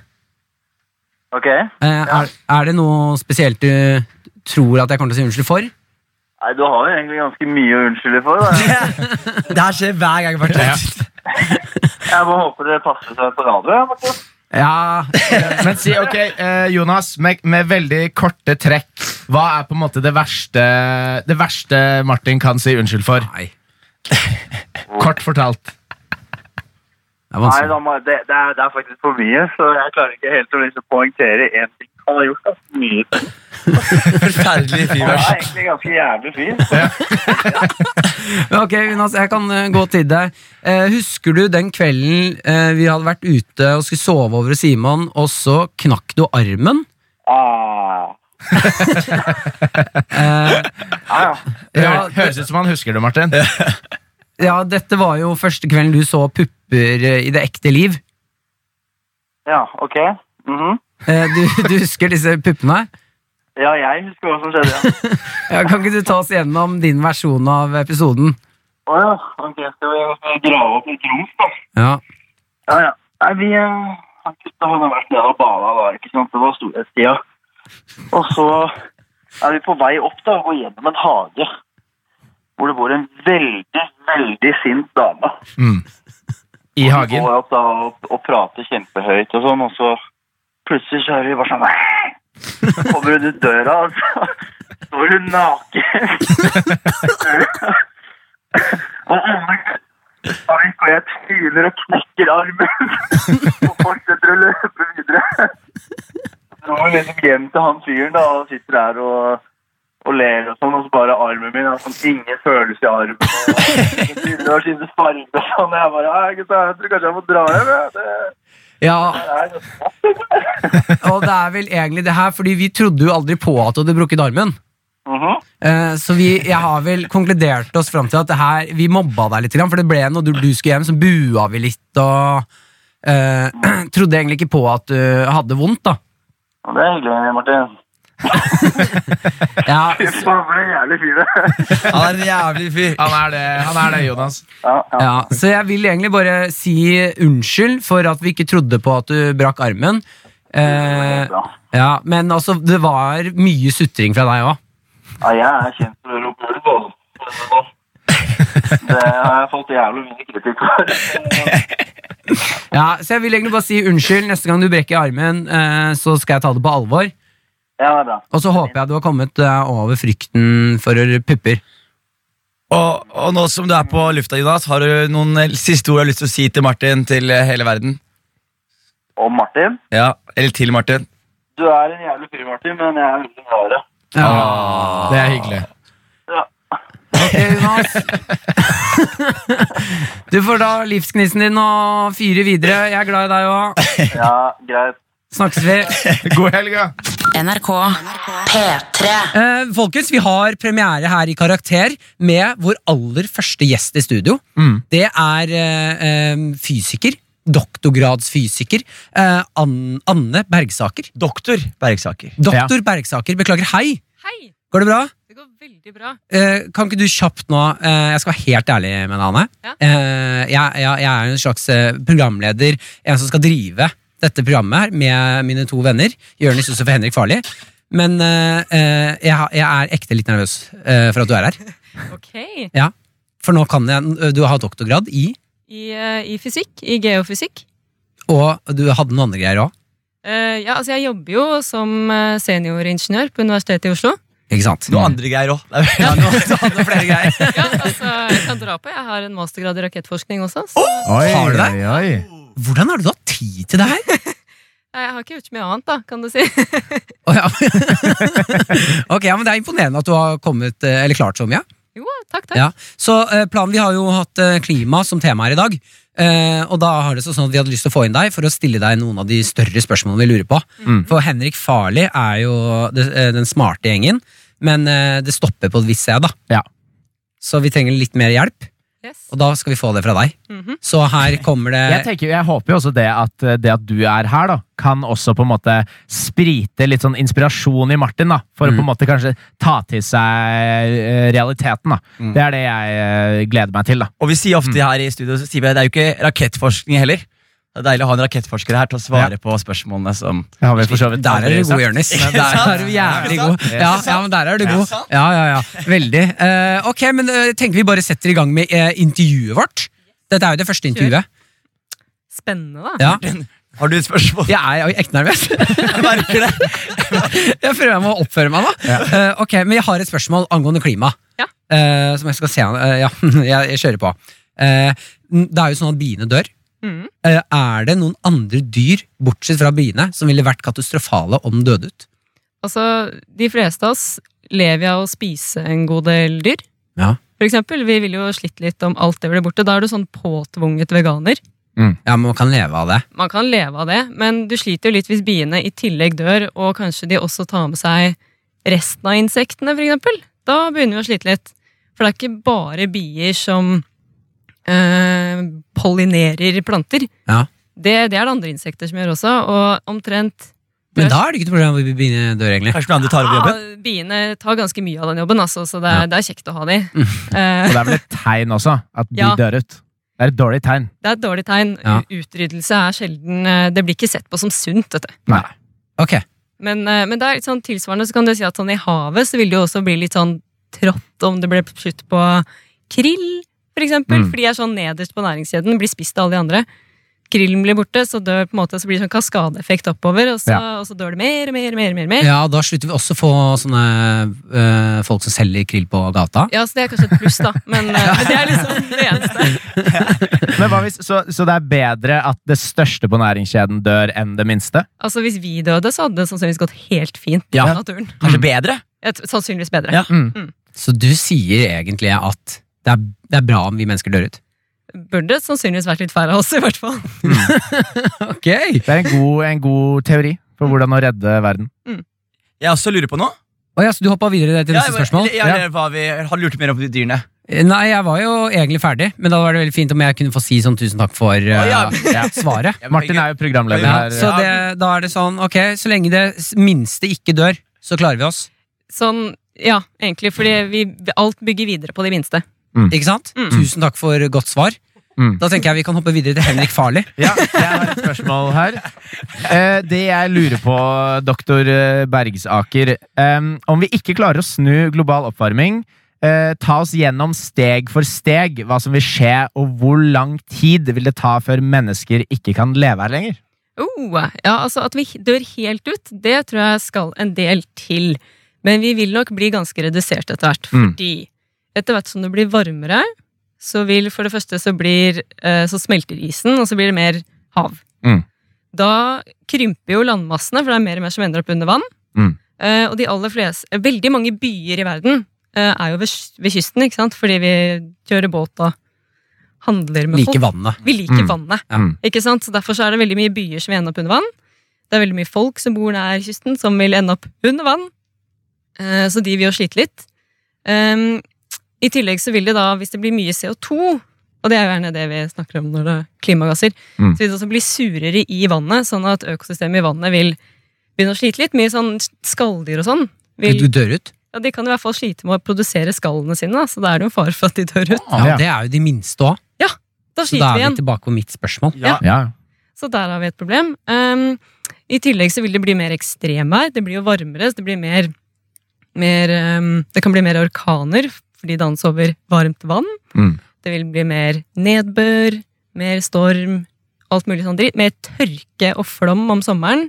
Speaker 8: Ok.
Speaker 4: Eh, er, er det noe spesielt du tror at jeg kommer til å si unnskyld for?
Speaker 8: Nei, du har jo egentlig ganske mye å unnskylde for. Da.
Speaker 2: Det her skjer hver gang. Marte.
Speaker 8: Jeg bare håper det passer seg på radio. ja, Martin.
Speaker 4: Ja,
Speaker 3: Men si, ok, eh, Jonas, med, med veldig korte trekk, hva er på en måte det verste, det verste Martin kan si unnskyld for?
Speaker 4: Nei.
Speaker 3: Kort fortalt.
Speaker 4: det er
Speaker 8: Nei,
Speaker 4: vanskelig.
Speaker 8: da, må- det, det, er, det er faktisk for mye, så jeg klarer ikke helt å liksom poengtere én ting. Han har gjort ganske mye.
Speaker 2: Forferdelig
Speaker 8: Han er
Speaker 2: fyrverkeri.
Speaker 8: egentlig ganske jævlig fin.
Speaker 4: Men Ok, Jonas, jeg kan eh, gå til deg. Eh, husker du den kvelden eh, vi hadde vært ute og skulle sove over hos Simon, og så knakk du armen?
Speaker 8: Ah.
Speaker 4: Eh,
Speaker 8: Ja, ja.
Speaker 4: Ja,
Speaker 3: Hør, høres ut som han husker det, Martin.
Speaker 4: ja, dette var jo første kvelden du så pupper eh, i det ekte liv.
Speaker 8: ja ok. Mhm.
Speaker 4: Eh, du, du husker disse puppene?
Speaker 8: Ja, jeg husker hva som skjedde. ja.
Speaker 4: Ja, kan ikke du ta oss gjennom din versjon av episoden?
Speaker 8: Å ja. Ok, skal vi skal vi grave opp litt ros, da?
Speaker 4: Ja,
Speaker 8: Ja, ja. Nei, vi eh, han gutta hadde vært nede og bada da, ikke sant? Det var storhetstida. Og så er vi på vei opp da, og går gjennom en hage hvor det bor en veldig, veldig sint dame.
Speaker 3: I
Speaker 8: Hun
Speaker 3: hagen.
Speaker 8: går opp da og, og prater kjempehøyt og sånn, og så plutselig så hører vi bare sånn «Æ!» Så kommer hun ut døra, og så står hun naken. og alle Ark og jeg tryner og knekker armen og fortsetter å løpe videre. Så går vi liksom hjem til han fyren da, og sitter der og, og ler og sånn, og så bare armen min, altså ingen følelse i armen. Og jeg begynner å skifte farge og sånn, og jeg bare, «Nei, gutta, jeg tror kanskje jeg må dra hjem, jeg. Det,
Speaker 4: ja
Speaker 8: det er ganske godt.»
Speaker 4: og det er vel egentlig det her, fordi vi trodde jo aldri på at du hadde brukket armen.
Speaker 8: Mhm.
Speaker 4: Eh, Så vi, jeg har vel konkludert oss fram til at det her, vi mobba deg litt, grann, for det ble når du, du skulle hjem, så bua vi litt og eh, Trodde egentlig ikke på at du hadde vondt, da.
Speaker 8: Og det er hyggelig, Martin.
Speaker 4: Ja,
Speaker 8: Fy faen, for en jævlig fyr det.
Speaker 2: Han er en jævlig fyr.
Speaker 3: Han er det, han er det Jonas.
Speaker 8: Ja, ja.
Speaker 4: ja, så jeg vil egentlig bare si unnskyld for at vi ikke trodde på at du brakk armen. Eh,
Speaker 8: Bra.
Speaker 4: ja, men altså, det var mye sutring fra deg òg.
Speaker 8: Ja, jeg er kjent for å rope ulv, altså. Det har jeg fått jævlig mye kritikk for.
Speaker 4: Ja, så jeg vil egentlig bare si unnskyld. Neste gang du brekker armen, eh, så skal jeg ta det på alvor.
Speaker 8: Ja, det er bra.
Speaker 4: Og så håper jeg du har kommet eh, over frykten for pupper.
Speaker 2: Og, og nå som du er på lufta, Jonas, har du noen eh, siste ord du har lyst til å si til Martin? Til eh, hele verden?
Speaker 8: Og Martin,
Speaker 2: Ja, Eller til Martin?
Speaker 8: du er en jævlig fyr, Martin, men jeg er veldig glad i deg.
Speaker 4: Ja.
Speaker 3: Det er hyggelig.
Speaker 2: Eh,
Speaker 4: Jonas. Du får da livsgnisten din og fyre videre. Jeg er glad i deg òg.
Speaker 8: Ja, greit.
Speaker 4: Snakkes vi.
Speaker 3: God helg, ja.
Speaker 6: NRK P3
Speaker 4: Eh, folkens, vi har premiere her i Karakter med vår aller første gjest i studio.
Speaker 2: Mm.
Speaker 4: Det er eh, eh, fysiker. Doktorgradsfysiker. Eh, Ann- Anne Bergsaker.
Speaker 2: Doktor Bergsaker.
Speaker 4: Doktor Bergsaker, beklager. Hei!
Speaker 9: Hei!
Speaker 4: Går det bra?
Speaker 9: Det går veldig bra.
Speaker 4: Eh, kan ikke du kjapt nå eh, Jeg skal være helt ærlig med deg, Anne.
Speaker 9: Ja.
Speaker 4: Eh, jeg, jeg, jeg er en slags eh, programleder, en som skal drive dette programmet her med mine to venner. Jonis Josef og Henrik Farli. Men eh, eh, jeg, har- jeg er ekte litt nervøs eh, for at du er her.
Speaker 9: Ok.
Speaker 4: Ja. For nå kan jeg eh, Du har doktorgrad i,
Speaker 9: I, eh, i fysikk. I geofysikk.
Speaker 4: og du hadde noen andre greier òg.
Speaker 9: Eh, ja, altså jeg jobber jo som eh, senioringeniør på Universitetet i Oslo.
Speaker 4: Ikke sant?
Speaker 2: Noe andre greier òg. Ja, flere greier.
Speaker 9: Ja, altså Jeg kan dra på. Jeg har en mastergrad i rakettforskning også. Så
Speaker 3: Oi,
Speaker 4: Har du det?
Speaker 3: oi, oi.
Speaker 4: Hvordan har du da tid til det her?
Speaker 9: Nei, jeg har ikke gjort så mye annet, da, kan du si.
Speaker 4: Å, ja. ok, ja, men Det er imponerende at du har kommet, eh, eller klart så mye.
Speaker 9: Jo, takk, takk.
Speaker 4: Ja, så eh, planen, Vi har jo hatt eh, klima som tema her i dag. Eh, og da har det seg sånn at Vi hadde lyst til å få inn deg for å stille deg noen av de større spørsmålene vi lurer på. For Henrik Farli er jo det, eh, den smarte gjengen, men eh, det stopper på et visst sted. da.
Speaker 3: Ja.
Speaker 4: Så vi trenger litt mer hjelp,
Speaker 9: Yes.
Speaker 4: og da skal vi få det fra deg.
Speaker 9: Mhm.
Speaker 4: Så her kommer
Speaker 3: Jeg,
Speaker 4: det
Speaker 3: tenker, jeg håper jo også det at, eh, det at du er her, da, kan også på en måte sprite litt sånn inspirasjon i Martin, da, for å
Speaker 4: Mm.
Speaker 3: på en måte kanskje ta til seg eh, realiteten. da.
Speaker 4: Mm.
Speaker 3: Det er det jeg eh, gleder meg til. da.
Speaker 2: Og vi sier ofte her i studio så sier vi at det er jo ikke rakettforskning heller. Det er deilig å ha en rakettforsker her til å svare på spørsmålene som
Speaker 3: Det har vi for så vidt
Speaker 4: der er du
Speaker 3: aldri
Speaker 4: god,
Speaker 3: sagt.
Speaker 4: Jonis.
Speaker 2: Ikke
Speaker 4: Der
Speaker 2: sant?
Speaker 4: er du jævlig
Speaker 2: Ikke
Speaker 4: god.
Speaker 2: sant?
Speaker 4: Ja, ja, men der er du god.
Speaker 2: sant?
Speaker 4: Ja, ja, ja. Veldig. Eh, ok, men eh, tenker vi bare setter i gang med eh, intervjuet vårt. Dette er jo det første intervjuet.
Speaker 9: Spennende, da.
Speaker 4: Ja.
Speaker 2: Har du et spørsmål?
Speaker 4: Jeg er jo ekte nervøs.
Speaker 2: Jeg merker det.
Speaker 4: Jeg prøver å oppføre meg nå. Eh, ok, men jeg har et spørsmål angående klima.
Speaker 9: Ja.
Speaker 4: Eh, som jeg skal se eh, Ja, jeg, jeg kjører på. Eh, det er jo sånn at biene dør.
Speaker 9: Mhm.
Speaker 4: Eh, er det noen andre dyr, bortsett fra biene, som ville vært katastrofale om de døde ut?
Speaker 9: Altså, de fleste av oss lever av å spise en god del dyr.
Speaker 4: Ja.
Speaker 9: For eksempel, vi ville jo slitt litt om alt det ble borte. Da er du sånn påtvunget veganer.
Speaker 4: Ja, men man kan leve av det.
Speaker 9: man kan leve av det, men du sliter jo litt hvis biene i tillegg dør, og kanskje de også tar med seg resten av insektene, for eksempel. Da begynner vi å slite litt. For det er ikke bare bier som eh, pollinerer planter.
Speaker 4: Ja.
Speaker 9: Det, det er det andre insekter som gjør også, og omtrent
Speaker 4: Men da er det ikke noe problem om biene dør, egentlig.
Speaker 2: Kanskje noen andre tar over
Speaker 9: ja,
Speaker 2: jobben?
Speaker 9: biene tar ganske mye av den jobben, altså, så det er, det er kjekt å ha de. Eh,
Speaker 3: Og det er vel et tegn også, at de
Speaker 9: Ja.
Speaker 3: dør ut. Det er et dårlig tegn.
Speaker 9: det er et dårlig tegn.
Speaker 4: Ja.
Speaker 9: Utryddelse er sjelden eh, Det blir ikke sett på som sunt, vet du.
Speaker 3: Nei.
Speaker 4: Ok,
Speaker 9: Men, eh, men det er litt sånn tilsvarende så kan du si at sånn i havet så vil det jo også bli litt sånn trått om det ble slutt på krill, for eksempel.
Speaker 3: Mm.
Speaker 9: For de er sånn nederst på næringskjeden, blir spist av alle de andre. Krillen blir borte, så dør på en måte, så blir det sånn kaskadeeffekt oppover, og så, og så dør det mer og mer og mer. mer, mer. Ja.
Speaker 4: ja, Da slutter vi også å få sånne eh, folk som selger krill på gata.
Speaker 9: så det er kanskje et pluss, da. Men, eh, men det er liksom det eneste.
Speaker 3: Men hva hvis, så, så det er bedre at det største på næringskjeden dør enn det minste?
Speaker 9: Altså, hvis vi døde, så hadde det sannsynligvis gått helt fint i
Speaker 2: Ja.
Speaker 9: naturen.
Speaker 2: Kanskje bedre?
Speaker 9: Jeg tror- Sannsynligvis bedre.
Speaker 2: Ja.
Speaker 4: Så du sier egentlig at det er, det er bra om vi mennesker dør ut?
Speaker 9: Burde sannsynligvis vært litt færre av oss, i hvert fall.
Speaker 4: Ok
Speaker 3: Det er en god, en god teori for hvordan å redde verden.
Speaker 2: Jeg også lurer på noe.
Speaker 4: Å ja, så du hoppa videre til neste
Speaker 2: Ja,
Speaker 4: spørsmål?
Speaker 2: eller- Ja, eller hva vi har lurt mer om de dyrene.
Speaker 4: Nei, jeg var jo egentlig ferdig, men da var det veldig fint om jeg kunne få si sånn tusen takk for eh,
Speaker 2: ja,
Speaker 4: svaret.
Speaker 3: Martin er jo programleder
Speaker 4: Ja,
Speaker 3: her.
Speaker 4: så det, da er det sånn, ok, så lenge det s- minste ikke dør, så klarer vi oss.
Speaker 9: Sånn, ja, egentlig, fordi vi, alt bygger videre på de minste.
Speaker 4: Ikke sant?
Speaker 9: Mm.
Speaker 4: Tusen takk for godt svar.
Speaker 3: Mm.
Speaker 4: Da tenker jeg vi kan hoppe videre til Henrik Farli.
Speaker 3: Ja, jeg har et spørsmål her. Eh, det jeg lurer på, doktor eh, Bergsaker eh, Om vi ikke klarer å snu global oppvarming, eh, ta oss gjennom steg for steg hva som vil skje, og hvor lang tid vil det ta før mennesker ikke kan leve her lenger?
Speaker 9: Oh, ja, altså At vi dør helt ut, det tror jeg skal en del til. Men vi vil nok bli ganske redusert etter hvert.
Speaker 3: Mm.
Speaker 9: Fordi etter hvert som det blir varmere, så vil for det første så blir eh, Så smelter isen, og så blir det mer hav.
Speaker 3: Mm.
Speaker 9: Da krymper jo landmassene, for det er mer og mer som ender opp under vann.
Speaker 3: Mm.
Speaker 9: Eh, og de aller fleste Veldig mange byer i verden eh, eh, er jo ved, s- ved kysten, ikke sant? Fordi vi kjører båt og handler med
Speaker 4: Like
Speaker 9: folk.
Speaker 4: vannet.
Speaker 9: Vi liker
Speaker 3: Mm.
Speaker 9: vannet.
Speaker 4: Ja.
Speaker 9: Ikke sant? Så derfor så er det veldig mye byer som vil ende opp under vann. Det er veldig mye folk som bor nær kysten, som vil ende opp under vann. Eh, Så de vil jo slite litt. Ehm, I tillegg så vil det da, hvis det blir mye CO2, og det er jo gjerne det vi snakker om når det er klimagasser,
Speaker 3: Mm.
Speaker 9: så vil det også bli surere i vannet, sånn at økosystemet i vannet vil begynne å slite litt. Mye sånn skalldyr og sånn.
Speaker 4: Du
Speaker 9: Vil,
Speaker 4: dør ut.
Speaker 9: ja, de kan i hvert fall slite med å produsere skallene sine, da, så da er det jo fare for at de dør ut.
Speaker 4: Ja, Det er jo de minste òg.
Speaker 9: Da
Speaker 4: Så da
Speaker 9: sliter vi
Speaker 4: er
Speaker 9: igjen.
Speaker 4: vi tilbake på mitt spørsmål.
Speaker 3: Ja.
Speaker 9: Så der har vi et problem. Ehm, I tillegg så vil det bli mer ekstremvær. Det blir jo varmere, så det blir mer, mer ehm, Det kan bli mer orkaner fordi det anses over varmt vann.
Speaker 3: Mm.
Speaker 9: Det vil bli mer nedbør, mer storm, alt mulig sånn dritt. Mer tørke og flom om sommeren.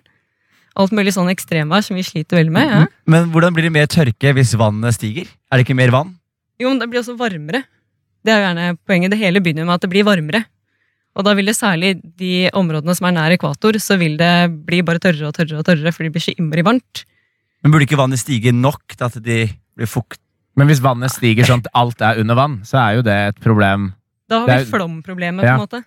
Speaker 9: Alt mulig sånn ekstremvær som vi sliter veldig med. Ja.
Speaker 2: Men hvordan blir det mer tørke hvis vannet stiger? Er det ikke mer vann?
Speaker 9: Jo, men det blir også varmere. Det er jo gjerne poenget. Det hele begynner med at det blir varmere. Og da vil det særlig de områdene som er nær ekvator, så vil det bli bare tørrere og tørrere og tørrere, fordi det blir så innmari varmt.
Speaker 2: Men burde ikke vannet stige nok til at de blir fukt?
Speaker 3: Men hvis vannet stiger sånn at alt er under vann, så er jo det et problem.
Speaker 9: Da har
Speaker 3: Det er-
Speaker 9: vi flomproblemet,
Speaker 3: Ja.
Speaker 9: på en måte.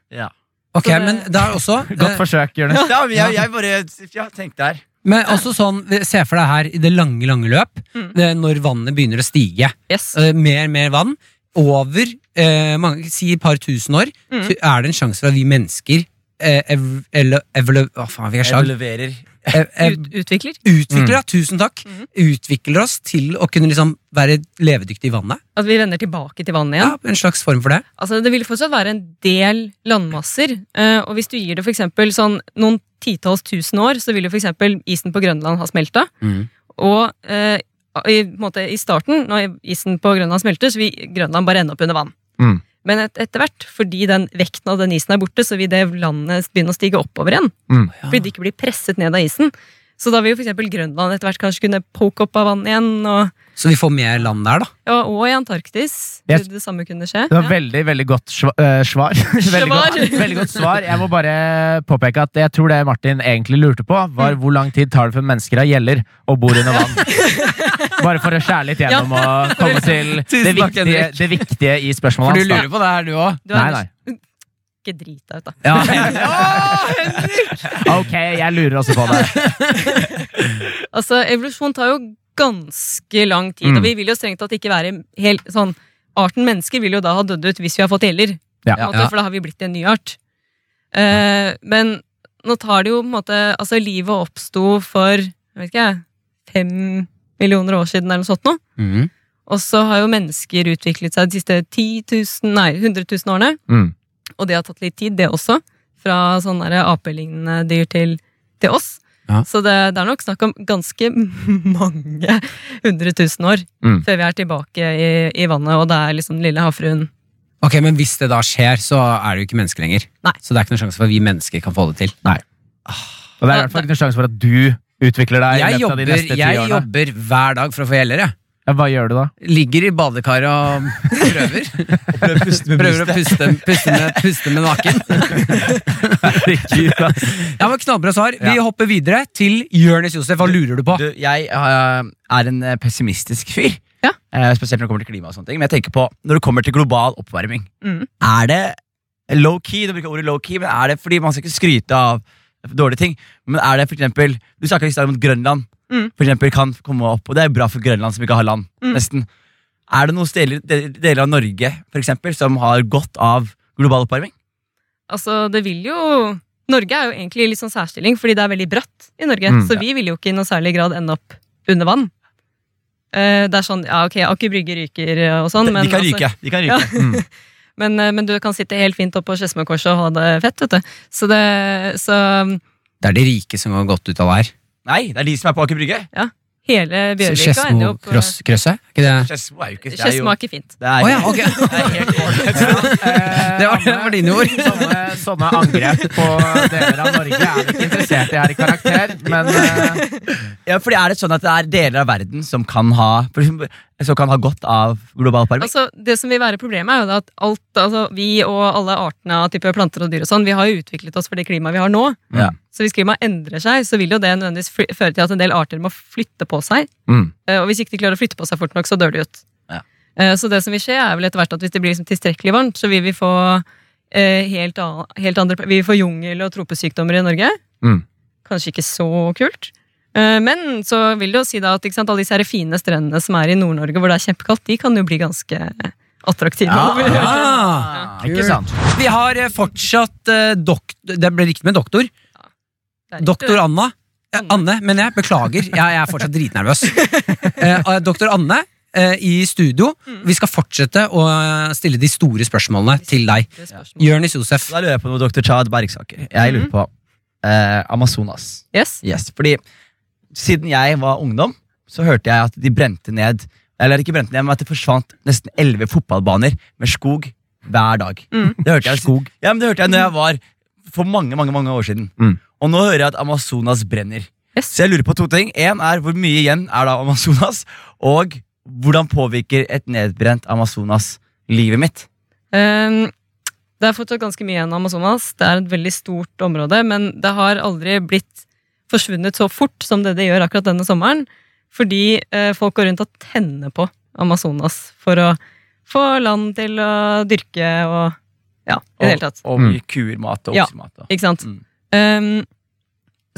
Speaker 4: Ok,
Speaker 9: Så det-
Speaker 4: men det er også eh,
Speaker 3: Godt forsøk, Jonis.
Speaker 2: Ja, men jeg, jeg bare jeg tenkte her.
Speaker 4: Men også sånn, Se for deg her i det lange, lange løp,
Speaker 9: Mm.
Speaker 4: det, er når vannet begynner å stige.
Speaker 9: Yes.
Speaker 4: Eh, mer mer vann. Over eh, mange, si et par tusen år,
Speaker 9: Mm.
Speaker 4: så er det en sjanse for at vi mennesker eh, ev, eller, evolu- Hva faen, vi er slag.
Speaker 2: Leverer.
Speaker 4: Ev, ev,
Speaker 9: Ut, utvikler.
Speaker 4: utvikler, ja, tusen takk.
Speaker 9: Mhm.
Speaker 4: Utvikler oss til å kunne liksom være levedyktige i vannet.
Speaker 9: At vi vender tilbake til vannet
Speaker 4: Ja,
Speaker 9: igjen.
Speaker 4: En slags form for det.
Speaker 9: Altså, det vil fortsatt være en del landmasser. eh, Og hvis du gir det for eksempel sånn noen titalls tusen år, så vil jo for eksempel isen på Grønland ha smelta.
Speaker 3: Mm.
Speaker 9: Og eh, i, på en måte, i starten, når isen på Grønland smelter, så vil Grønland bare ende opp under vann.
Speaker 3: Mm.
Speaker 9: Men et, etter hvert, fordi den vekten av den isen er borte, så vil det landet begynne å stige oppover igjen.
Speaker 3: Mm.
Speaker 9: Fordi det ikke blir presset ned av isen. Så da vil jo for eksempel Grønland etter hvert kanskje kunne poke opp av vann igjen, og,
Speaker 4: Så vi får mer land der, da.
Speaker 9: ja, og i Antarktis
Speaker 3: Jeg-
Speaker 9: vil det samme kunne skje.
Speaker 3: Det var
Speaker 9: Ja.
Speaker 3: veldig veldig godt sva- eh, svar. veldig, godt,
Speaker 9: Svar.
Speaker 3: veldig godt svar. Jeg må bare påpeke at jeg tror det Martin egentlig lurte på, var hvor lang tid tar det før mennesker har gjeller og bor under vann. Bare for å skjære litt gjennom og komme til det
Speaker 2: Tusen takk,
Speaker 3: viktige, det viktige i spørsmålet hans. da.
Speaker 4: på det her, du òg.
Speaker 9: Du
Speaker 3: Nei,
Speaker 9: har
Speaker 3: nei.
Speaker 9: ikke drita ut, da.
Speaker 3: Ok, jeg lurer også på det.
Speaker 9: Altså, evolusjon tar jo ganske lang tid,
Speaker 3: Mm.
Speaker 9: og vi vil jo strengt tatt ikke være helt sånn Arten mennesker vil jo da ha dødd ut hvis vi har fått gjeller,
Speaker 3: Ja.
Speaker 9: på en måte, for da har vi blitt en ny art. Eh, men nå tar det jo på en måte Altså, livet oppsto for jeg vet ikke, jeg, fem millioner år siden, eller noe sånt noe.
Speaker 3: Mm.
Speaker 9: Og så har jo mennesker utviklet seg de siste 10 000, nei, 100 000 årene.
Speaker 3: Mm.
Speaker 9: Og det har tatt litt tid, det også. Fra sånne der apelignende dyr til, til oss.
Speaker 4: Ja.
Speaker 9: Så det, det er nok snakk om ganske mange hundre tusen år
Speaker 3: Mm.
Speaker 9: før vi er tilbake i, i vannet, og det er liksom den lille havfruen.
Speaker 4: Ok, Men hvis det da skjer, så er det jo ikke mennesker lenger.
Speaker 9: Nei.
Speaker 4: Så det er ikke noen sjanse for at vi mennesker kan få det til.
Speaker 3: Og det er i hvert fall ikke noen sjanse for at du utvikler deg.
Speaker 4: Jeg
Speaker 3: i løpet av de
Speaker 4: jobber,
Speaker 3: neste ti
Speaker 4: jeg
Speaker 3: årene.
Speaker 4: jobber hver dag for å få gjeller, jeg.
Speaker 3: Ja, Hva gjør du da?
Speaker 4: Ligger i badekaret og prøver.
Speaker 7: Prøv å puste med
Speaker 4: Prøver å puste, puste, med, puste med naken.
Speaker 3: Herregud, ass.
Speaker 4: Ja, men Knallbra svar. Vi hopper videre til Jonis Josef. Hva lurer du på?
Speaker 2: Du, jeg øh, er en øh, pessimistisk fyr.
Speaker 9: Ja.
Speaker 2: Eh, Spesielt når det kommer til klima og sånne ting. Men jeg tenker på, når det kommer til global oppvarming,
Speaker 9: Mm.
Speaker 2: er det low-key? Du bruker ordet low-key, men er det fordi man skal ikke skryte av dårlige ting? Men er det for eksempel, Du snakka i stad om at Grønland
Speaker 9: Mm.
Speaker 2: for eksempel, kan komme opp, og det er bra for Grønland som ikke har land.
Speaker 9: Mm.
Speaker 2: nesten. Er det noen steder, del- deler av Norge for eksempel, som har godt av global oppvarming?
Speaker 9: Altså, det vil jo Norge er jo egentlig i litt sånn særstilling, fordi det er veldig bratt i Norge.
Speaker 3: Mm,
Speaker 9: så vi vil jo ikke i noe særlig grad ende opp under vann. Eh, det er sånn, ja ok, Aker Brygge ryker og sånn, men
Speaker 2: de kan
Speaker 9: altså-
Speaker 2: ryke. de kan ryke.
Speaker 9: Ja. men, eh, men du kan sitte helt fint oppå Skedsmokorset og ha det fett, vet du. Så det Så um,
Speaker 4: Det er de rike som går godt ut av det her.
Speaker 2: Nei, det er de som er på Aker Brygge.
Speaker 9: hele Bjørvika ender jo opp eh,
Speaker 4: Skedsmo-krosset? Det
Speaker 2: Skedsmo er jo ikke det er jo-
Speaker 9: Skedsmo er ikke fint.
Speaker 2: Det er,
Speaker 4: Å ja, ok.
Speaker 2: det er helt ålreit.
Speaker 4: Det var- det var dine ord.
Speaker 3: Sånne, sånne Eh, angrep på deler av Norge er vi ikke interessert i her i karakter, men eh,
Speaker 2: Ja, fordi er det sånn at det er deler av verden som kan ha, for eksempel, som kan ha godt av global oppvarming?
Speaker 9: Altså, det som vil være problemet, er jo da at alt, altså, vi og alle artene av type planter og dyr og sånn, vi har jo utviklet oss for det klimaet vi har nå.
Speaker 2: Ja.
Speaker 9: Så hvis klimaet endrer seg, så vil jo det nødvendigvis fly- føre til at en del arter må flytte på seg.
Speaker 3: Mm.
Speaker 9: Eh, Og hvis ikke de klarer å flytte på seg fort nok, så dør de ut.
Speaker 2: Ja.
Speaker 9: Eh, Så det som vil skje, er vel etter hvert at hvis det blir liksom tilstrekkelig varmt, så vil vi få eh, helt, an- helt andre Vi vil få jungel- og tropesykdommer i Norge.
Speaker 3: Mm.
Speaker 9: Kanskje ikke så kult. Eh, Men så vil det jo si da at ikke sant, alle disse her fine strendene som er i Nord-Norge, hvor det er kjempekaldt, de kan jo bli ganske attraktive.
Speaker 4: Ah,
Speaker 3: Ikke sant?
Speaker 4: Vi har eh, fortsatt eh, doktor... Det ble riktig med doktor. Doktor Anna. Eh, Anne, men jeg beklager. Jeg, jeg er fortsatt dritnervøs. Eh, eh, Doktor Anne eh, i studio. Vi skal fortsette å eh, stille de store spørsmålene til deg.
Speaker 9: Gjør
Speaker 4: Jonis Josef.
Speaker 2: Da lurer jeg på noe, dr. Chad Bergsaker. Jeg lurer på eh, Amazonas.
Speaker 9: Yes.
Speaker 2: Yes, fordi siden jeg var ungdom, så hørte jeg at de brente ned Eller ikke brente ned, men at det forsvant nesten elleve fotballbaner med skog hver dag.
Speaker 9: Mm.
Speaker 2: Det hørte jeg skog. Ja, men det hørte jeg når jeg var for mange mange, mange år siden.
Speaker 3: Mm.
Speaker 2: Og nå hører jeg at Amazonas brenner.
Speaker 9: Yes.
Speaker 2: Så jeg lurer på to ting. En er Hvor mye igjen er da Amazonas? Og hvordan påvirker et nedbrent Amazonas livet mitt?
Speaker 9: Um, det er fortsatt ganske mye igjen av Amazonas. Det er et veldig stort område, men det har aldri blitt forsvunnet så fort som det det gjør akkurat denne sommeren. Fordi eh, folk går rundt og tenner på Amazonas for å få land til å dyrke og Ja, i det hele tatt. Mm.
Speaker 2: Og, og mye kuermat og
Speaker 9: Ja.
Speaker 2: oksemat. og-
Speaker 9: Ikke sant?
Speaker 2: Mm.
Speaker 9: Um,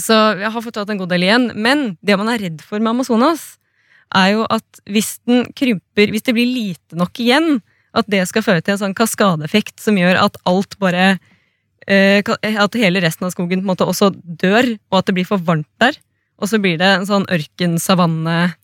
Speaker 9: så jeg har fortalt en god del igjen. Men det man er redd for med Amazonas, er jo at hvis den krymper, hvis det blir lite nok igjen, at det skal føre til en sånn kaskadeeffekt som gjør at alt bare eh, ka- At hele resten av skogen på en måte også dør, og at det blir for varmt der. Og så blir det en sånn ørken-savanne-aktig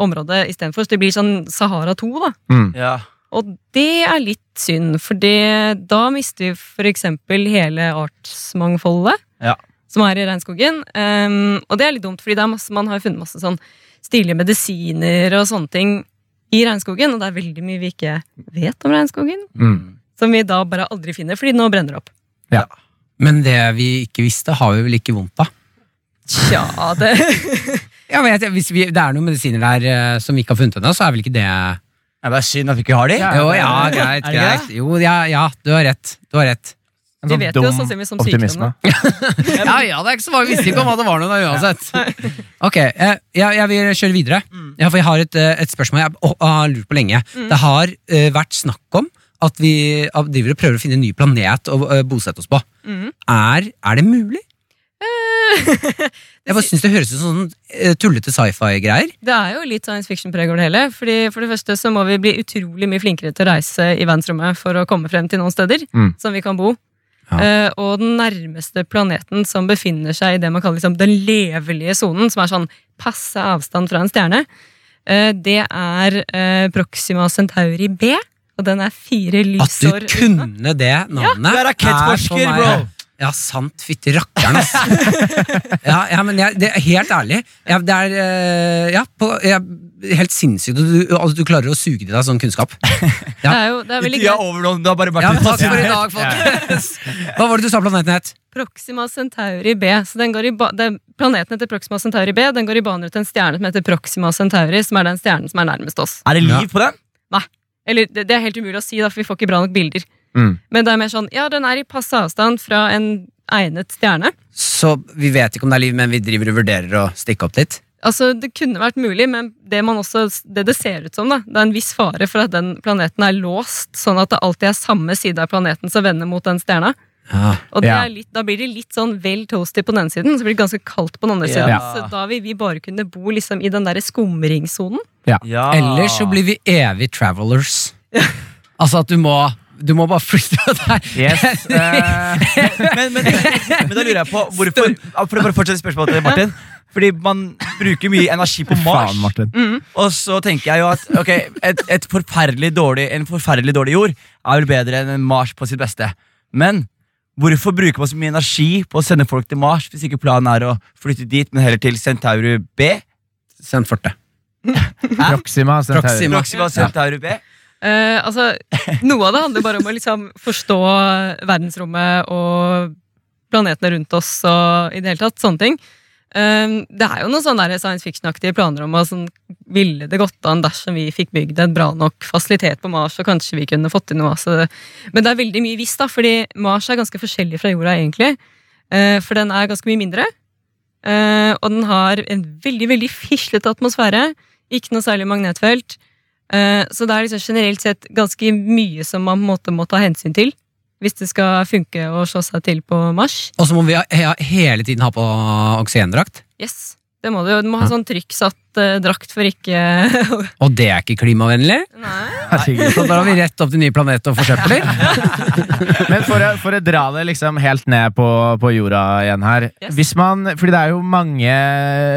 Speaker 9: område istedenfor. Så det blir sånn Sahara 2, da.
Speaker 2: Ja.
Speaker 9: Og det er litt synd, for det, da mister vi for eksempel hele artsmangfoldet
Speaker 2: Ja.
Speaker 9: som er i regnskogen. Ehm, og det er litt dumt, fordi det er masse, man har jo funnet masse sånn stilige medisiner og sånne ting i regnskogen, og det er veldig mye vi ikke vet om regnskogen, som vi da bare aldri finner, fordi nå brenner det opp.
Speaker 4: Men det vi ikke visste, har vi vel ikke vondt av?
Speaker 9: Tja, det
Speaker 4: Ja, men jeg, hvis vi, det er noen medisiner der eh, som vi ikke har funnet ennå, så er vel ikke det
Speaker 2: Ja, Det er synd at vi ikke har de.
Speaker 4: Jo, ja, greit,
Speaker 2: Er det
Speaker 4: greit. Jo, ja, ja, du har rett. Du har rett.
Speaker 9: Vi vet jo sannsynligvis om sykdommer.
Speaker 4: Ja, ja, det er ikke så mange. Vi visste ikke om hva det var noe da uansett. Ok, eh, jeg, jeg vil kjøre videre.
Speaker 2: Mm.
Speaker 4: Ja, for jeg har et, eh, et spørsmål jeg å- har lurt på lenge. Det har eh, vært snakk om at vi eh, driver og prøver å finne en ny planet å eh, bosette oss på.
Speaker 2: Mm.
Speaker 4: Er, er det mulig? Jeg bare syns det høres ut som sånn eh, tullete sci-fi-greier.
Speaker 9: Det er jo litt science fiction-preg over det hele. Fordi For det første så må vi bli utrolig mye flinkere til å reise i verdensrommet for å komme frem til noen steder
Speaker 3: Mm.
Speaker 9: som vi kan bo. Eh, og den nærmeste planeten som befinner seg i det man kaller liksom den levelige sonen, som er sånn passe avstand fra en stjerne, eh, det er eh, Proxima Centauri B. Og den er fire
Speaker 4: At
Speaker 9: lysår
Speaker 4: du kunne det navnet.
Speaker 2: Du er
Speaker 4: så
Speaker 2: rakettforsker,
Speaker 4: meg-
Speaker 2: bro.
Speaker 4: Ja, sant. Fytti rakkeren, ass. ja, ja, men jeg, det er helt ærlig. Jeg, det er eh, ja, på, jeg, helt sinnssykt at du, at du klarer å suge til deg sånn kunnskap.
Speaker 9: Det er jo det er veldig
Speaker 2: Tida er
Speaker 9: greit.
Speaker 2: over nå. Du har bare vært
Speaker 4: Ja, men
Speaker 2: ute og
Speaker 4: takk for i
Speaker 2: sett.
Speaker 4: dag, folkens. Hva var det du sa planeten het?
Speaker 9: Proxima Centauri B. Så den går i ba den, planeten heter Proxima Centauri B. Den går i bane rundt en stjerne som heter Proxima Centauri, som er den stjernen som er nærmest oss.
Speaker 2: Er det liv på den?
Speaker 9: Eller det, det er helt umulig å si, da, for vi får ikke bra nok bilder.
Speaker 3: Mm.
Speaker 9: Men det er mer sånn ja, den er i passe avstand fra en egnet stjerne.
Speaker 4: Så vi vet ikke om det er liv, men vi driver og vurderer å stikke opp dit.
Speaker 9: Altså, Det kunne vært mulig, men det, man også, det det ser ut som, da, det er en viss fare for at den planeten er låst, sånn at det alltid er samme side av planeten som vender mot den stjerna.
Speaker 4: Ja.
Speaker 9: Og det
Speaker 3: Ja.
Speaker 9: er litt, Da blir det litt sånn vel toasty på den ene siden, så blir det ganske kaldt på den andre siden.
Speaker 2: Ja.
Speaker 9: Så da vil vi bare kunne bo liksom i den derre skumringssonen.
Speaker 2: Ja.
Speaker 4: Ellers så blir vi evig travelers. Altså at du må, du må bare flytte fra der.
Speaker 3: Yes. eh,
Speaker 2: men, men, men da lurer jeg på hvorfor Ja, For å bare fortsette spørsmålet til Martin. Fordi man bruker mye energi på Mars.
Speaker 3: faen, Martin.
Speaker 4: Mm.
Speaker 2: Og så tenker jeg jo at ok, et, et forferdelig dårlig, en forferdelig dårlig jord er vel bedre enn en Mars på sitt beste. Men hvorfor bruker man så mye energi på å sende folk til Mars hvis ikke planen er å flytte dit, men heller til Centauru B?
Speaker 4: Send forte.
Speaker 3: Proxima. Centauri.
Speaker 4: Proxima.
Speaker 2: Proxima Centauru B?
Speaker 9: Eh, altså, noe av det handler bare om å liksom forstå verdensrommet og planetene rundt oss og i det hele tatt sånne ting. Eh, det er jo noen sånne der science fiction-aktige planer om å sånn, ville det gått an dersom vi fikk bygd en bra nok fasilitet på Mars, og kanskje vi kunne fått til noe. Altså. Men det er veldig mye visst, da, fordi Mars er ganske forskjellig fra jorda, egentlig. Eh, for den er ganske mye mindre. Eh, og den har en veldig veldig fislete atmosfære. Ikke noe særlig magnetfelt. Eh, Så det er liksom generelt sett ganske mye som man på en måte må ta hensyn til hvis det skal funke å slå seg til på Mars.
Speaker 4: Og så må vi ha, he- hele tiden ha på oksygendrakt.
Speaker 9: Yes, det må du jo. Du må ha sånn trykksatt eh, drakt for ikke
Speaker 4: Og det er ikke klimavennlig.
Speaker 9: Nei.
Speaker 4: Så da har vi rett opp til nye planeter og forsøpler.
Speaker 3: Men for å, for å dra det liksom helt ned på, på jorda igjen her
Speaker 9: Yes.
Speaker 3: Hvis man, fordi det er jo mange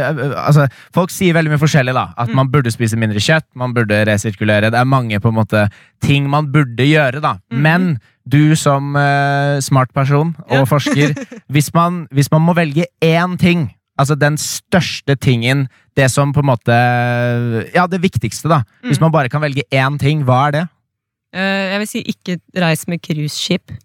Speaker 3: øh, altså, Folk sier veldig mye forskjellig da At man burde spise mindre kjøtt Man burde resirkulere Det er mange på en måte ting man burde gjøre da Men du som øh, smart person og forsker hvis man, hvis man må velge én ting Altså den største tingen Det som på en måte Ja, det viktigste da Hvis man bare kan velge én ting, hva er det?
Speaker 9: Eh, Jeg vil si ikke reis med cruiseskip.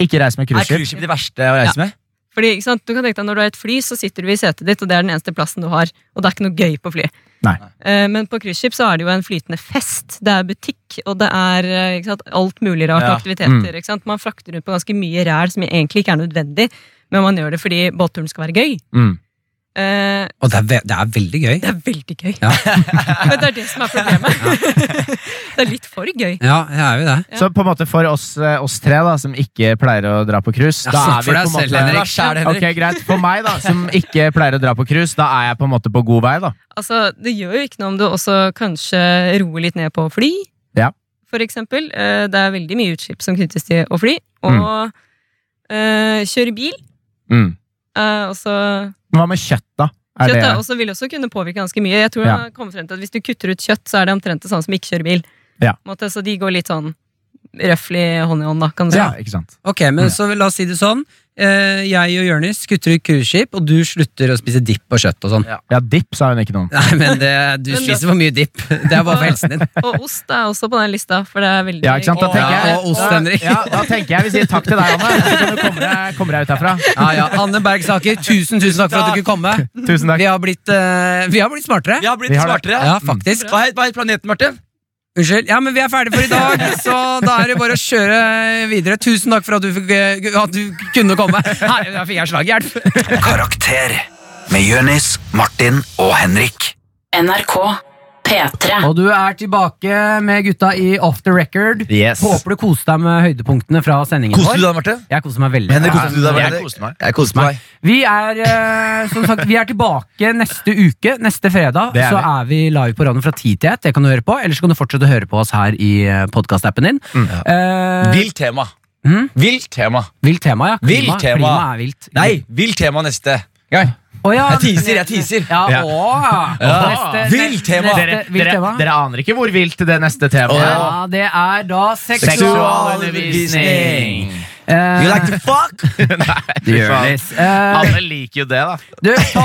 Speaker 3: Ikke reise med
Speaker 2: Er
Speaker 3: cruiseskip
Speaker 2: cruiseskip det verste å reise med?
Speaker 9: Fordi, ikke sant, du kan tenke deg Når du er i et fly, så sitter du i setet ditt, og det er den eneste plassen du har. Og det er ikke noe gøy på fly.
Speaker 3: Nei.
Speaker 9: Eh, Men på cruiseskip så er det jo en flytende fest. Det er butikk, og det er eh, ikke sant, alt mulig rart.
Speaker 2: Ja.
Speaker 9: aktiviteter. Ikke sant? Man frakter rundt på ganske mye ræl som egentlig ikke er nødvendig, men man gjør det fordi båtturen skal være gøy.
Speaker 3: Mm.
Speaker 9: Eh,
Speaker 4: Og det er, ve det er veldig gøy.
Speaker 9: Det er veldig gøy.
Speaker 4: Ja.
Speaker 9: men det er det som er problemet. det er litt for gøy.
Speaker 4: Ja, det er jo det.
Speaker 9: Ja.
Speaker 3: Så på en måte for oss, eh, oss tre da, som ikke pleier å dra på cruise
Speaker 4: Ja,
Speaker 3: da
Speaker 4: snakk
Speaker 3: er
Speaker 4: for
Speaker 3: vi
Speaker 4: deg
Speaker 3: på en
Speaker 4: selv,
Speaker 3: måte-
Speaker 4: Henrik.
Speaker 2: Hva skjer det, Henrik?
Speaker 3: Ok, greit. For meg da, som ikke pleier å dra på cruise, da er jeg på en måte på god vei da.
Speaker 9: Altså, det gjør jo ikke noe om du også kanskje roer litt ned på fly,
Speaker 3: Ja.
Speaker 9: for eksempel. Eh, Det er veldig mye utslipp som knyttes til å fly. Og eh, kjøre bil.
Speaker 3: Mm.
Speaker 9: Eh, også,
Speaker 3: Hva med kjøtt da? Er
Speaker 9: kjøtt da,
Speaker 3: det-
Speaker 9: også vil også kunne påvirke ganske mye. Jeg tror
Speaker 3: Ja.
Speaker 9: jeg har kommet frem til at Hvis du kutter ut kjøtt, så er det omtrent det samme som ikke kjøre bil.
Speaker 3: Ja.
Speaker 9: På en Måte, så de går litt sånn røffelig hånd i hånd, da, kan du si.
Speaker 3: ja, ikke sant?
Speaker 4: Ok, men så la oss si det sånn. Eh, jeg og Jonis kutter ut cruiseskip, og du slutter å spise dipp og kjøtt og sånn.
Speaker 3: Ja, dipp sa hun ikke noe om.
Speaker 4: Nei, men det, du
Speaker 9: Men det-
Speaker 4: spiser for mye dipp. Det er bare for helsen din.
Speaker 9: Og ost er også på den lista, for det er veldig
Speaker 3: Ja, ikke sant? Da
Speaker 9: Å,
Speaker 3: tenker jeg,
Speaker 4: og ost,
Speaker 3: da-
Speaker 4: Henrik.
Speaker 3: Ja, da tenker jeg vi sier takk til deg, Anne. Så kan du komme deg, komme deg ut herfra.
Speaker 4: Ja, ja. Anne Bergsaker, tusen, tusen takk for at du kunne komme.
Speaker 3: Tusen takk.
Speaker 4: Vi har blitt, eh, vi har blitt smartere.
Speaker 2: Vi har blitt
Speaker 3: Vi har det.
Speaker 2: smartere.
Speaker 4: Ja, faktisk.
Speaker 2: Hva het, hva het planeten, Martin?
Speaker 4: Unnskyld. Ja, men vi er ferdige for i dag, så da er det bare å kjøre videre. Tusen takk for at du, fikk, at du kunne komme. Her, da fikk jeg slaghjelp.
Speaker 1: Karakter med Jonis, Martin og Henrik.
Speaker 6: NRK P3.
Speaker 4: Og du er tilbake med gutta i Off the Record.
Speaker 3: Yes.
Speaker 4: Håper du koste deg med høydepunktene fra sendingen
Speaker 2: Koste du
Speaker 4: vår.
Speaker 2: deg, Martin?
Speaker 4: Jeg koser meg veldig.
Speaker 2: Henrik, koste du deg?
Speaker 3: Jeg
Speaker 2: Martin?
Speaker 3: koste meg.
Speaker 2: Jeg koste meg.
Speaker 4: Vi er, eh, som sagt, vi er tilbake neste uke. Neste fredag
Speaker 3: Det er
Speaker 4: så
Speaker 3: vi.
Speaker 4: er vi live på radioen fra 10 til 1. Det kan du høre på. Eller så kan du fortsette å høre på oss her i podkastappen din.
Speaker 2: Mm.
Speaker 4: Eh,
Speaker 2: Vilt tema.
Speaker 4: Mhm.
Speaker 2: Vilt tema.
Speaker 4: vilt tema, ja.
Speaker 2: Vilt
Speaker 4: Klima,
Speaker 2: tema.
Speaker 4: klima er vilt.
Speaker 2: Nei, vilt tema neste gang.
Speaker 4: Å, ja.
Speaker 2: Jeg teaser, jeg teaser.
Speaker 4: Ja,
Speaker 3: Ja.
Speaker 4: Å,
Speaker 2: Ja.
Speaker 4: Neste-
Speaker 2: Vilt tema.
Speaker 4: neste-
Speaker 3: Dere,
Speaker 4: vilt
Speaker 3: dere,
Speaker 4: tema.
Speaker 3: dere aner ikke hvor vilt det neste temaet er.
Speaker 4: Ja, det er da
Speaker 3: Seksualundervisning.
Speaker 4: Eh,
Speaker 2: You like to fuck?
Speaker 4: Jonis, eh,
Speaker 3: Alle liker jo det da.
Speaker 4: Du, ta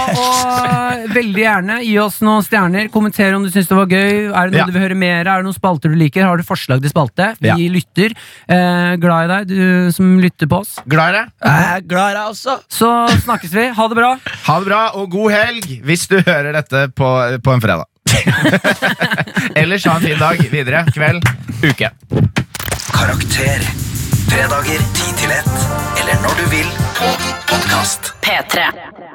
Speaker 4: og veldig gjerne gi oss noen stjerner. Kommenter om du syns det var gøy. Er det noe
Speaker 3: Ja.
Speaker 4: du vil høre mer av? Er det noen spalter du liker? Har du forslag til spalte? Vi
Speaker 3: Ja.
Speaker 4: lytter. Eh, glad i deg, du som lytter på oss.
Speaker 3: Glad i det?
Speaker 2: Jeg er glad i deg også.
Speaker 4: Så snakkes vi. Ha det bra.
Speaker 3: Ha det bra, og god helg hvis du hører dette på, på en fredag. Ellers ha en fin dag videre. Kveld, uke.
Speaker 1: Karakter. Fredager 10 til 1, eller når du vil på podkast.
Speaker 6: P3.